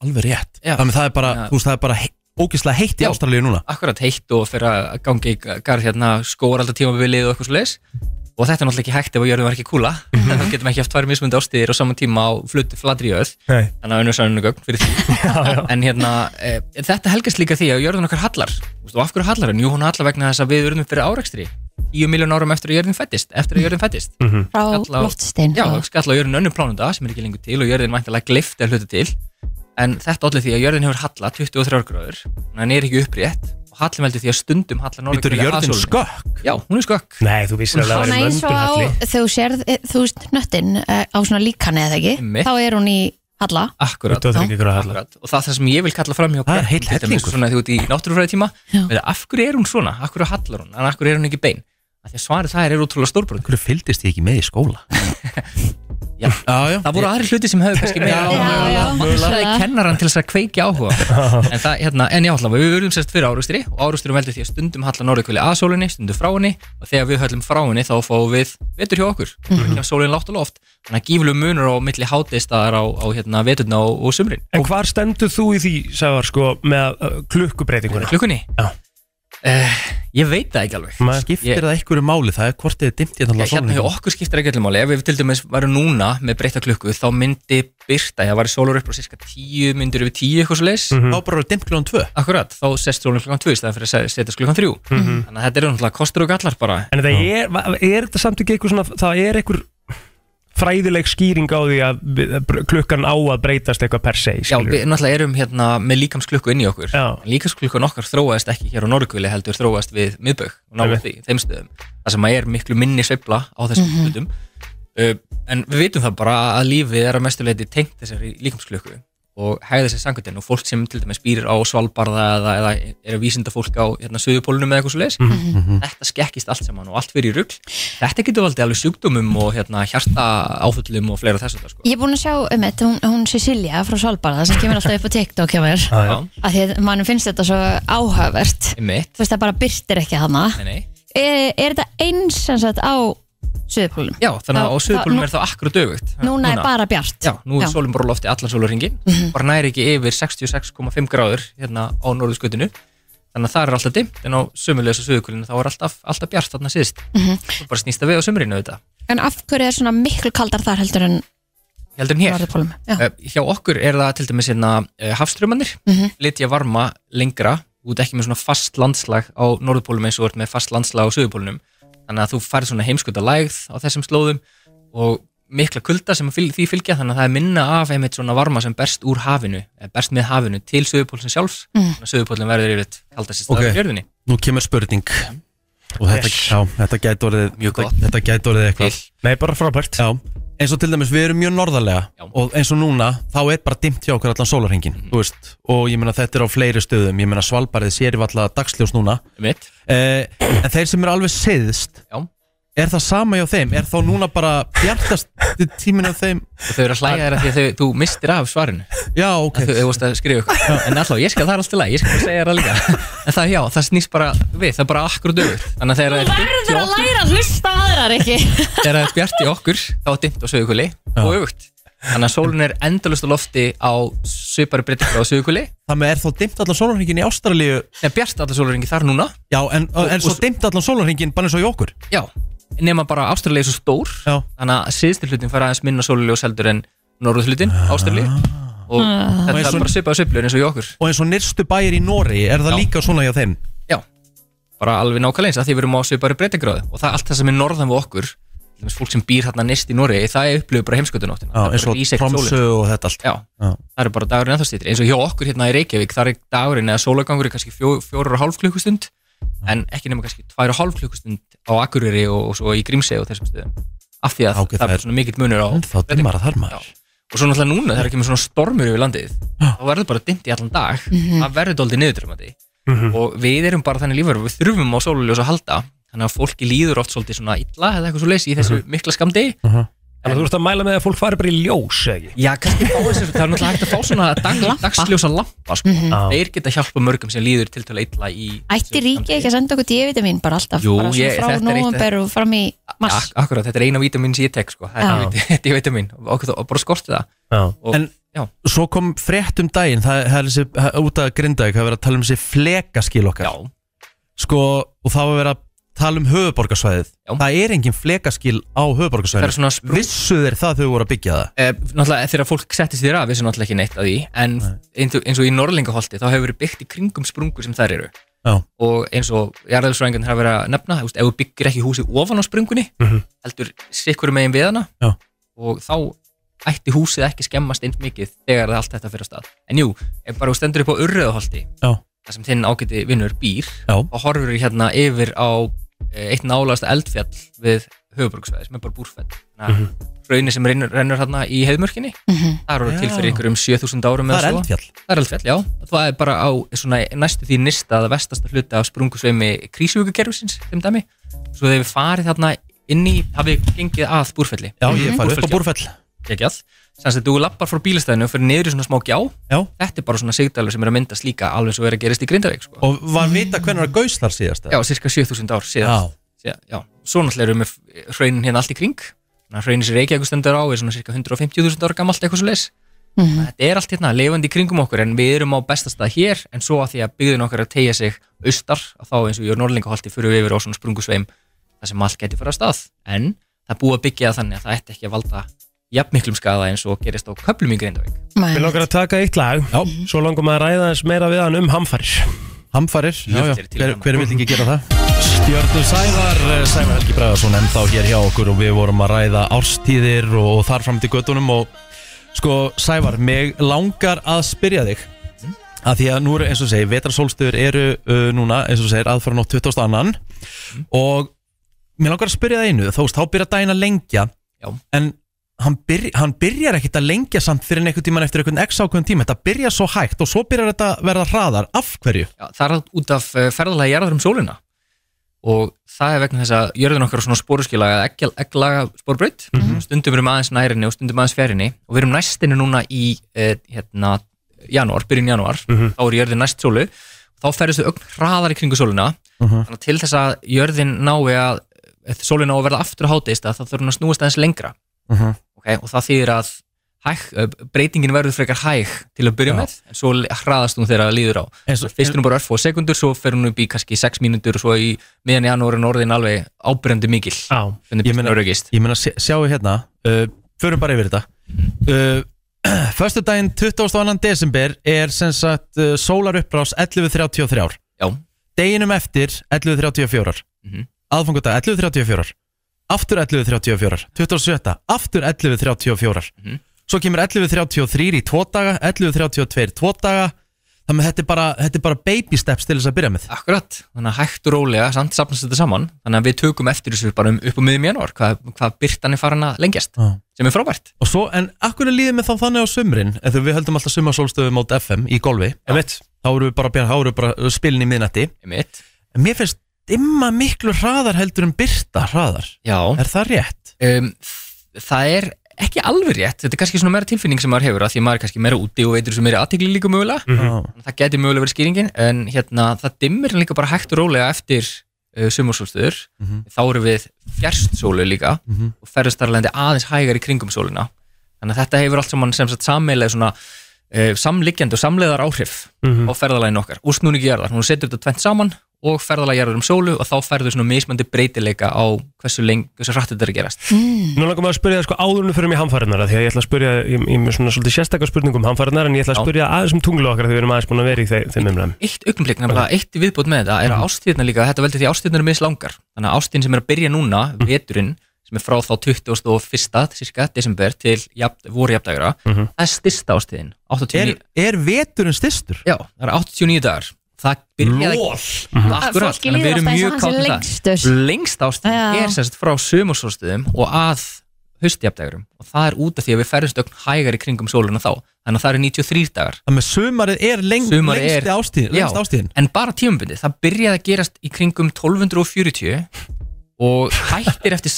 S1: alveg rétt
S9: Já.
S1: Þannig það er bara,
S9: Já.
S1: þú veist, það er bara he ógislega heitt í
S9: Já.
S1: Ástralíu núna
S9: akkurat heitt og fyrir að gangi í garð hérna skóar alltaf tímabilið og eitthvað svo og þetta er náttúrulega ekki hægt ef að jörðin var ekki kúla þannig að þá getum við ekki haft tvær mismundi ástíðir og saman tíma á flutu fladri jöð
S3: Nei.
S9: þannig að önnur sannunugögn fyrir því en hérna, e, þetta helgast líka því að jörðin okkar hallar Vistu, og af hverju hallar hún? Jú, hún hallar vegna þess að við urðum fyrir árekstri 10 miljón árum eftir að jörðin fættist eftir að jörðin fættist
S1: Mhm.
S2: frá
S9: Skall á-
S2: loftstein sko.
S9: Já,
S2: og-
S9: skall á jörðin önnur plánunda sem er ekki lengur til og jörðin væntalega glift er hluta til en þetta olli því að jörðin hefur halla 23 gráður en hann er ekki upprétt og hallin veldur því að stundum hallar
S1: Þetta
S9: norðurkvöld
S1: er jörðin skökk
S9: Já, hún er skökk
S3: Nei, þú vissir að það
S2: Svona
S3: væri
S2: eins og á,
S3: möndulhalli
S2: þegar þú sérð, eh, þú veist, nöttin eh, á svona líkani eða ekki,
S9: Einmitt.
S2: þá er hún í halla.
S9: Akkurat,
S3: 23 gráða hallar.
S9: akkurat og það er það sem ég vil kalla fram hjá
S1: Það er
S9: krökkum,
S1: heill
S9: til dæmis,
S1: hellingur.
S9: Svona því út í náttúrufræði tíma
S2: Já.
S9: Af hverju er hún svona? Af hverju hallar hún? En af hverju er hún ekki bein? Af því að svarið það er útrúlega stórbrot
S1: Hverju fylgdist ég ekki með í skóla?
S9: Já.
S1: já, já
S9: Það voru aðri hluti sem hefur kannski meira
S2: já, já.
S9: Vansaði kennaran til þess að kveikja áhuga En, það, hérna, en já, allavega, við verðum sérst fyrir árustri Og árusturum veldur því að stundum hallar norðurkvöli að sólinni Stundum frá henni Og þegar við höllum frá henni þá fáum við vetur hjá okkur mm -hmm. Sólinn látt og loft Þannig að gíflum munur á milli háteistadar á, á hérna, veturna og, og sumrin
S3: En hvar stendur þú í því, Sævar, sko, með uh, klukkubreitinguna?
S9: Klukkunni?
S3: Já.
S9: Eh, ég veit það ekki alveg
S3: Nei.
S1: Skiptir
S9: Ég-
S1: það einhverju máli, það er hvort þið er dimmt hérna
S9: Já,
S1: á
S9: hérna hjá
S1: sólinni.
S9: okkur skiptir ekki allir máli ef við til dæmis varum núna með breytta klukku þá myndi byrta, ég var í sólur upp á cirka 10 myndir yfir 10 eitthvað svo leis
S1: Þá bara er dimmt kljóðan tvö
S9: akkurat, þá sest sólur klukkan 2 í staðan fyrir að setja klukkan 3 þannig að þetta eru náttúrulega kostur og gallar bara
S3: En það er, va- er þetta samt ekki eitthvað svona, það er eitthvað fræðileg skýring á því að við- eh, br- klukkan á að breytast eitthvað per se,
S9: Já,
S3: skilur
S9: við náttúrulega erum hérna með líkamsklukku inn í okkur
S3: Já.
S9: En líkamsklukkan okkar þróaðist ekki hér á Norgvili heldur þróaðist við miðbögg og náðu því, þeim stöðum það sem að er miklu minni sveifla á þessum mm hlutum uh, en við vitum það bara að lífið er að mestuleiti tengt þessari líkamsklukku og hegða sér sangundin og fólk sem til dæmis býr á Svalbarða eða, eða eru vísindafólk á hérna, Suðupólunum eða eitthvað svo leis þetta skekkist allt saman og allt fyrir í rugl þetta getur valdið alveg sjúkdómum og hérna, hjarta og fleira þess að það sko.
S2: Ég er búin að sjá um þetta, hún, hún Cecilia frá Svalbard, sem kemur alltaf upp á TikTok hjá mér,
S9: Ah.
S3: Já, já.
S2: að því að mannum finnst þetta svo áhugavert.
S9: Einmitt.
S2: Þú veist, það bara byrtir ekki hana.
S9: Nei, nei.
S2: Er, er þetta eins sem sagt á Suðupólunum?
S9: Já, þannig að á
S2: Þá-
S9: Suðupólum
S2: þá-
S9: er það akkurat öfugt
S2: Núna er Mhm. bara bjart.
S9: Ah, Já, nú er sólum bara á lofti allan sólurringin bara næri ekki yfir 66,5 gráður hérna á norðuskutinu þannig að það er alltaf dimmt en á sömulegis á Suðupólinu þá er alltaf, alltaf bjart þarna síðst
S2: Mhm.
S9: Svo bara snýst það við á sömurinu auðvitað
S2: En af hverju er svona miklu kaldar þar heldur en
S9: Heldur en hér
S2: Norðupólum? Já.
S9: Eh, Hjá okkur er það til dæmis hérna eh, hafströmmanir litja varma lengra út ekki með svona fast landslag á norðupólum eins og þú ert með fast landslag á söðupólunum þannig að þú færð svona heimskuta lægð á þessum slóðum og mikla kulda sem fylg, því fylgja þannig að það er minna af einmitt svona varma sem berst úr hafinu eh, berst með hafinu til söðupólun sjálfs þannig að söðupólun verður yfir kaldast í staður
S1: Ok.
S9: okay. jörðinni
S1: Nú kemur spurning Og þetta,
S3: Yes.
S1: já, þetta gæti orðið
S9: Mjög
S1: þetta-
S9: gott.
S1: Þetta gæti orðið eitthvað
S3: Nei, bara frábært.
S1: Já, eins og til dæmis við erum mjög norðarlega
S9: Já. Mm.
S1: Og eins og núna, þá er bara dimmt hjá okkur allan sólarhengin Þú veist, og ég meina þetta er á fleiri stöðum Ég meina svalbarið sér í valla dagsljós núna
S9: Einmitt.
S1: eh, En þeir sem eru alveg siðst
S9: Já. og
S1: Er það sama hjá þeim? Er þá núna bara bjartast tíminn af þeim?
S9: þau eru að hlæja þér að því að þau, þú mistir af svarinu
S1: Já, ok
S9: að þú þú vorst að skrifa ykkur en alltaf, ég skal það er alltaf læg, ég skal bara segja þér það líka en það, já, það snýst bara við, það er bara akkur dögur þannig að þegar það er dimmt í okkur-
S2: læra að hlusta aðrar ekki
S9: þegar það er bjart í okkur þá er dimmt á sögukuli og auðvögt þannig að sólun er endalust á lofti á svipari breytingar á sögukuli
S1: Það með er þá dimmt allan sólarhengin í Ástralíu
S9: en bjart allar sóluringi þar núna
S1: Já, en, en svo
S9: og-
S1: dimmt allan sólarhengin bara eins og í okkur
S9: já, nema bara ástralegi er svo stór
S1: Já.
S9: þannig að síðustu hlutin fara aðeins minna sóluljós heldur en norðuð hlutin, ástralegi og
S2: Ah.
S9: þetta
S1: Og
S9: er
S1: svo-
S9: bara svipaði sveiflur eins og í okkur
S1: Og eins og nyrstu bæir í Nóri, er það
S9: Já.
S1: líka svona hjá þeim?
S9: Já, bara alveg nákvæmlega eins að því við erum á svipari breytingráðu og það er allt það sem er norðan við okkur til dæmis fólk sem býr hérna nýst í Noregi það er upplöfu bara heimskötunóttina
S1: Já,
S9: Það
S1: eins
S9: bara
S1: og
S9: rís ekkert
S1: Tromsö
S9: sólin.
S1: og þetta allt
S9: Já,
S1: Já.
S9: það eru bara dagurinn ennþá stýttir eins og hjá okkur hérna í Reykjavík það er dagurinn eða sólagangur er kannski fjó, fjórar og hálf klukkustund en ekki nema kannski tvær og hálf klukkustund á Akureyri og, og svo í Grímsey og þessum stöðum af því að
S1: Já,
S9: það,
S1: ok, það er-
S9: er svona mikill munur á
S1: Þá dimmar að þar maður
S9: og svo náttúrulega núna þegar kemur svona stormur yfir landið þá verður bara dimmt í allan dag
S2: Mhm.
S9: það verður doldið niðurdrömmandi og við erum bara þannig lífur við þurfum á sóluljós að halda þannig að fólki líður oft svolítið svona illa eða eitthvað svo í þessu mikla skamdi en
S1: Mhm.
S3: Þannig að þú ert að mæla með að fólk fari bara í ljós, eða ekki?
S9: Já, kannski fá þessu, það er náttúrulega hægt að fá svona dag, dagsljósa lampa sko.
S2: Mhm.
S3: Já.
S9: Þeir geta hjálpa mörgum sem líður til til eitla í
S2: Ætti ríki ekki að senda okkur D-vitamin bara alltaf,
S9: Jú,
S2: bara svona
S9: ég-
S2: frá
S9: þetta er eitt-
S2: nóvumber og fram í mars.
S9: Ak Akkurat, þetta er eina vítamin sem ég tek sko.
S2: Já.
S9: Það er D-vitamin og okkur þá- og bara skorti það
S3: Já.
S9: og,
S1: En-
S9: já.
S1: Svo kom frétt um daginn Það, það er þessi, það- út að grinda Það er verið að tala um þessi flekaskil okkar
S9: já,
S1: Sko, og þá er verið að tala um höfuborgarsvæðið
S9: Já.
S1: Það er engin flekaskil á
S9: það er
S1: höfuborgarsvæðið
S9: svona sprú
S1: Vissu þeir það þau voru að byggja það?
S9: Eh, náttúrulega þegar fólk settist þér af vissi náttúrulega ekki neitt að því en eins og, eins og í Norlingaholti þá hefur verið byggt í kringum sprungur sem þær eru
S1: Já.
S9: og eins og jarðalsfræðingarnir hafa verið að nefna þú veist, ef þú byggir ekki húsi ofan á sprungunni
S3: Mhm.
S9: heldur sikkur megin við hana
S1: Já.
S9: og þá ætti húsið ekki skemmast eins mikið þegar það allt þetta fyrir að stað en jú, ef bara þú stendur upp á Urriðaholti
S1: Já.
S9: þar sem þinn ágæti vinnur býr
S1: Já.
S9: og horfur hérna yfir á eh, eitt nálasta eldfjall við höfuborgsvæði sem er bara búrfell mm
S1: Mhm.
S9: -hmm. raunin sem rennur, rennur hérna í heiðmörkinni
S2: Mhm.
S9: það eru
S1: Já.
S9: til fyrir ykkur um 7000 árum eða
S1: Það er
S9: svo.
S1: eldfjall
S9: það er eldfjall, já það er bara á svona, næstu því nista að vestasta hluta af sprungusveimi krísugukerfisins þeim dæmi, svo þegar við farið þarna inn í, hafið gengið að búrfelli
S1: Já, ég farið upp á
S9: Búrfellsgjá.
S1: búrfell
S9: ekki all Sanns að þú lappar frá bílastæðinu og fyrir niður í svona smá gjá
S1: Já.
S9: Þetta er bara svona sigdalur sem er að myndast líka alveg svo er að gerist í Grindavík sko.
S1: Og var vita hvernig það gaus þar síðast
S9: Já, cirka 7000 ár síðan
S1: Já.
S9: já. já, svo náttúrulega erum við hraunin hérna allt í kring Þannig að Hraunin sem Reykjavík stendur á er svona cirka 150.000 ára gamalt eitthvað svo leis
S2: Mhm.
S9: Þetta er allt hérna, lifandi í kringum okkur en við erum á bestastað hér en svo að því að byggðin okkar er að tegja sig austar að þá eins og ég er norlingaholti fyrir við yfir á svona sprungusveim þar sem allt geti fara að stað en það er búið að byggja það þannig að það ætti ekki að valda jafnmiklum skada eins og gerist á köplum í Grindavík
S3: Við langar að taka eitt lag, Já. svo langar maður að ræða eins meira við hann um hamfarir.
S1: Hamfarir, já, já,
S9: Ég er til í
S1: hver,
S9: hana.
S1: hver vil ekki gera það? Stjörnu Sævar, eh, Sævar Helgi Bræðarsson ennþá hér hjá okkur og við vorum að ræða árstíðir og, og þar fram til göttunum og sko Sævar, mig langar að spyrja þig
S9: Mm.
S1: að því að nú eru eins og segir, vetrarsólstöður eru uh, núna eins og segir aðfara nótt 20. annan
S9: Mm.
S1: og mér langar að spyrja það einu, þú veist, þá byrja daginn að lengja
S9: Já.
S1: en hann, byrj, hann byrjar ekkit að lengja samt fyrir en einhvern tíman eftir einhvern x ákveðin tíma, þetta byrjar svo hægt og svo byrjar þetta að verða hraðar, af hverju?
S9: Já, það er út af eh, ferðalagi jarðar um sólina og það er vegna þess að jörðin okkar er svona spóruskilaga eða eggjal- egglaga spórbraut
S1: Mhm.
S9: stundum erum aðeins nærinni og stundum aðeins fjærinni og við erum næstinni núna í eh, hérna, janúar, byrjun janúar
S1: Mhm.
S9: þá er jörðin næst sólu þá ferðist þau ögn hraðar í kringu sólina
S1: Mhm.
S9: þannig að til þess að jörðin nái að eftir sólina á að verða aftur á háteista þá þurfum við að snúast aðeins lengra
S1: Mhm.
S9: okay? og það þýðir að hæg, eh, breytingin verður frekar hæg til að byrja
S1: Já.
S9: með en svo hraðast hún þegar það líður á
S1: Eins og,
S9: fyrst er hún bara örfó sekundur, svo fer hún upp í kannski 6 mínútur og svo í miðan janúar er hún orðin alveg ábyrjandi mikil
S3: Já.
S9: hvernig
S1: Ég
S9: byrjun
S1: meina-
S9: öryggist
S1: Ég meina, sjá- sjáu hérna uh, Förum bara yfir þetta uh, Föstudaginn 22. desember er sem sagt uh, sólarupprás 11.33
S9: Já.
S1: Deginum eftir 11.34
S9: Mhm.
S1: Aðfangudag 11.34 Aftur 11.34 27. Aftur 11.34
S9: Mhm.
S1: Svo kemur 11.33 í tvo daga 11.32 í tvo daga Þannig að þetta er bara, þetta er bara baby steps til þess að byrja með
S9: Akkurat, þannig að hægt og rólega samt sapnast þetta saman, þannig að við tökum eftir þessu bara um upp á miðum janúar, hvað, hvað byrtan er farin að lengjast,
S1: Já.
S9: sem er frábært
S1: Og svo, en akkur líðið með þá þannig á sumrin Eða við höldum alltaf sumarsólstöðu mót FM í golfi
S3: Emitt.
S1: þá eru við bara, þá eru við bara uh, spilin í miðnætti
S9: Einmitt.
S1: En mér finnst dimma miklu hraðar heldur en byrta hraðar
S9: Já,
S1: er það rétt?
S9: um, það er ekki alveg rétt, þetta er kannski svona meira tilfinning sem maður hefur, að því maður er kannski meira úti og veitur þessu meira aðtegli líka mögulega Þannig að það geti mögulega verið skýringin en hérna, það dimmir líka bara hægt og rólega eftir uh, sumarsólstöður
S1: Mhm.
S9: þá eru við fjärst sólu líka
S1: Mhm.
S9: og ferðast þar alveg aðeins hægar í kringum sóluna þannig að þetta hefur allt saman sem sagt sammeillega svona uh, samliggjandi og samleðar áhrif á ferðalægin okkar og snúningi jarðar, hún setur þetta tvent saman og ferðalægi jarðar um sólu og þá ferðu svona mismandi breytileika á hversu lengi, hversu rætt þetta er að gerast
S3: Nú langar maður að spyrja það sko áðurinn fyrir mig hamfarinnar því að ég ætla að spyrja, ég, ég er með svona svolítið sérstakar spurningum um hamfarinnar en ég ætla að
S9: Já.
S3: spyrja aðeins um tunglu okkar því við erum aðeins búin að vera í þeim, þeim umræðum.
S9: eitt augnblik, nefnilega eitt í viðbót með þetta er að ástíðna líka, þetta veldur því ástíðna eru mislangar þannig að ástíðin sem er að byrja núna, veturinn sem er frá þá 21. cirka, desember til jafn, voru jafndagara
S3: Mhm.
S9: það er styrsta ástíðin 89,
S1: Er, er veturinn styrstur?
S9: já, það er 89 dagar það byrjaði akkurat,
S2: Fólki
S9: þannig að við
S2: líður
S9: erum
S2: alltaf eins
S9: mjög
S2: og hans
S9: kátt
S2: er
S9: um það
S2: lengstur.
S9: lengst ástíðin
S2: Já.
S9: er sem sagt frá sömursóstíðum og að haustjafndagarum og það er út af því að við ferðumst ögn hægar í kringum sóluna þá þannig að það eru 93 dagar
S1: Það með sumarið er leng,
S9: Sumarið
S1: lengsti
S9: er-
S1: ástíðin,
S9: Já.
S1: lengst ástíðin
S9: en bara tímabundið, það byrjaði að gerast í kringum 1240 og hættir eftir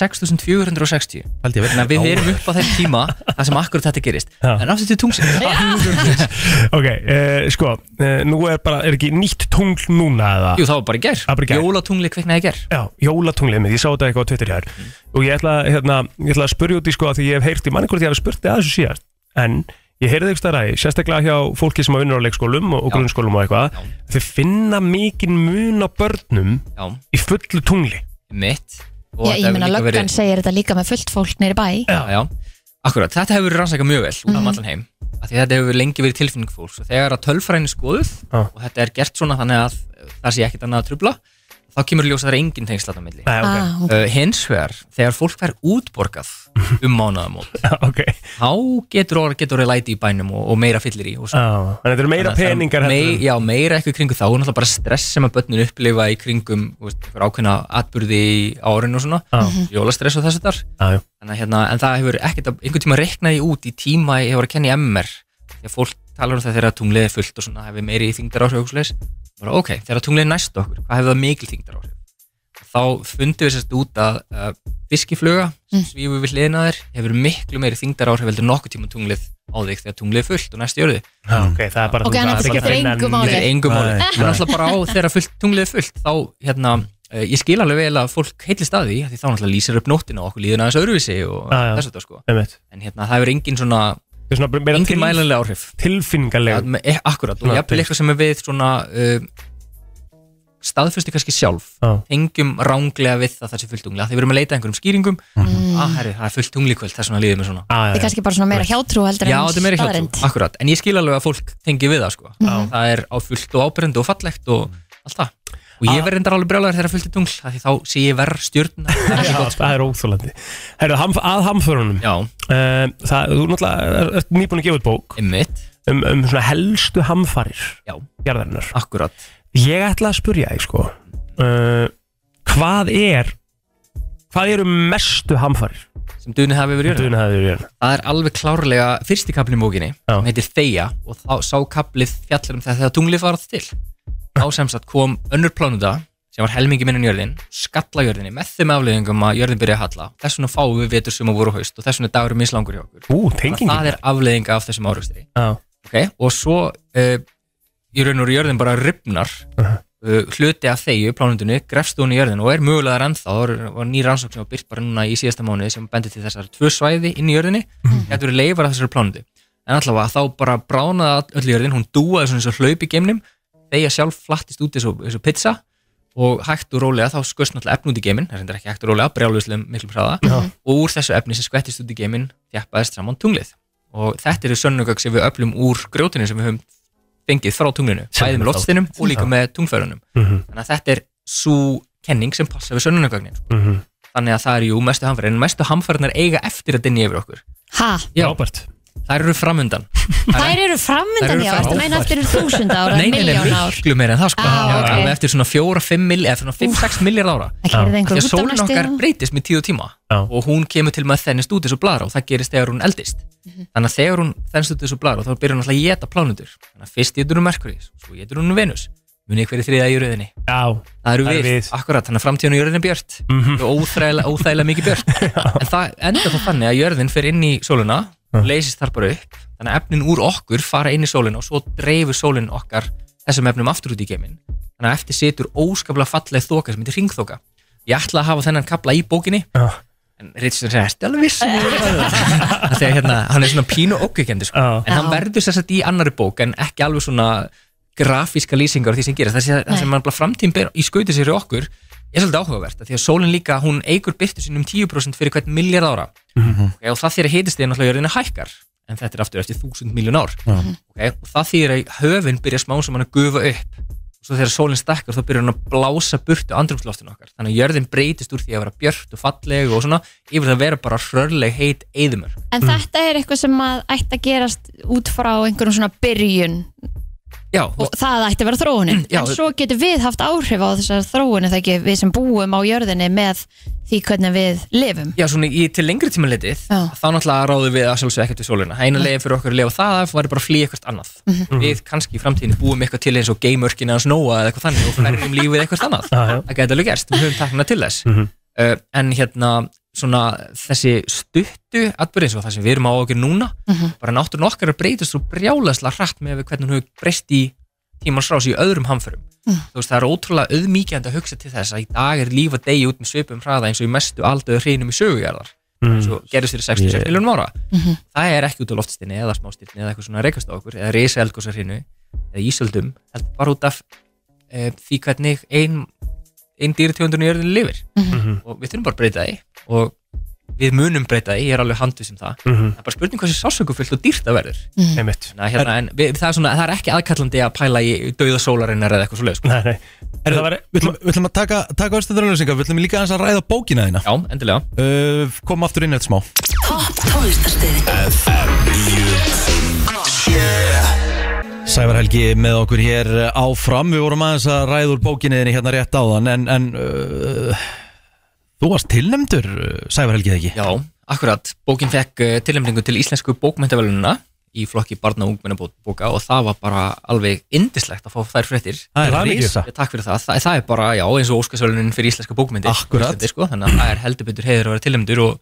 S9: 6460
S1: Held ég vel.
S9: Þannig að við erum upp á þeim tíma það sem akkurat þetta gerist en aftur til tungsins
S3: Ok, uh, sko, uh, nú er bara, er ekki nýtt tungl núna eða?
S9: Jú, það var bara í ger,
S3: Það var í gær.
S9: jólatungli kviknaði í ger
S3: Já, jólatunglið mitt, ég sá þetta eitthvað á Twitter hér
S9: Mm.
S3: Og ég ætla, að, hérna, ég ætla að spurja út í sko að Því ég hef heyrt, ég mann einhvern því að ég hef spurt þið að þessu síðast En ég heyrði eitthvað ræði, sérstaklega hjá fólki sem vinnur á leikskólum og, og grunnskólum og eitthvað Þau finna mikinn mun á börnum
S9: Já,
S3: í fullu tungli
S9: mitt
S2: Já, ég meina löggan segir þetta líka með fullt fólk neyri bæ
S9: Já, já, akkurat, þetta hefur verið rannsakað mjög vel út
S2: Mhm.
S9: af allan heim af því þetta hefur lengi verið tilfinning fólks og þegar að tölfræðin er skoðuð
S3: Já.
S9: og þetta er gert svona þannig að það sé ekkert annað að trubla þá kemur í ljós að það er engin tengsl þarna á milli
S3: Nei, ok,
S2: ah, ok.
S9: uh, hins vegar, þegar fólk fær útborgað um mánaðamót
S3: Já, ok
S9: þá getur orðið getur orðið læti í bænum og, og meira fyllir í og
S3: Já,
S9: svo.
S3: Þannig að þetta eru
S9: Þannig að
S3: meira
S9: Ah. það er
S3: peningar heldur
S9: mei,
S3: en-
S9: Já, meira eitthvað í kringu þá og náttúrulega bara stress sem að börnin upplifa í kringum þú veist, einhver ákveðna atburði í árinu og svona
S3: Já,
S9: jólastress og þessu þar
S3: já, já.
S9: Þannig, að hérna, en það hefur ekkert að- einhvern tíma reiknaði út í tíma ég hefur að kenna í MR þegar fólk talar um það þegar tunglið er fullt og svona hefur meiri þingdar áhrif og svoleiðis. bara ok, þegar tunglið er næst okkur hvað hefur það mikil þingdar áhrif þá fundum við sérst út að uh, fiskifluga sem
S2: Mm.
S9: svífur við hliðina á þér hefur miklu meiri þingdar áhrif heldur en nokkuð tíma tunglið á þig þegar tunglið er fullt og næst í jörðu
S3: Já, ok, það er bara
S2: Ok,
S3: þú-
S2: en
S3: það
S2: þetta
S3: er bara
S2: skiptir
S3: að finna
S2: engu
S3: nýtt-
S2: máli.
S9: það er engum
S3: Nei,
S9: máli
S3: nei.
S9: en alltaf bara á þegar fullt, tunglið er fullt þá hérna, uh, ég skil alveg vel að fólk heilist að því af því þá náttúrulega lýsir upp nóttina og okkur líður aðeins öðruvísi og
S3: Já, já.
S9: þess að sko
S3: Einmitt.
S9: en hérna það hefur engin svona
S3: Það er svona meira
S9: engin
S3: til,
S9: mælanlega áhrif
S3: tilfinningarlega
S9: Að- e, akkurat og
S3: Svona
S9: jafnvel
S3: tengsl.
S9: eitthvað sem er við svona uh, staðfustu kannski sjálf
S3: Já.
S9: engum ránglega við að það sé fulltungli að þið verum að leita að einhverjum skýringum
S2: Mm.
S9: að herri, það er fulltungli kvöld, það er svona líðið með svona
S3: Já, Ah, já,
S2: Þetta er kannski bara svona meira hjátrú heldur
S9: já,
S2: en
S9: þetta er meira hjáttu,
S2: staðreynd.
S9: akkurat en ég skil alveg að fólk tengi við það sko
S3: Já. Mm.
S9: það er á fullt og ábyrjandi og fallegt og allt það og ég
S3: Ah.
S9: verði endar alveg brjálæður þegar fullt er tungl af því þá sé ég verð stjórn
S3: já, það er óþólandi Herru, hamf, að hamförunum
S9: já,
S3: Um, það, þú náttúrulega er- ert nýbúin að gefa út bók
S9: einmitt,
S3: um, um svona helstu hamfarir
S9: Já.
S3: jarðarinnar.
S9: akkurat
S3: Ég ætla að spurja þig sko uh, hvað er hvað eru mestu hamfarir hérna?
S9: sem dunið hafi verið
S3: duðin að þau eru
S9: Það er alveg klárlega fyrsti kaplin í bókinni
S3: Já.
S9: sem heitir Þeia og þá sá kaplið fjallar um það þegar tunglið varð til þá sem sagt kom önnur plánunda sem var helmingi minni en jörðin skalla jörðinni með þeim afleðingum að jörðin byrja að halla þess vegna fáum við vetur sem að voru haust og þess vegna er dagurum mislangur hjá okkur Þannig að
S3: Ú,
S9: það
S3: tengingin
S9: er afleðinga af þessum árustri
S3: Já.
S9: okay? og svo uh, í raun og veru jörðin bara ripnar uh, hluti af þegju plánundinu grefst hún í jörðin og er mögulegar ennþá það var- var ný rannsókn sem var byrt bara núna í síðasta mánuði sem bendir til þessar tvö svæði inn í jörðinni þetta eru leifar af þessari plánundu en allavega þá bara bránaði öll jörðin hún dúaði svona eins og hlaup í geimnum þegja sjálf flattist út eins og, eins og pizza og hægt og rólega þá skust náttúrulega efni út í geiminn, það er reyndar ekki hægt og rólega brjálfislega miklum hraða og úr þessu efni sem skvettist út í geiminn þjappaðist saman tunglið og þetta eru sönnugögg sem við öflum úr grjótinu sem við höfum fengið frá tunglinu
S3: Sem
S9: bæði
S3: er
S9: með lotstinum og líka
S3: Já.
S9: með tungfærunum
S3: Mhm.
S9: þannig að þetta er svo kenning sem passa við sönnunagögnin
S3: Mhm.
S9: þannig að það er jú mestu hamfærin en mestu hamfærinar eiga eftir að dinni yfir okkur
S2: Ha,
S9: Já.
S3: Robert
S9: þær eru framundan
S2: þær eru
S9: Þær
S2: framöndan
S9: eru
S2: já, ertu að meina eftir þúsund ára,
S9: nei, nei, nei,
S2: miljón ár
S9: miklu meira en það sko
S2: Á,
S9: Já,
S2: ok.
S9: alveg eftir svona 4-5 mill eða svona 5-6 miljard ára
S2: Það kerði
S9: því
S2: einhver
S9: að
S2: út af
S9: sólin
S2: næstu
S9: okkar breytist með tíð og tíma
S3: Já.
S9: og hún kemur til með að þennist út þessu blara og það gerist þegar hún eldist
S2: Mhm.
S9: þannig að þegar hún þennst út þessu blara þá byrjar hún alltaf að geta plánundur þannig að fyrst getur hún Merkuri, svo getur hún Venus munið hverju þriða í jörðinni
S3: Já,
S9: það eru
S3: Það eru
S9: við, Ah.
S3: við.
S9: akkurat, þannig að framtíðan á jörðinni er björt mm
S3: Mhm.
S9: -hmm. og óþægilega, óþægilega mikið björt en það enda þá þannig að jörðin fer inn í sóluna
S3: Já.
S9: leysist þar bara upp þannig að efnin úr okkur fara inn í sóluna og svo dreifur sólin okkar þessum efnum aftur út í geiminn þannig að eftir situr óskaplega falleg þoka sem heitir ringþoka ég ætla að hafa þennan kapla í bókinni
S3: Já.
S9: en Richardson segir, ertu alveg viss um að þú verður að það?" Af því að hérna, hann er svona pínu ókveikendi sko.
S3: Já.
S9: en hann
S2: Já.
S9: verður sér sett í annari bók en ekki alveg svona grafíska lýsingar á því sem gerist það, sé, það
S2: Nei.
S9: sem mann bara framtíðin ber í skauti sér í okkur er svolítið áhugavert, af því að sólinn líka hún eigur byrtu sín um 10% fyrir hvert miljard ára okay, og það þýr að hitist þegar náttúrulega jörðinu hækkar en þetta er aftur eftir 1000 miljón ár
S2: Mhm.
S9: okay, og það þýr að höfin byrja smá sem hann að gufa upp og svo þegar sólinn stakkar þá byrjar hann að blása burtu andrumsloftinu okkar þannig að jörðin breytist úr því að vera björt og falleg og svona yfir það að vera bara hrörleg heit eðumör
S2: En þetta er eitthvað sem að ætti að gerast út frá einhverjum svona byrjun
S9: Já,
S2: og það ætti að vera þróunin
S9: Mm, Já.
S2: en svo getur við haft áhrif á þessar þróunin það ekki við sem búum á jörðinni með því hvernig við lifum
S9: Já, svona í til lengri tíma litið
S2: Já.
S9: þá náttúrulega ráðum við að sjálfsög ekkert við sólina eina leiðin fyrir okkur að lifa það af væri bara að flýja eitthvað annað við kannski í framtíðinni búum eitthvað til eins og geimörkin eða snóa eða eitthvað þannig og færjum um lífið eitthvað annað
S3: Já, já.
S9: það gæti alveg gerst, við höfum tekna til þess uh, en hérna svona þessi stuttu atbyrði eins og það sem við erum á okkur núna
S2: Mhm.
S9: bara náttúrun okkar er að breytast svo brjálaslega hratt með við hvernig hún hefur breyst í tímans rás í öðrum hamförum
S2: Mhm.
S9: þú veist það er ótrúlega auðmíkjandi að hugsa til þess að í dag er lífa degi út með svipum hraða eins og í mestu aldöðu hreinum í sögujarðar eins og gerist fyrir 66
S1: Yeah.
S9: yeah. miljónum ára
S2: Mhm.
S9: það er ekki út á loftstinni eða smástinni eða eitthvað svona að rekast á okkur eða reysa eldgósarhinu eða ísöldum heldur bara út af e, því hvernig ein, ein dýrategundurinn í jörðinu lifir og við þurfum bara að breyta því og við munum breyta því, ég er alveg handið sem það það er bara spurning hversu sásökufullt og dýrt það verður
S3: Mm. einmitt
S9: Þannig að hérna, en við, það, er svona, það er ekki aðkallandi að pæla í dauða sólarinnar eða eitthvað svo sko.
S3: Nei, nei En það var
S1: Við ætlum- við ætlum að taka, taka östuðurlösingar, við ætlum líka aðeins að ræða bókina þína
S9: já, endilega
S1: uh, Kom aftur inn eftir smá
S10: Topp tónlistarstöðin
S1: Sævar Helgi með okkur hér uh, áfram Við vorum aðeins að ræða úr bókinni þinni hérna rétt áðan En, en uh, þú varst tilnæmdur, Sævar Helgi, eða ekki?
S9: Já, akkurat, bókin fekk uh, tilnefningu til íslensku bókmyndavelununa í flokki barna og ungmennabóka og það var bara alveg indislegt að fá þær fréttir
S1: Það er
S9: Ris-
S1: hamingju það.
S9: Takk fyrir það, það, það er bara, já, eins og óskarsvelunin fyrir íslenska bókmyndir
S1: Akkurat.
S9: Íslandi, sko, Þannig að það er heldur betur heiður að vera tilnefndur og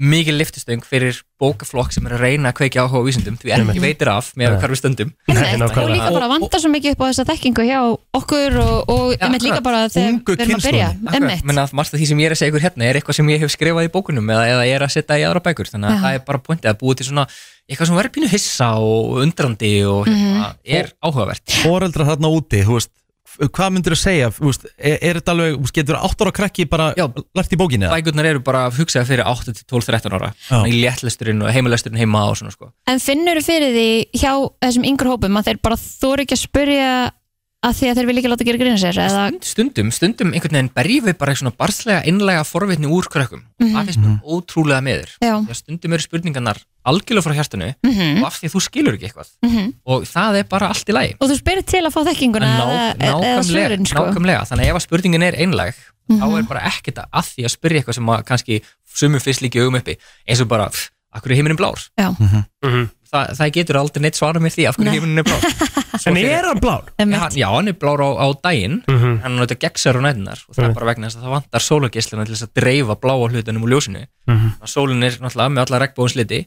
S9: mikil liftustöng fyrir bókaflokk sem er að reyna að kveikja áhuga á vísindum því ekki veitir af með hvar við stöndum
S3: Nei,
S2: Einmitt, og
S3: nákvæmlega.
S2: líka bara að vanda svo mikið upp á þessa þekkingu hjá okkur og, og
S9: Já,
S2: einmitt líka
S9: akkurat.
S2: bara þegar
S1: Ungu
S2: við erum að
S1: kynslóðinni.
S2: byrja
S9: Akkurat,
S2: einmitt,
S9: menna að margt af því sem ég er að segja ykkur hérna er eitthvað sem ég hef skrifað í bókunum eða, eða ég er að setja í aðra bækur þannig að
S2: Já.
S9: það er bara pointið að búið til svona eitthvað sem verður pínu hissa og undrandi og hérna,
S2: Mhm.
S9: er áhugavert
S1: Foreldrar þarna úti, þú veist Hvað myndir þú segja, þú veist, er, er þetta alveg, þú veist, getur átt ára krakki bara
S9: Já.
S1: lært í bókinni eða?
S9: Bækurnar eru bara hugsaða fyrir 8 til 12, 13 ára
S1: Já.
S9: í léttlesturinn og heimilesturinn heima og svona sko
S2: en finnur fyrir því hjá þessum yngur hópum að þeir bara þóru ekki að spyrja að því að þeir vilja ekki láta gera grinn sér eða,
S9: Stund- Stundum, stundum einhvern veginn berjum við bara svona barslega innlega forvitni úr krökkum og það finnst mér ótrúlega meður
S2: Mhm. já,
S9: Því að stundum eru spurningarnar algjörlega frá hjartanu
S2: mhm,
S9: og af því að þú skilur ekki eitthvað
S2: mhm
S9: og það er bara allt í lagi
S2: og þú spyrir til að fá þekkinguna
S9: Ná-
S2: eða, eða
S9: nákvæmlega,
S2: svörin sko Mhm.
S9: nákvæmlega, þannig að ef að spurningin er einlæg þá er bara ekkert að því að spyrja eitthvað sem að kannski sumum fyrst líki augum uppi eins og bara, pff, af hverju heiminin blár
S2: Já.
S3: Mhm.
S9: Þa, það getur aldrei neitt svara með því af hverju
S2: Nei.
S9: heiminin er blár Svo
S3: En
S9: fyrir-
S3: er hann blár?
S9: Já,
S2: Einmitt.
S9: hann- Já, hann er blár á, á daginn
S3: Mhm.
S9: hann er náttúrulega gegnsar á nætunar og það
S1: Mm.
S9: er bara vegna þess að það vantar sólagisluna til þess að dreifa bláa hlutunum úr ljósinu
S3: Mhm.
S9: og sólin er náttúrulega með alla regnbóðins liti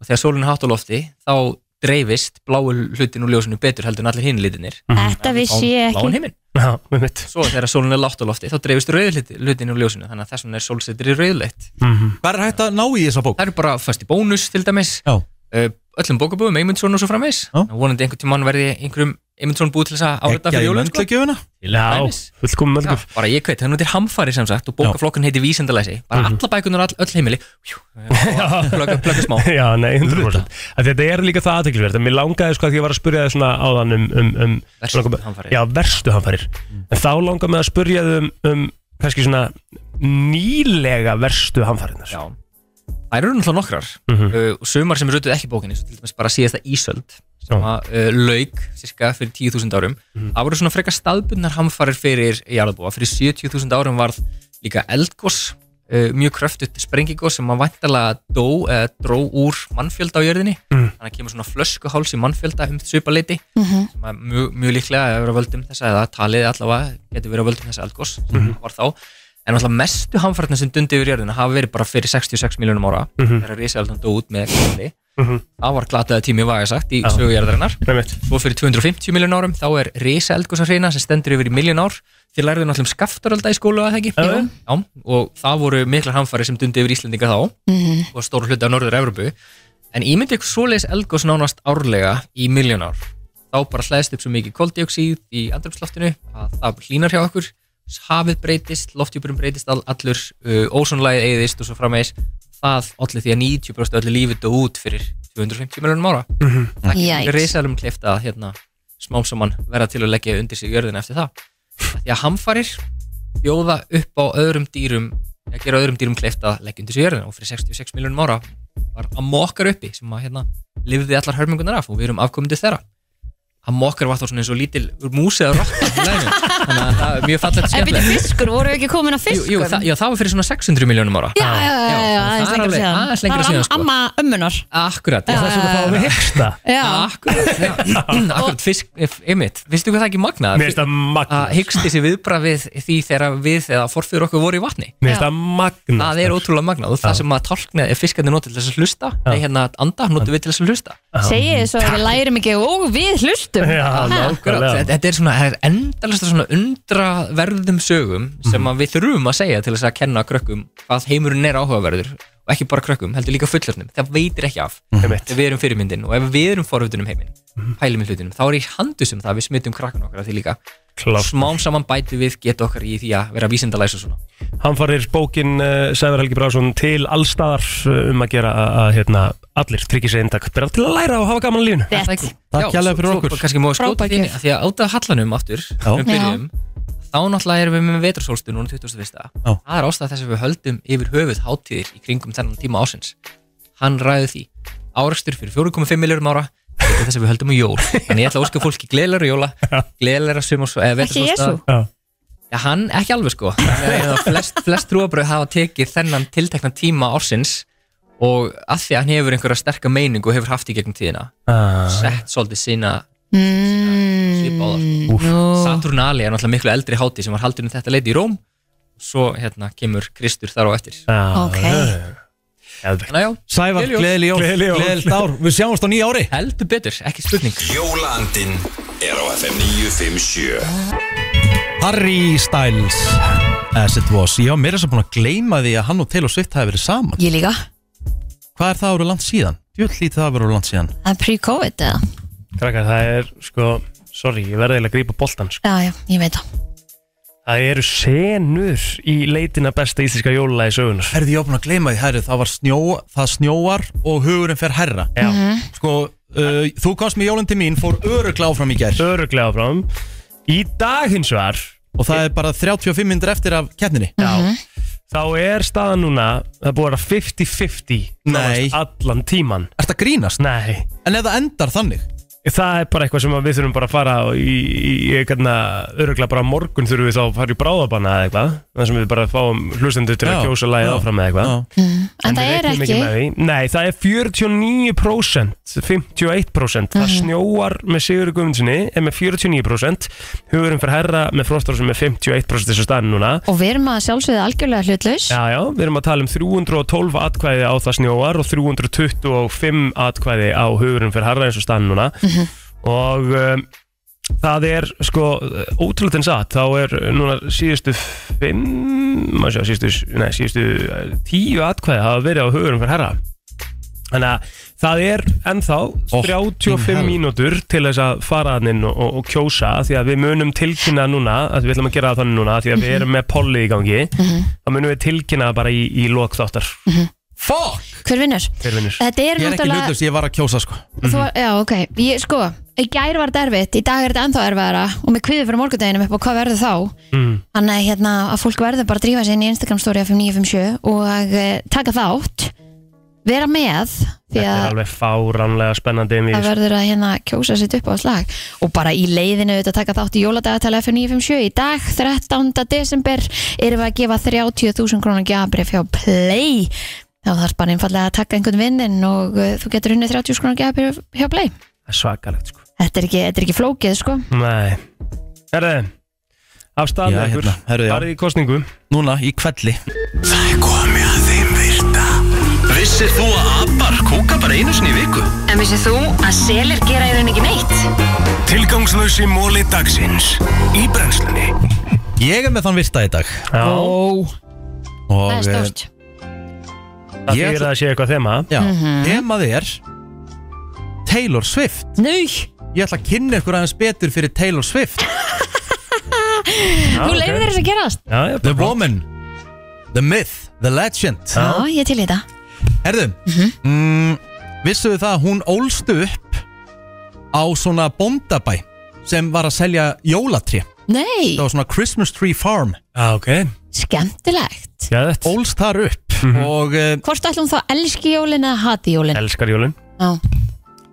S9: og þegar sólin er hátt á lofti þá dreifist bláu hlutin úr ljósinu betur heldur en allir hinn litinir
S1: Mm.
S3: Mhm.
S2: þetta vissi ég
S9: bláin
S2: ekki
S9: heiminn
S3: Já, einmitt
S9: svo þegar sólun er látt á lofti þá dreifist rauðlutin úr ljósinu þannig að þess vegna er sólsetur í rauðleitt
S1: Hvað er hægt að ná í þessa bók?
S9: það eru bara fast í bónus til dæmis
S1: Já.
S9: Ö, öllum bókabúðum, Eymundsson og svo framvegs
S1: Já.
S9: Þannig að vonandi einhvern tímann verði einhverjum Eymundsson búið til þess að álita
S1: Eggja
S9: fyrir
S1: í
S9: jólun sko.
S1: möndlugjöfuna?
S3: Já,
S9: Dæmis.
S3: fullkomum
S9: Já,
S3: mörgum
S9: bara ég kveit, þannig að þetta er hamfari sem sagt og bókaflokkun heiti vísindalæsi bara
S3: Mhm.
S9: mm -hmm. alla bækunar og all, öll heimili hjú, og plögga, plögga smá
S3: Já, nei, 100% Að Þetta er líka það aðteklisvert Mér langaði sko að því ég var að spyrja þið svona áðan um, um, um
S9: Verstu
S3: langar mig-
S9: hamfarir. Mm.
S3: Já, verstu hamfarir En þá langar mig að spyrja þið um, um kannski svona nýlega verstu hamfarinnar
S9: Já. það eru náttúrulega nokkrar mm
S3: Mhm.
S9: og sumar sem eru auðvitað ekki í bókinni svo til dæmis bara síðasta Ísöld sem
S3: Já. Mhm.
S9: að uh, lauk cirka fyrir 10.000 árum það voru svona frekar staðbundnar hamfarir fyrir jarðbúa, fyrir 70.000 árum varð líka eldgós uh, mjög kröftut sprengigós sem að væntalega dó eða dró úr mannfjölda á jörðinni
S3: Mhm.
S9: þannig að kemur svona flöskuháls í mannfjölda um svipaleiti
S2: Mhm.
S9: sem að mjög, mjög líklega hefur verið að völdum þessa eða talið allavega getur verið að völdum þessa eldgós sem
S3: Mhm.
S9: var þá en alltaf mestu hamfarnar sem dundi yfir jörðina hafa verið bara fyrir 66 miljónum ára
S3: Mhm.
S9: þegar risaeldan dó út með kalli
S3: Mhm.
S9: það var glataði tími vaga sagt í
S3: Já.
S9: sögu jörðarinnar
S3: Einmitt.
S9: svo fyrir 250 miljón árum þá er risaeldgósarhreina sem stendur yfir í miljón ár þið lærðu náttúrulega um skaftarölda í skólu að það ekki
S3: Já.
S9: Já, og það voru miklar hamfari sem dundi yfir Íslendinga þá
S2: Mhm.
S9: og stóru hluti á Norður-Evropu en ímyndi ykkur svoleiðis eldgós nánast árlega í miljón ár þá bara hlæðist upp svo mikið koldioksíð í andrumsloftinu að það hlínar hjá okkur hafið breytist, loftjúpurum breytist all, allur, uh, ósónlægið eigðist og svo framvegis það allir því að 90% öllu lífið dó út fyrir 250 miljonum ára það
S2: Yikes.
S9: getur reysalum kleift að hérna, smám saman verða til að leggja undir sig jörðina eftir það Af því að hamfarir bjóða upp á öðrum dýrum að gera öðrum dýrum kleift að leggja undir sig jörðina og fyrir 66 miljonum ára var að mokkar uppi sem að hérna lifði allar hörmungunar af og við erum afkomandi þeirra hann mokkar vatn á svona eins og lítil músið að rotta í læðinu þannig að það er mjög fallegt og
S2: En byrju
S9: skemmtilegt.
S2: fiskur, voru við ekki komin að
S9: Jú,
S2: fiskum?
S9: jú, það, já, það var fyrir svona 600 miljónum ára
S2: Já, já, já, já,
S9: það er
S2: aðeins lengra
S9: alveg-
S2: síðan
S9: aðeins lengra
S2: Það var
S9: síðan,
S2: am-
S9: sko.
S2: amma ömmunar
S9: Akkurat
S2: Já, þess vegna fáum við
S9: hegsta
S2: Já,
S9: Akkurat, fisk, ef- einmitt, veistu hvað það Ah, er ekki magnað?
S3: Mér finnst það magnað.
S9: Að hyggst þessi viðbrað við því þegar við eða forfyrir okkur voru í vatni
S3: Mér finnst það magnað sko.
S9: Það er ótrúlega magnað og það sem að tálkna er fiskandi notið til þess að hlusta Nei, hérna að anda, notið við til þess að hlusta
S2: segið þið svo að við lærum ekki og við hlustum Ha?
S9: Akkurat, þetta- Þetta er svona, það er endalasta svona undraverðum sögum sem að við þurfum að segja til þess að kenna krökkum að heimurinn er áhugaverður og ekki bara krökkum, heldur líka fullöfnum það veitir ekki af,
S3: Einmitt.
S9: Ef við erum fyrirmyndin og ef við erum forvöldunum heiminn pælum í hlutinum, þá er ég handu sem það við smittum krakkan okkar af því líka
S3: Klárt.
S9: smám saman bæti við geta okkar í því að vera vísindalæs og svona
S3: Hann farir bókin uh, Sævar Helgi Brásson til allstaðar uh, um að gera að- að hérna, allir tryggja sér inntak bara til að læra og hafa gaman í lífinu
S2: Rétt.
S9: Takk hérlega fyrir okkur Kanski má skjóta
S3: Frábær
S9: því að því að átað hallanum aftur um byrjum, þá náttúrulega erum við með vetrarsólstu núna 21. Það er ástæða þess að við höldum yfir höfuð hátíðir í kringum þennan tíma ásins Hann ræði því árakstur fyrir 4,5 miljórum ára þetta er þess að við höldum á jól Þannig ég ætla að óska fólki gleðilega jóla gleðilega sumars eða
S3: Ekki
S9: vetrarsólsta
S3: Jesú? Já.
S9: Já, hann ekki alveg sko Þannig að flest, flest trúabröð hafa tekið þennan tiltekna tíma ársins og að því að hann hefur einhverja sterka meiningu og hefur haft í gegnum tíðina
S3: Ah.
S9: sett svolítið sína
S2: Mm, nú.
S9: Saturnali er náttúrulega miklu eldri hátíð sem var haldin um þetta leiti í Róm svo hérna kemur Kristur þar á eftir
S2: Ok.
S9: Þannig að já,
S1: Ah. Sævar, gleðileg jól, gleðilegt ár. Við sjáumst á nýja ári
S9: Heldur betur, ekki spurning
S11: Jólaandinn er á FM 957
S1: Harry Styles As it was Ég var meira sem búin að gleyma því að hann og Taylor Swift hafi verið saman
S2: Ég líka
S1: Hvað er það ára langt síðan? Jú, lítið það verið ára langt síðan
S2: Það er pre-covid eða?
S3: Krakka, það er sko, sorry, ég verði eiginlega að grípa boltan sko.
S2: Já, já, ég veit það
S3: Það eru senur í leitina besta íslenska jólulega í sögunar
S1: Herði, ég var búin að gleyma því, herri, það var snjó Það snjóar og hugurinn fer herra
S3: Já.
S1: Sko, uh, þú komst með jólinn til mín Fór öruglega áfram í gær
S3: Öruglega áfram Í dag hins vegar
S1: Og það er bara 35 myndir eftir af keppninni
S3: Já Þá er staðan núna, það er búið að vera 50-50 Nei Allan tíman
S1: Er þetta grínast?
S3: Nei
S1: En ef það endar þannig?
S3: Það er bara eitthvað sem að við þurfum bara að fara í, í, í öruglega bara á morgun þurfum við þá að fara í bráðabanna eða eitthvað þar sem við bara fáum hlustendur til að
S1: Já,
S3: kjósa lagið
S1: já,
S3: áfram eða eitthvað
S2: En það
S3: við
S2: er
S3: reiknum
S2: ekki
S3: með því. Nei, það er 49% 51% Það
S2: Mhm.
S3: snjóar með Sigur Guðmundssoni er með 49% Hugurinn fyrir herra með Frostar sem er 51% þessu staðin núna
S2: Og við erum að sjálfsögðu algjörlega hlutlaus
S3: Já, já, við erum að tala um 312 atkvæði á það snjóar og 325 atkvæði á hugurinn fyrir herra eins og staðan núna
S2: Mhm.
S3: og um, það er sko ótrúlega en satt, þá er núna síðustu fimm, maður sé, síðustu, nei, síðustu eh, tíu atkvæði hafa verið á hugurinn fyrir herra Þannig að það er ennþá 35
S1: Mm, hell.
S3: mínútur til þess að fara hann inn og, og, og kjósa því að við munum tilkynna núna, að við ætlum að gera það þannig núna því að
S1: Mhm.
S3: við erum með polli í gangi þá munum við tilkynna það bara í, í lok þáttar
S1: Mhm. Fuck!
S2: Hver vinnur?
S3: Hver vinnur?
S2: Þetta er
S1: Ég er ekki
S2: náttúrulega
S1: hlutlaus, ég var að kjósa sko
S2: Þú, já, ok, ég, sko, í gær var þetta erfitt, í dag er þetta ennþá erfiðara og með kviði fyrir morgundeginum upp á hvað verður þá
S3: mm.
S2: Þannig að, hérna, að fólk verður bara að drífa sig inn í Instagram story af 5957 og eh, taka þátt vera með því
S3: Þetta er
S2: að
S3: alveg fáránlega spennandi um
S2: það verður að hérna kjósa sitt upp á slag og bara í leiðinu auðvitað taka þátt í jóladagatæla F957 í dag 13. desember erum við að gefa 30.000 krónar gjabrif hjá Play þá þarf bara einfallega að taka einhvern vinnin og uh, þú getur unnið 30 krónar gjabrif hjá Play
S3: Það er svakalegt sko
S2: þetta er ekki, þetta er ekki flókið sko
S3: Nei Herðu, af stað
S1: Já,
S3: með ykkur
S1: hérna, herðu, já.
S3: Farið í kostningu
S1: Núna, í kvelli
S11: Það er komið að þeim virta Vissir þú að abar kúka bara einu sinni í viku?
S10: En vissið þú að selir gera í rauninni ekki neitt?
S11: Tilgangslösi móli dagsins Í brennslunni
S1: Ég er með þann virta í dag
S3: Já
S1: Og
S2: það
S1: eh,
S2: er stórt
S3: Það
S1: Ég
S3: fyrir að
S1: ætla-
S3: það sé eitthvað þema
S1: Já, temað er Taylor Swift
S2: Nei,
S1: Ég ætla að kynna ykkur aðeins betur fyrir Taylor Swift
S2: þú leiðir þér þess að gerast
S3: Já, já,
S1: The woman, the myth, the legend
S2: Já, ég til í þetta
S1: Herðu, mm, vissu við það að hún ólst upp á svona bóndabæ sem var að selja jólatri
S2: Nei,
S1: Það var svona Christmas Tree Farm
S3: Já, ok
S2: skemmtilegt
S3: Gæðett
S1: Ólst þar upp og uh,
S2: Hvort ætlum þá elski jólin eða hati jólin?
S3: Elskar jólun
S2: Já,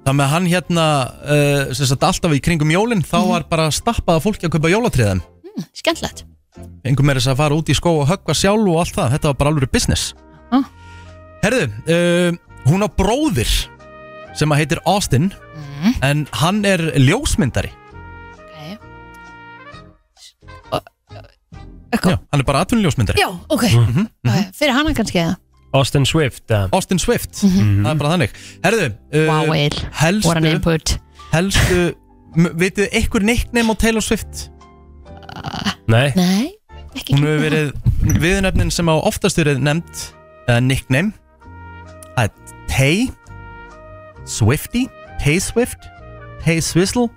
S1: Þannig að hann hérna, uh, sem sagt alltaf í kringum jólinn, þá var bara stappaða fólki að kaupa jólatriðum.
S2: Mm, skemmtilegt.
S1: Engum er þess að fara út í skó og höggva sjálf og allt það. Þetta var bara alveg business.
S2: Ah.
S1: Herðu, uh, hún á bróðir sem að heitir Austin,
S2: Mhm.
S1: en hann er ljósmyndari.
S2: Já,
S1: hann er bara atvinnuljósmyndari.
S2: Já, ok. Ok, Fyrir hana kannski eða?
S1: Austin Swift Austin Swift, það er bara þannig Herðu, uh,
S2: Mhm. Wow, eh. Egill.
S1: helstu,
S2: What an input.
S1: Helstu, m- vitið þið einhver nickname á Taylor Swift? Nei,
S2: Nei
S1: Hún hefur verið viðnefnin sem á oftast verið nefnd uh, nickname Það er Tay Swifty, Tay Swift Tay Swizzle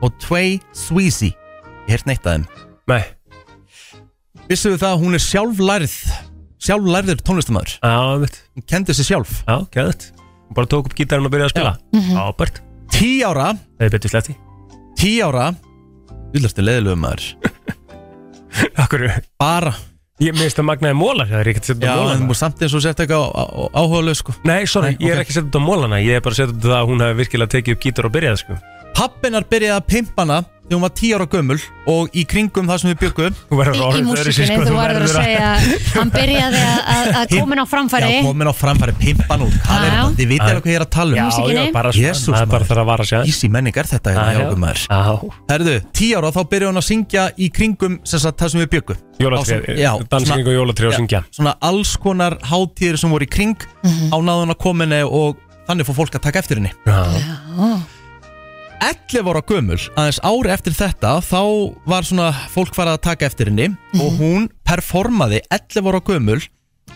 S1: og Tway Sweezy Ég hef neitt að þeim Nei Vissuðu það að hún er sjálflærð Sjálflærður tónlistamæður Já, veit Hún kendi sig sjálf Já, gæðt Hún bara tók upp gítarinn og byrjaði að spila
S3: Mhm.
S1: Ábært Tí ára Það er betur slefti Tí ára Útlastu leðilögum maður Akkur Bara Ég minnst að magnaði mólar Það er ekki að setja
S3: á
S1: Já,
S3: mólana.
S1: en þú samt eins og setja eitthvað áhugaðlega sko
S3: Nei, sorry, ég er ekki að setja þetta á mólana Ég er bara að setja þetta að hún hafi virkilega tekið upp gítar og byrjað sko.
S1: Pappinar byrjaði að pimpa hana þegar hún var 10 ára gömul og í kringum það sem við byggum Þú
S2: Í, í músikinni,
S3: um
S2: þú varður að segja Hann byrjaði að- að að
S1: Hinn-
S2: komin á framfæri
S1: Já, komin á framfæri, pimpa nú Hvað er
S2: Já.
S1: þetta? Þið vitið
S2: Já.
S1: alveg hvað ég er að tala um
S2: Já, Músikinni. já, bara
S1: svona Jesus, Það er bara þar að vara sér Ísi menning er þetta
S3: Já,
S1: hérna
S3: já.
S1: hjá okkur maður Herðu, 10 ára þá byrjaði hún að syngja í kringum sem sagt, það sem við byggum
S3: Jólatré,
S1: Á- já,
S3: dansa
S1: svona-
S3: kring og jólatré og
S1: Já,
S3: syngja.
S1: Svona alls konar hátíðir sem voru í kring á náðun að kominni og þannig fór fólk að taka eftir henni Já 11 ára gömul, aðeins ári eftir þetta þá var svona fólk farið að taka eftir henni og hún performaði 11 ára gömul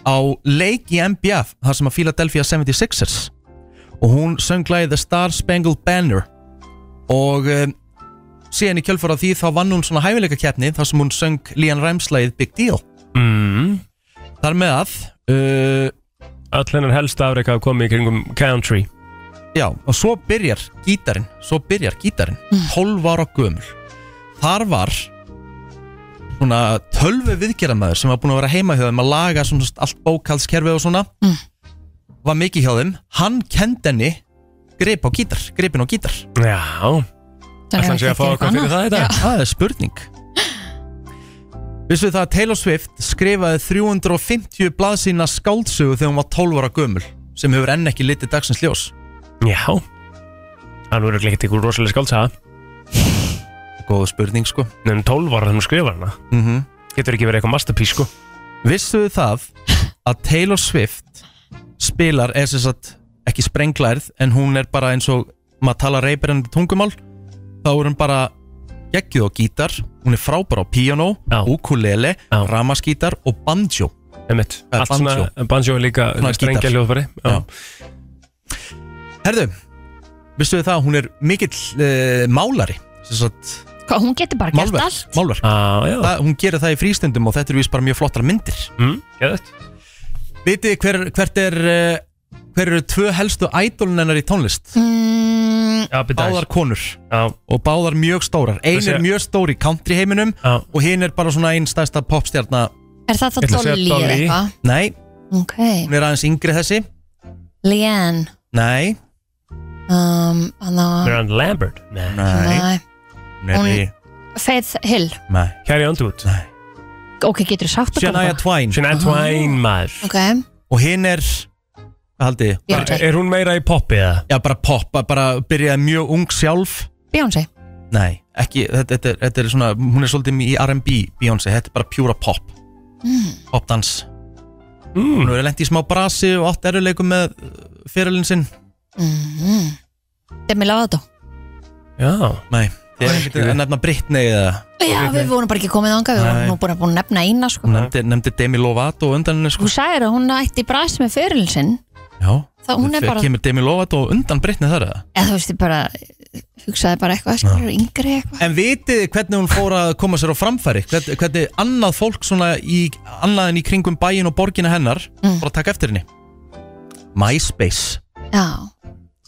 S1: á leik í MBF, þar sem að Philadelphia 76ers og hún sönglaði The Star Spangled Banner og um, síðan í kjölfara því þá vann hún svona hæfileika keppni þar sem hún söng Lían Ræmslæðið Big Deal mm. Þar með að uh,
S3: Öll hennar helst afreika að koma í kringum country
S1: Já, og svo byrjar gítarinn Svo byrjar gítarinn 12 ára gömul Þar var Svona tölvu viðgerðamæður sem var búin að vera heima hjá þeim að laga svona allt bókalskerfi og svona Var mikið hjá þeim Hann kend henni grip á gítar, gripin á gítar Já
S3: Þannig Ætli hann sé að fá eitthvað eitthvað fyrir annað. það í dag? Já.
S1: Það er spurning Vissu það að Taylor Swift skrifaði 350 blaðsína skáldsögu þegar hún var 12 ára gömul sem hefur enn ekki litið dagsins ljós Já Hann verður ekki eitthvað rosalega skáldsaga Góð spurning sko
S3: Nefnum 12 um ára þegar hún skrifar hana
S1: Mhm.
S3: Getur ekki verið eitthvað masterpiece sko
S1: Vissu það að Taylor Swift spilar er sem sagt ekki sprenglærð en hún er bara eins og maður tala reyperandi tungumál þá er hún bara geggjuð á gítar hún er frábær á piano, ukulele, ramaskítar og banjo Emmett,
S3: Allt svona- um banjo er líka strengja hljóðfæri, já.
S1: Herðu, vissu það að hún er mikill uh, málari sem sagt
S2: Hvað, Hún getur bara gert allt
S1: Málverk, málverk. Ah, það, Hún gerir það í frístundum og þetta er vís bara mjög flottar myndir mm, Vitið þið hver, hvert er eh, hver eru tvö helstu ædólun hennar í tónlist?
S2: mm,
S1: báðar konur Já. og báðar mjög stórar Ein
S3: Þessi-
S1: er mjög stór í country heiminum Já. og hinn er bara svona einn stærsta popstjarna
S2: Er það þá Dolly eða eitthvað?
S1: Nei,
S2: Ok,
S1: hún er aðeins yngri þessi
S2: Leanne
S1: Nei
S2: um, hana,
S1: Miranda Lambert Nei,
S2: Nei.
S1: Nei.
S2: Hún- Faith Hill
S1: Nei.
S3: Carrie Underwood
S2: Ok, getur þú sagt okkur
S1: Shania
S2: það?
S1: Twain
S3: Shania Twain maður
S2: Ok,
S1: og hinn er hvað haldið þið?
S2: Björk. Er-
S1: hún meira í poppi eða? Já, bara popp, bara- bara byrjaði mjög ung sjálf
S2: Beyoncé
S1: Nei, ekki, þetta, þetta, er- þetta er svona hún er svolítið í R&B Beyoncé, þetta er bara pjúra pop
S2: mm.
S1: popdans mm. hún er lent í smá brasi og átt eruleikum með fyrirlin sinn
S2: Mm. Demi Lovato
S1: Já Nei, þið er ekkert að nefna Britney eða
S2: Já, við vorum bara ekki komið ánga Við
S1: Nei.
S2: vorum nú búin að búin að nefna eina sko.
S1: hún nefndi, nefndi Demi Lovato og undan henni sko
S2: Þú sagðir að hún ætti bræst með fyrirlin sinn
S1: Já,
S2: Það- hún er
S1: Þegar
S2: bara-
S1: kemur Demi Lovato og undan Britney þar eða
S2: Eða þú veist, ég bara hugsaði bara eitthvað skilur, yngri eitthvað
S1: En vitið þið hvernig hún fór að koma sér á framfæri hvernig, hvernig annað fólk svona í, annað en í kringum bæin og borgina hennar
S2: Mm.
S1: fór að taka eftir henni MySpace
S2: Já,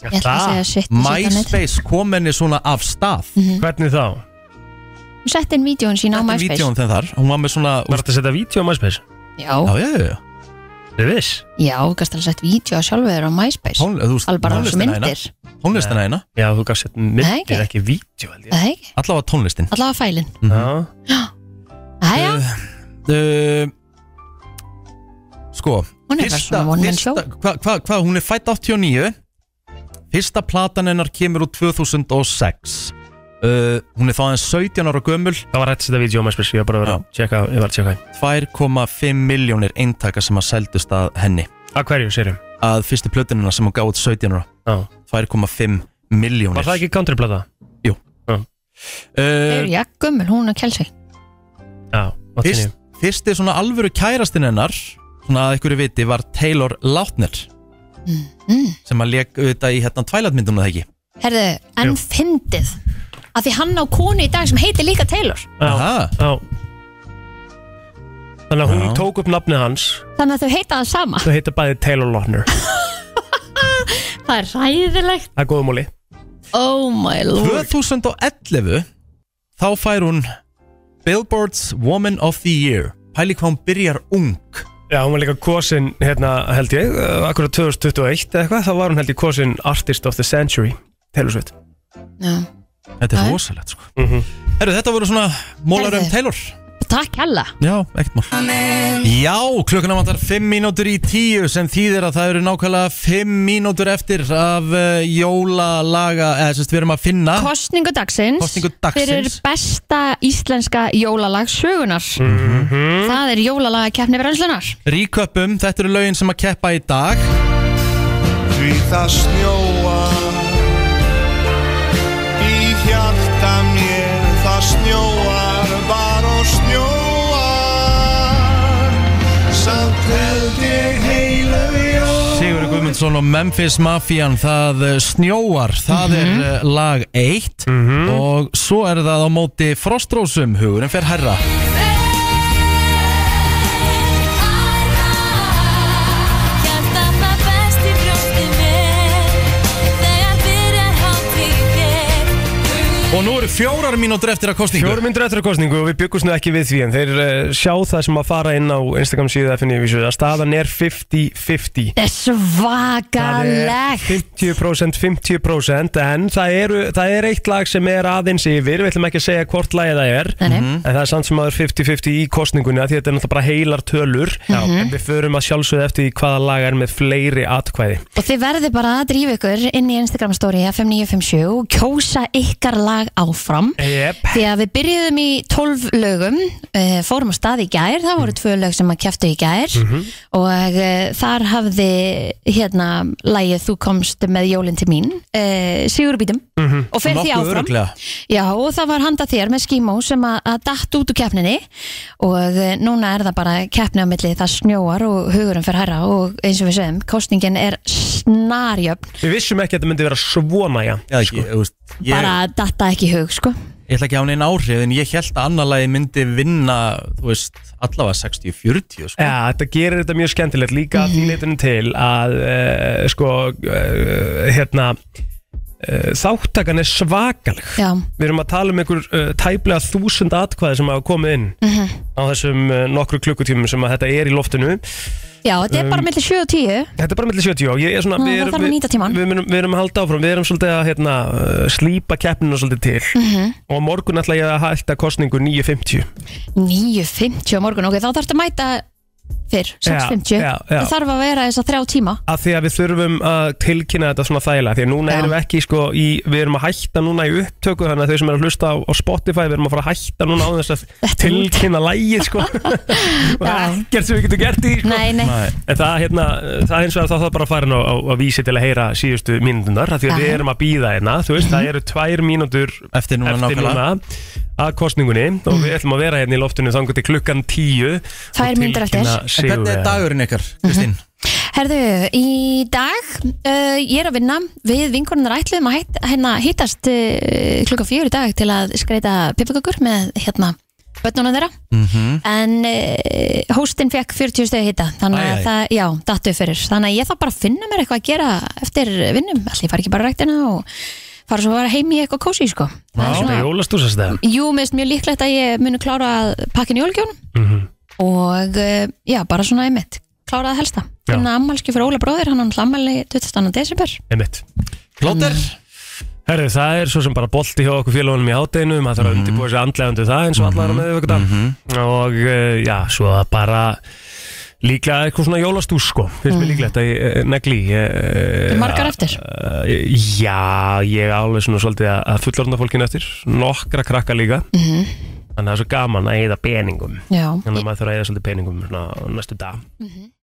S2: ég ætla að segja shit
S1: MySpace kom henni svona af stað Hvernig þá?
S2: Hún sett inn vídjón sín á MySpace
S1: Vídeón þenn þar, hún var með svona Var þetta að setja vídeo á MySpace?
S2: Já,
S1: Já, já, já, já Þið viss?
S2: já, gæst alveg sett vídjó sjálfur á MySpace
S1: Tón, þú,
S2: Alveg bara á þessu
S1: tónlistina
S2: myndir
S1: þína. tónlistina eina
S3: Já, þú gafst sett
S2: Nei, ekki.
S3: myndir, ekki vídeo held ég
S2: Það er ekki,
S1: Allavega tónlistin
S2: allavega fælin
S3: Já
S2: Æja,
S1: Eh, uh, Sko
S2: Hún er bara svona one man
S1: fyrsta, hva, hva, hva, Hún er fætt 89 Fyrsta platan hennar kemur úr 2006 uh, Hún er þá aðeins 17 ára gömul
S3: Það var rétt sétta vídeo á MySpace, ég var bara að vera að tjekka, ég var að tjekka
S1: 2,5 miljónir eintaka sem að seldust að henni
S3: Að hverju, sérum?
S1: Að fyrstu plötunina sem hún gáði 17 ára
S3: Já.
S1: 2,5 miljónir
S3: Var það ekki countryplata?
S1: Jú
S2: er
S1: uh,
S2: ég gömul, hún og kelsi
S3: Já,
S1: fyrst, Fyrsti svona alvöru kærastinn hennar Svona að ykkur viti var Taylor Lautner
S2: mm.
S1: sem að leik auðvitað í hérna tvælatmyndunum það ekki
S2: Herðu, en fyndið að því hann á konu í dag sem heitir líka Taylor
S1: Aha.
S3: Já Þannig að hún tók upp nafnið hans
S2: þannig að þau heita það sama
S3: Þau heita bæði Taylor Lautner
S2: Það er ræðilegt
S3: Það er góðum múli
S2: Oh my lord
S1: 2011 þá fær hún Billboard's Woman of the Year Pæli hvað hún byrjar ung
S3: Já, hún var líka kosin, hérna, held ég uh, Akkurat 2021 eða eitthvað Þá var hún held ég kosin Artist of the Century Taylor Swift
S1: Þetta
S2: Já,
S1: er
S2: já.
S1: rosalegt sko Herru, þetta voru svona mólar um
S2: Herðu.
S1: Taylor
S2: Takk hella
S1: Já, ekkert mál Já, klukkuna vantar 5 mínútur í 10 sem þýðir að það eru nákvæmlega 5 mínútur eftir af uh, jólalaga eða sem sagt, við erum að finna
S2: Kostningu
S1: Ah.
S2: dagsins,
S1: Kosningu dagsins.
S2: Fyrir besta íslenska jólalag sögunar
S1: Mhm.
S2: Það er jólalagakeppni brennslunar
S1: Ríköpum, þetta eru lögin sem að keppa í dag
S4: Því það snjóa Í hjarta mér það snjóar Bara og snjóar Samt held ég heilu jól
S1: Sigur Guðmundsson og Memphis Mafian það eh, snjóar, það er eh, lag 1 og svo er það á móti Frostrósum hugurinn fer herra og nú eru fjórar mínútur eftir að kostningu
S3: Fjórum myndur eftir að kostningu og við byggumst nú ekki við því en þeir uh, sjá það sem að fara inn á Instagram síðu FNF að staðan er 50-50
S2: Það er svakalegt
S3: 50% 50% en það, eru, það er eitt lag sem er aðeins yfir við ætlum ekki að segja hvort lagi það er Mhm.
S2: Nei, nei.
S3: en það er samt sem aður 50-50 í kostningunni af því þetta er náttúrulega bara heilar tölur Já. en við förum að sjálfsögðu eftir því hvaða lag er með fleiri atkvæði
S2: Og þið verðið bara að drífa ykkur inn í Instagram story FM957 og kjósa ykkar lag áfram
S3: yep.
S2: Því að við byrjuðum í 12 lögum, uh, fórum á stað í gær, það
S1: Mhm.
S2: voru tvö lög sem að kæftu í gær og uh, þar hafði hérna lægið Þú komst með jólinn til mín, uh, Sigurbítum
S1: Mhm.
S2: og fer því áfram. Já og það var handa þér með skímó sem að, að datt út úr keppninni og eh, núna er það bara keppni á milli það snjóar og hugurum fer herra og eins og við segjum kostningin er snarjöfn
S3: Við vissum ekki að þetta myndi vera svona já,
S1: Já, sko. ég, úst, ég,
S2: bara datta ekki í hug sko
S1: ég ætla ekki að hafa neina áhrif en ég held að annar lagi myndi vinna þú veist, allavega 60-40 sko.
S3: Já, þetta gerir þetta mjög skemmtilegt líka mm. þínleitinu til að uh, sko uh, hérna uh, þáttakan er svakaleg
S2: Já,
S3: Við erum að tala um einhver uh, tæplega þúsund atkvæði sem hafa komið inn
S2: Mhm.
S3: á þessum uh, nokkru klukkutímum sem að þetta er í loftinu
S2: Já þetta er
S3: Um,
S2: bara milli 7 og 10
S3: Þetta er bara millir 70 og ég er svona
S2: Ná,
S3: við
S2: það
S3: erum-
S2: þarf að nýta tímann.
S3: Við, við, erum- við erum að halda áfram, við erum svolítið að hérna, uh, slípa keppnina svolítið til
S2: Mhm.
S3: og á morgun ætla ég að hætta kostningu 9.50
S2: 9.50 á morgun, ok, þá þarfst að mæta fyrr, 6.50
S3: Já, já, já.
S2: það þarf að vera þess að þrjá tíma
S3: að því að við þurfum að tilkynna þetta svona þægilega því að núna
S2: Já.
S3: erum við ekki sko í, við erum að hætta núna í upptöku þannig að þau sem eru að hlusta á, á Spotify við erum að fara að hætta núna á þess að tilkynna lægið sko og ekkert sem við getum gert í sko.
S2: Nei, nei. Nei.
S3: en það, hérna, það hins vegar þá það bara að fara inn á, á, á vísi til að heyra síðustu mínundar því að við
S2: Já.
S3: erum að býða hérna þú veist það eru tvær mínundur
S1: eftir Mhm. núna nákvæmlega.
S3: að kostningunni og við ætlum að vera hérna í loftinu þangu til klukkan tíu
S2: Tvær mínútur eftir.
S1: En hvernig er dagurinn ykkar, Kristín?
S2: Herðu, í dag uh, ég er að vinna við vinkonunar ætluðum að hætt, hérna, hittast uh, klukka fjör í dag til að skreita pippakökur með hérna bönnuna þeirra
S4: Mhm.
S2: en uh, hóstinn fekk 40 stegi hitta þannig
S4: Æ,
S2: að
S4: æ.
S2: það, já, dattu fyrir þannig að ég þarf bara að finna mér eitthvað að gera eftir vinnum, allir ég fari ekki bara á ræktina og fara svo bara heim í eitthvað kósi sko. Það er
S3: Það er
S2: svona-
S3: jólastúsast það
S2: Jú, mér finnst mjög líklegt að ég muni klára að pakkin jólgjónum og eh, já, bara svona einmitt klára að helsta
S3: Já.
S2: finna ammalski fyrir Óla bróðir, hann hann hlammali 22. desember
S3: Einmitt.
S1: Plóter
S3: Herðu, það er svo sem bara bolti hjá okkur félagunum í hátteginu maður þarf að
S1: Mhm.
S3: undirbúa sig andlega undir það eins og allar með ykkur dag og eh, já, svo að bara líklega eitthvað svona jólastús sko
S1: Mm.
S3: finnst mér
S2: Mhm.
S3: líklegt að ég eh, negli ég, eh,
S2: Margar
S3: að-
S2: eftir?
S3: eh, Já, ég er alveg svona svolítið að- að fullorðna fólkinu eftir nokkra krakka líka
S2: Mhm.
S3: þannig að það er svo gaman að eyða peningum
S2: Já.
S3: þannig að maður þarf að eyða svolítið peningum svona, á næstu dag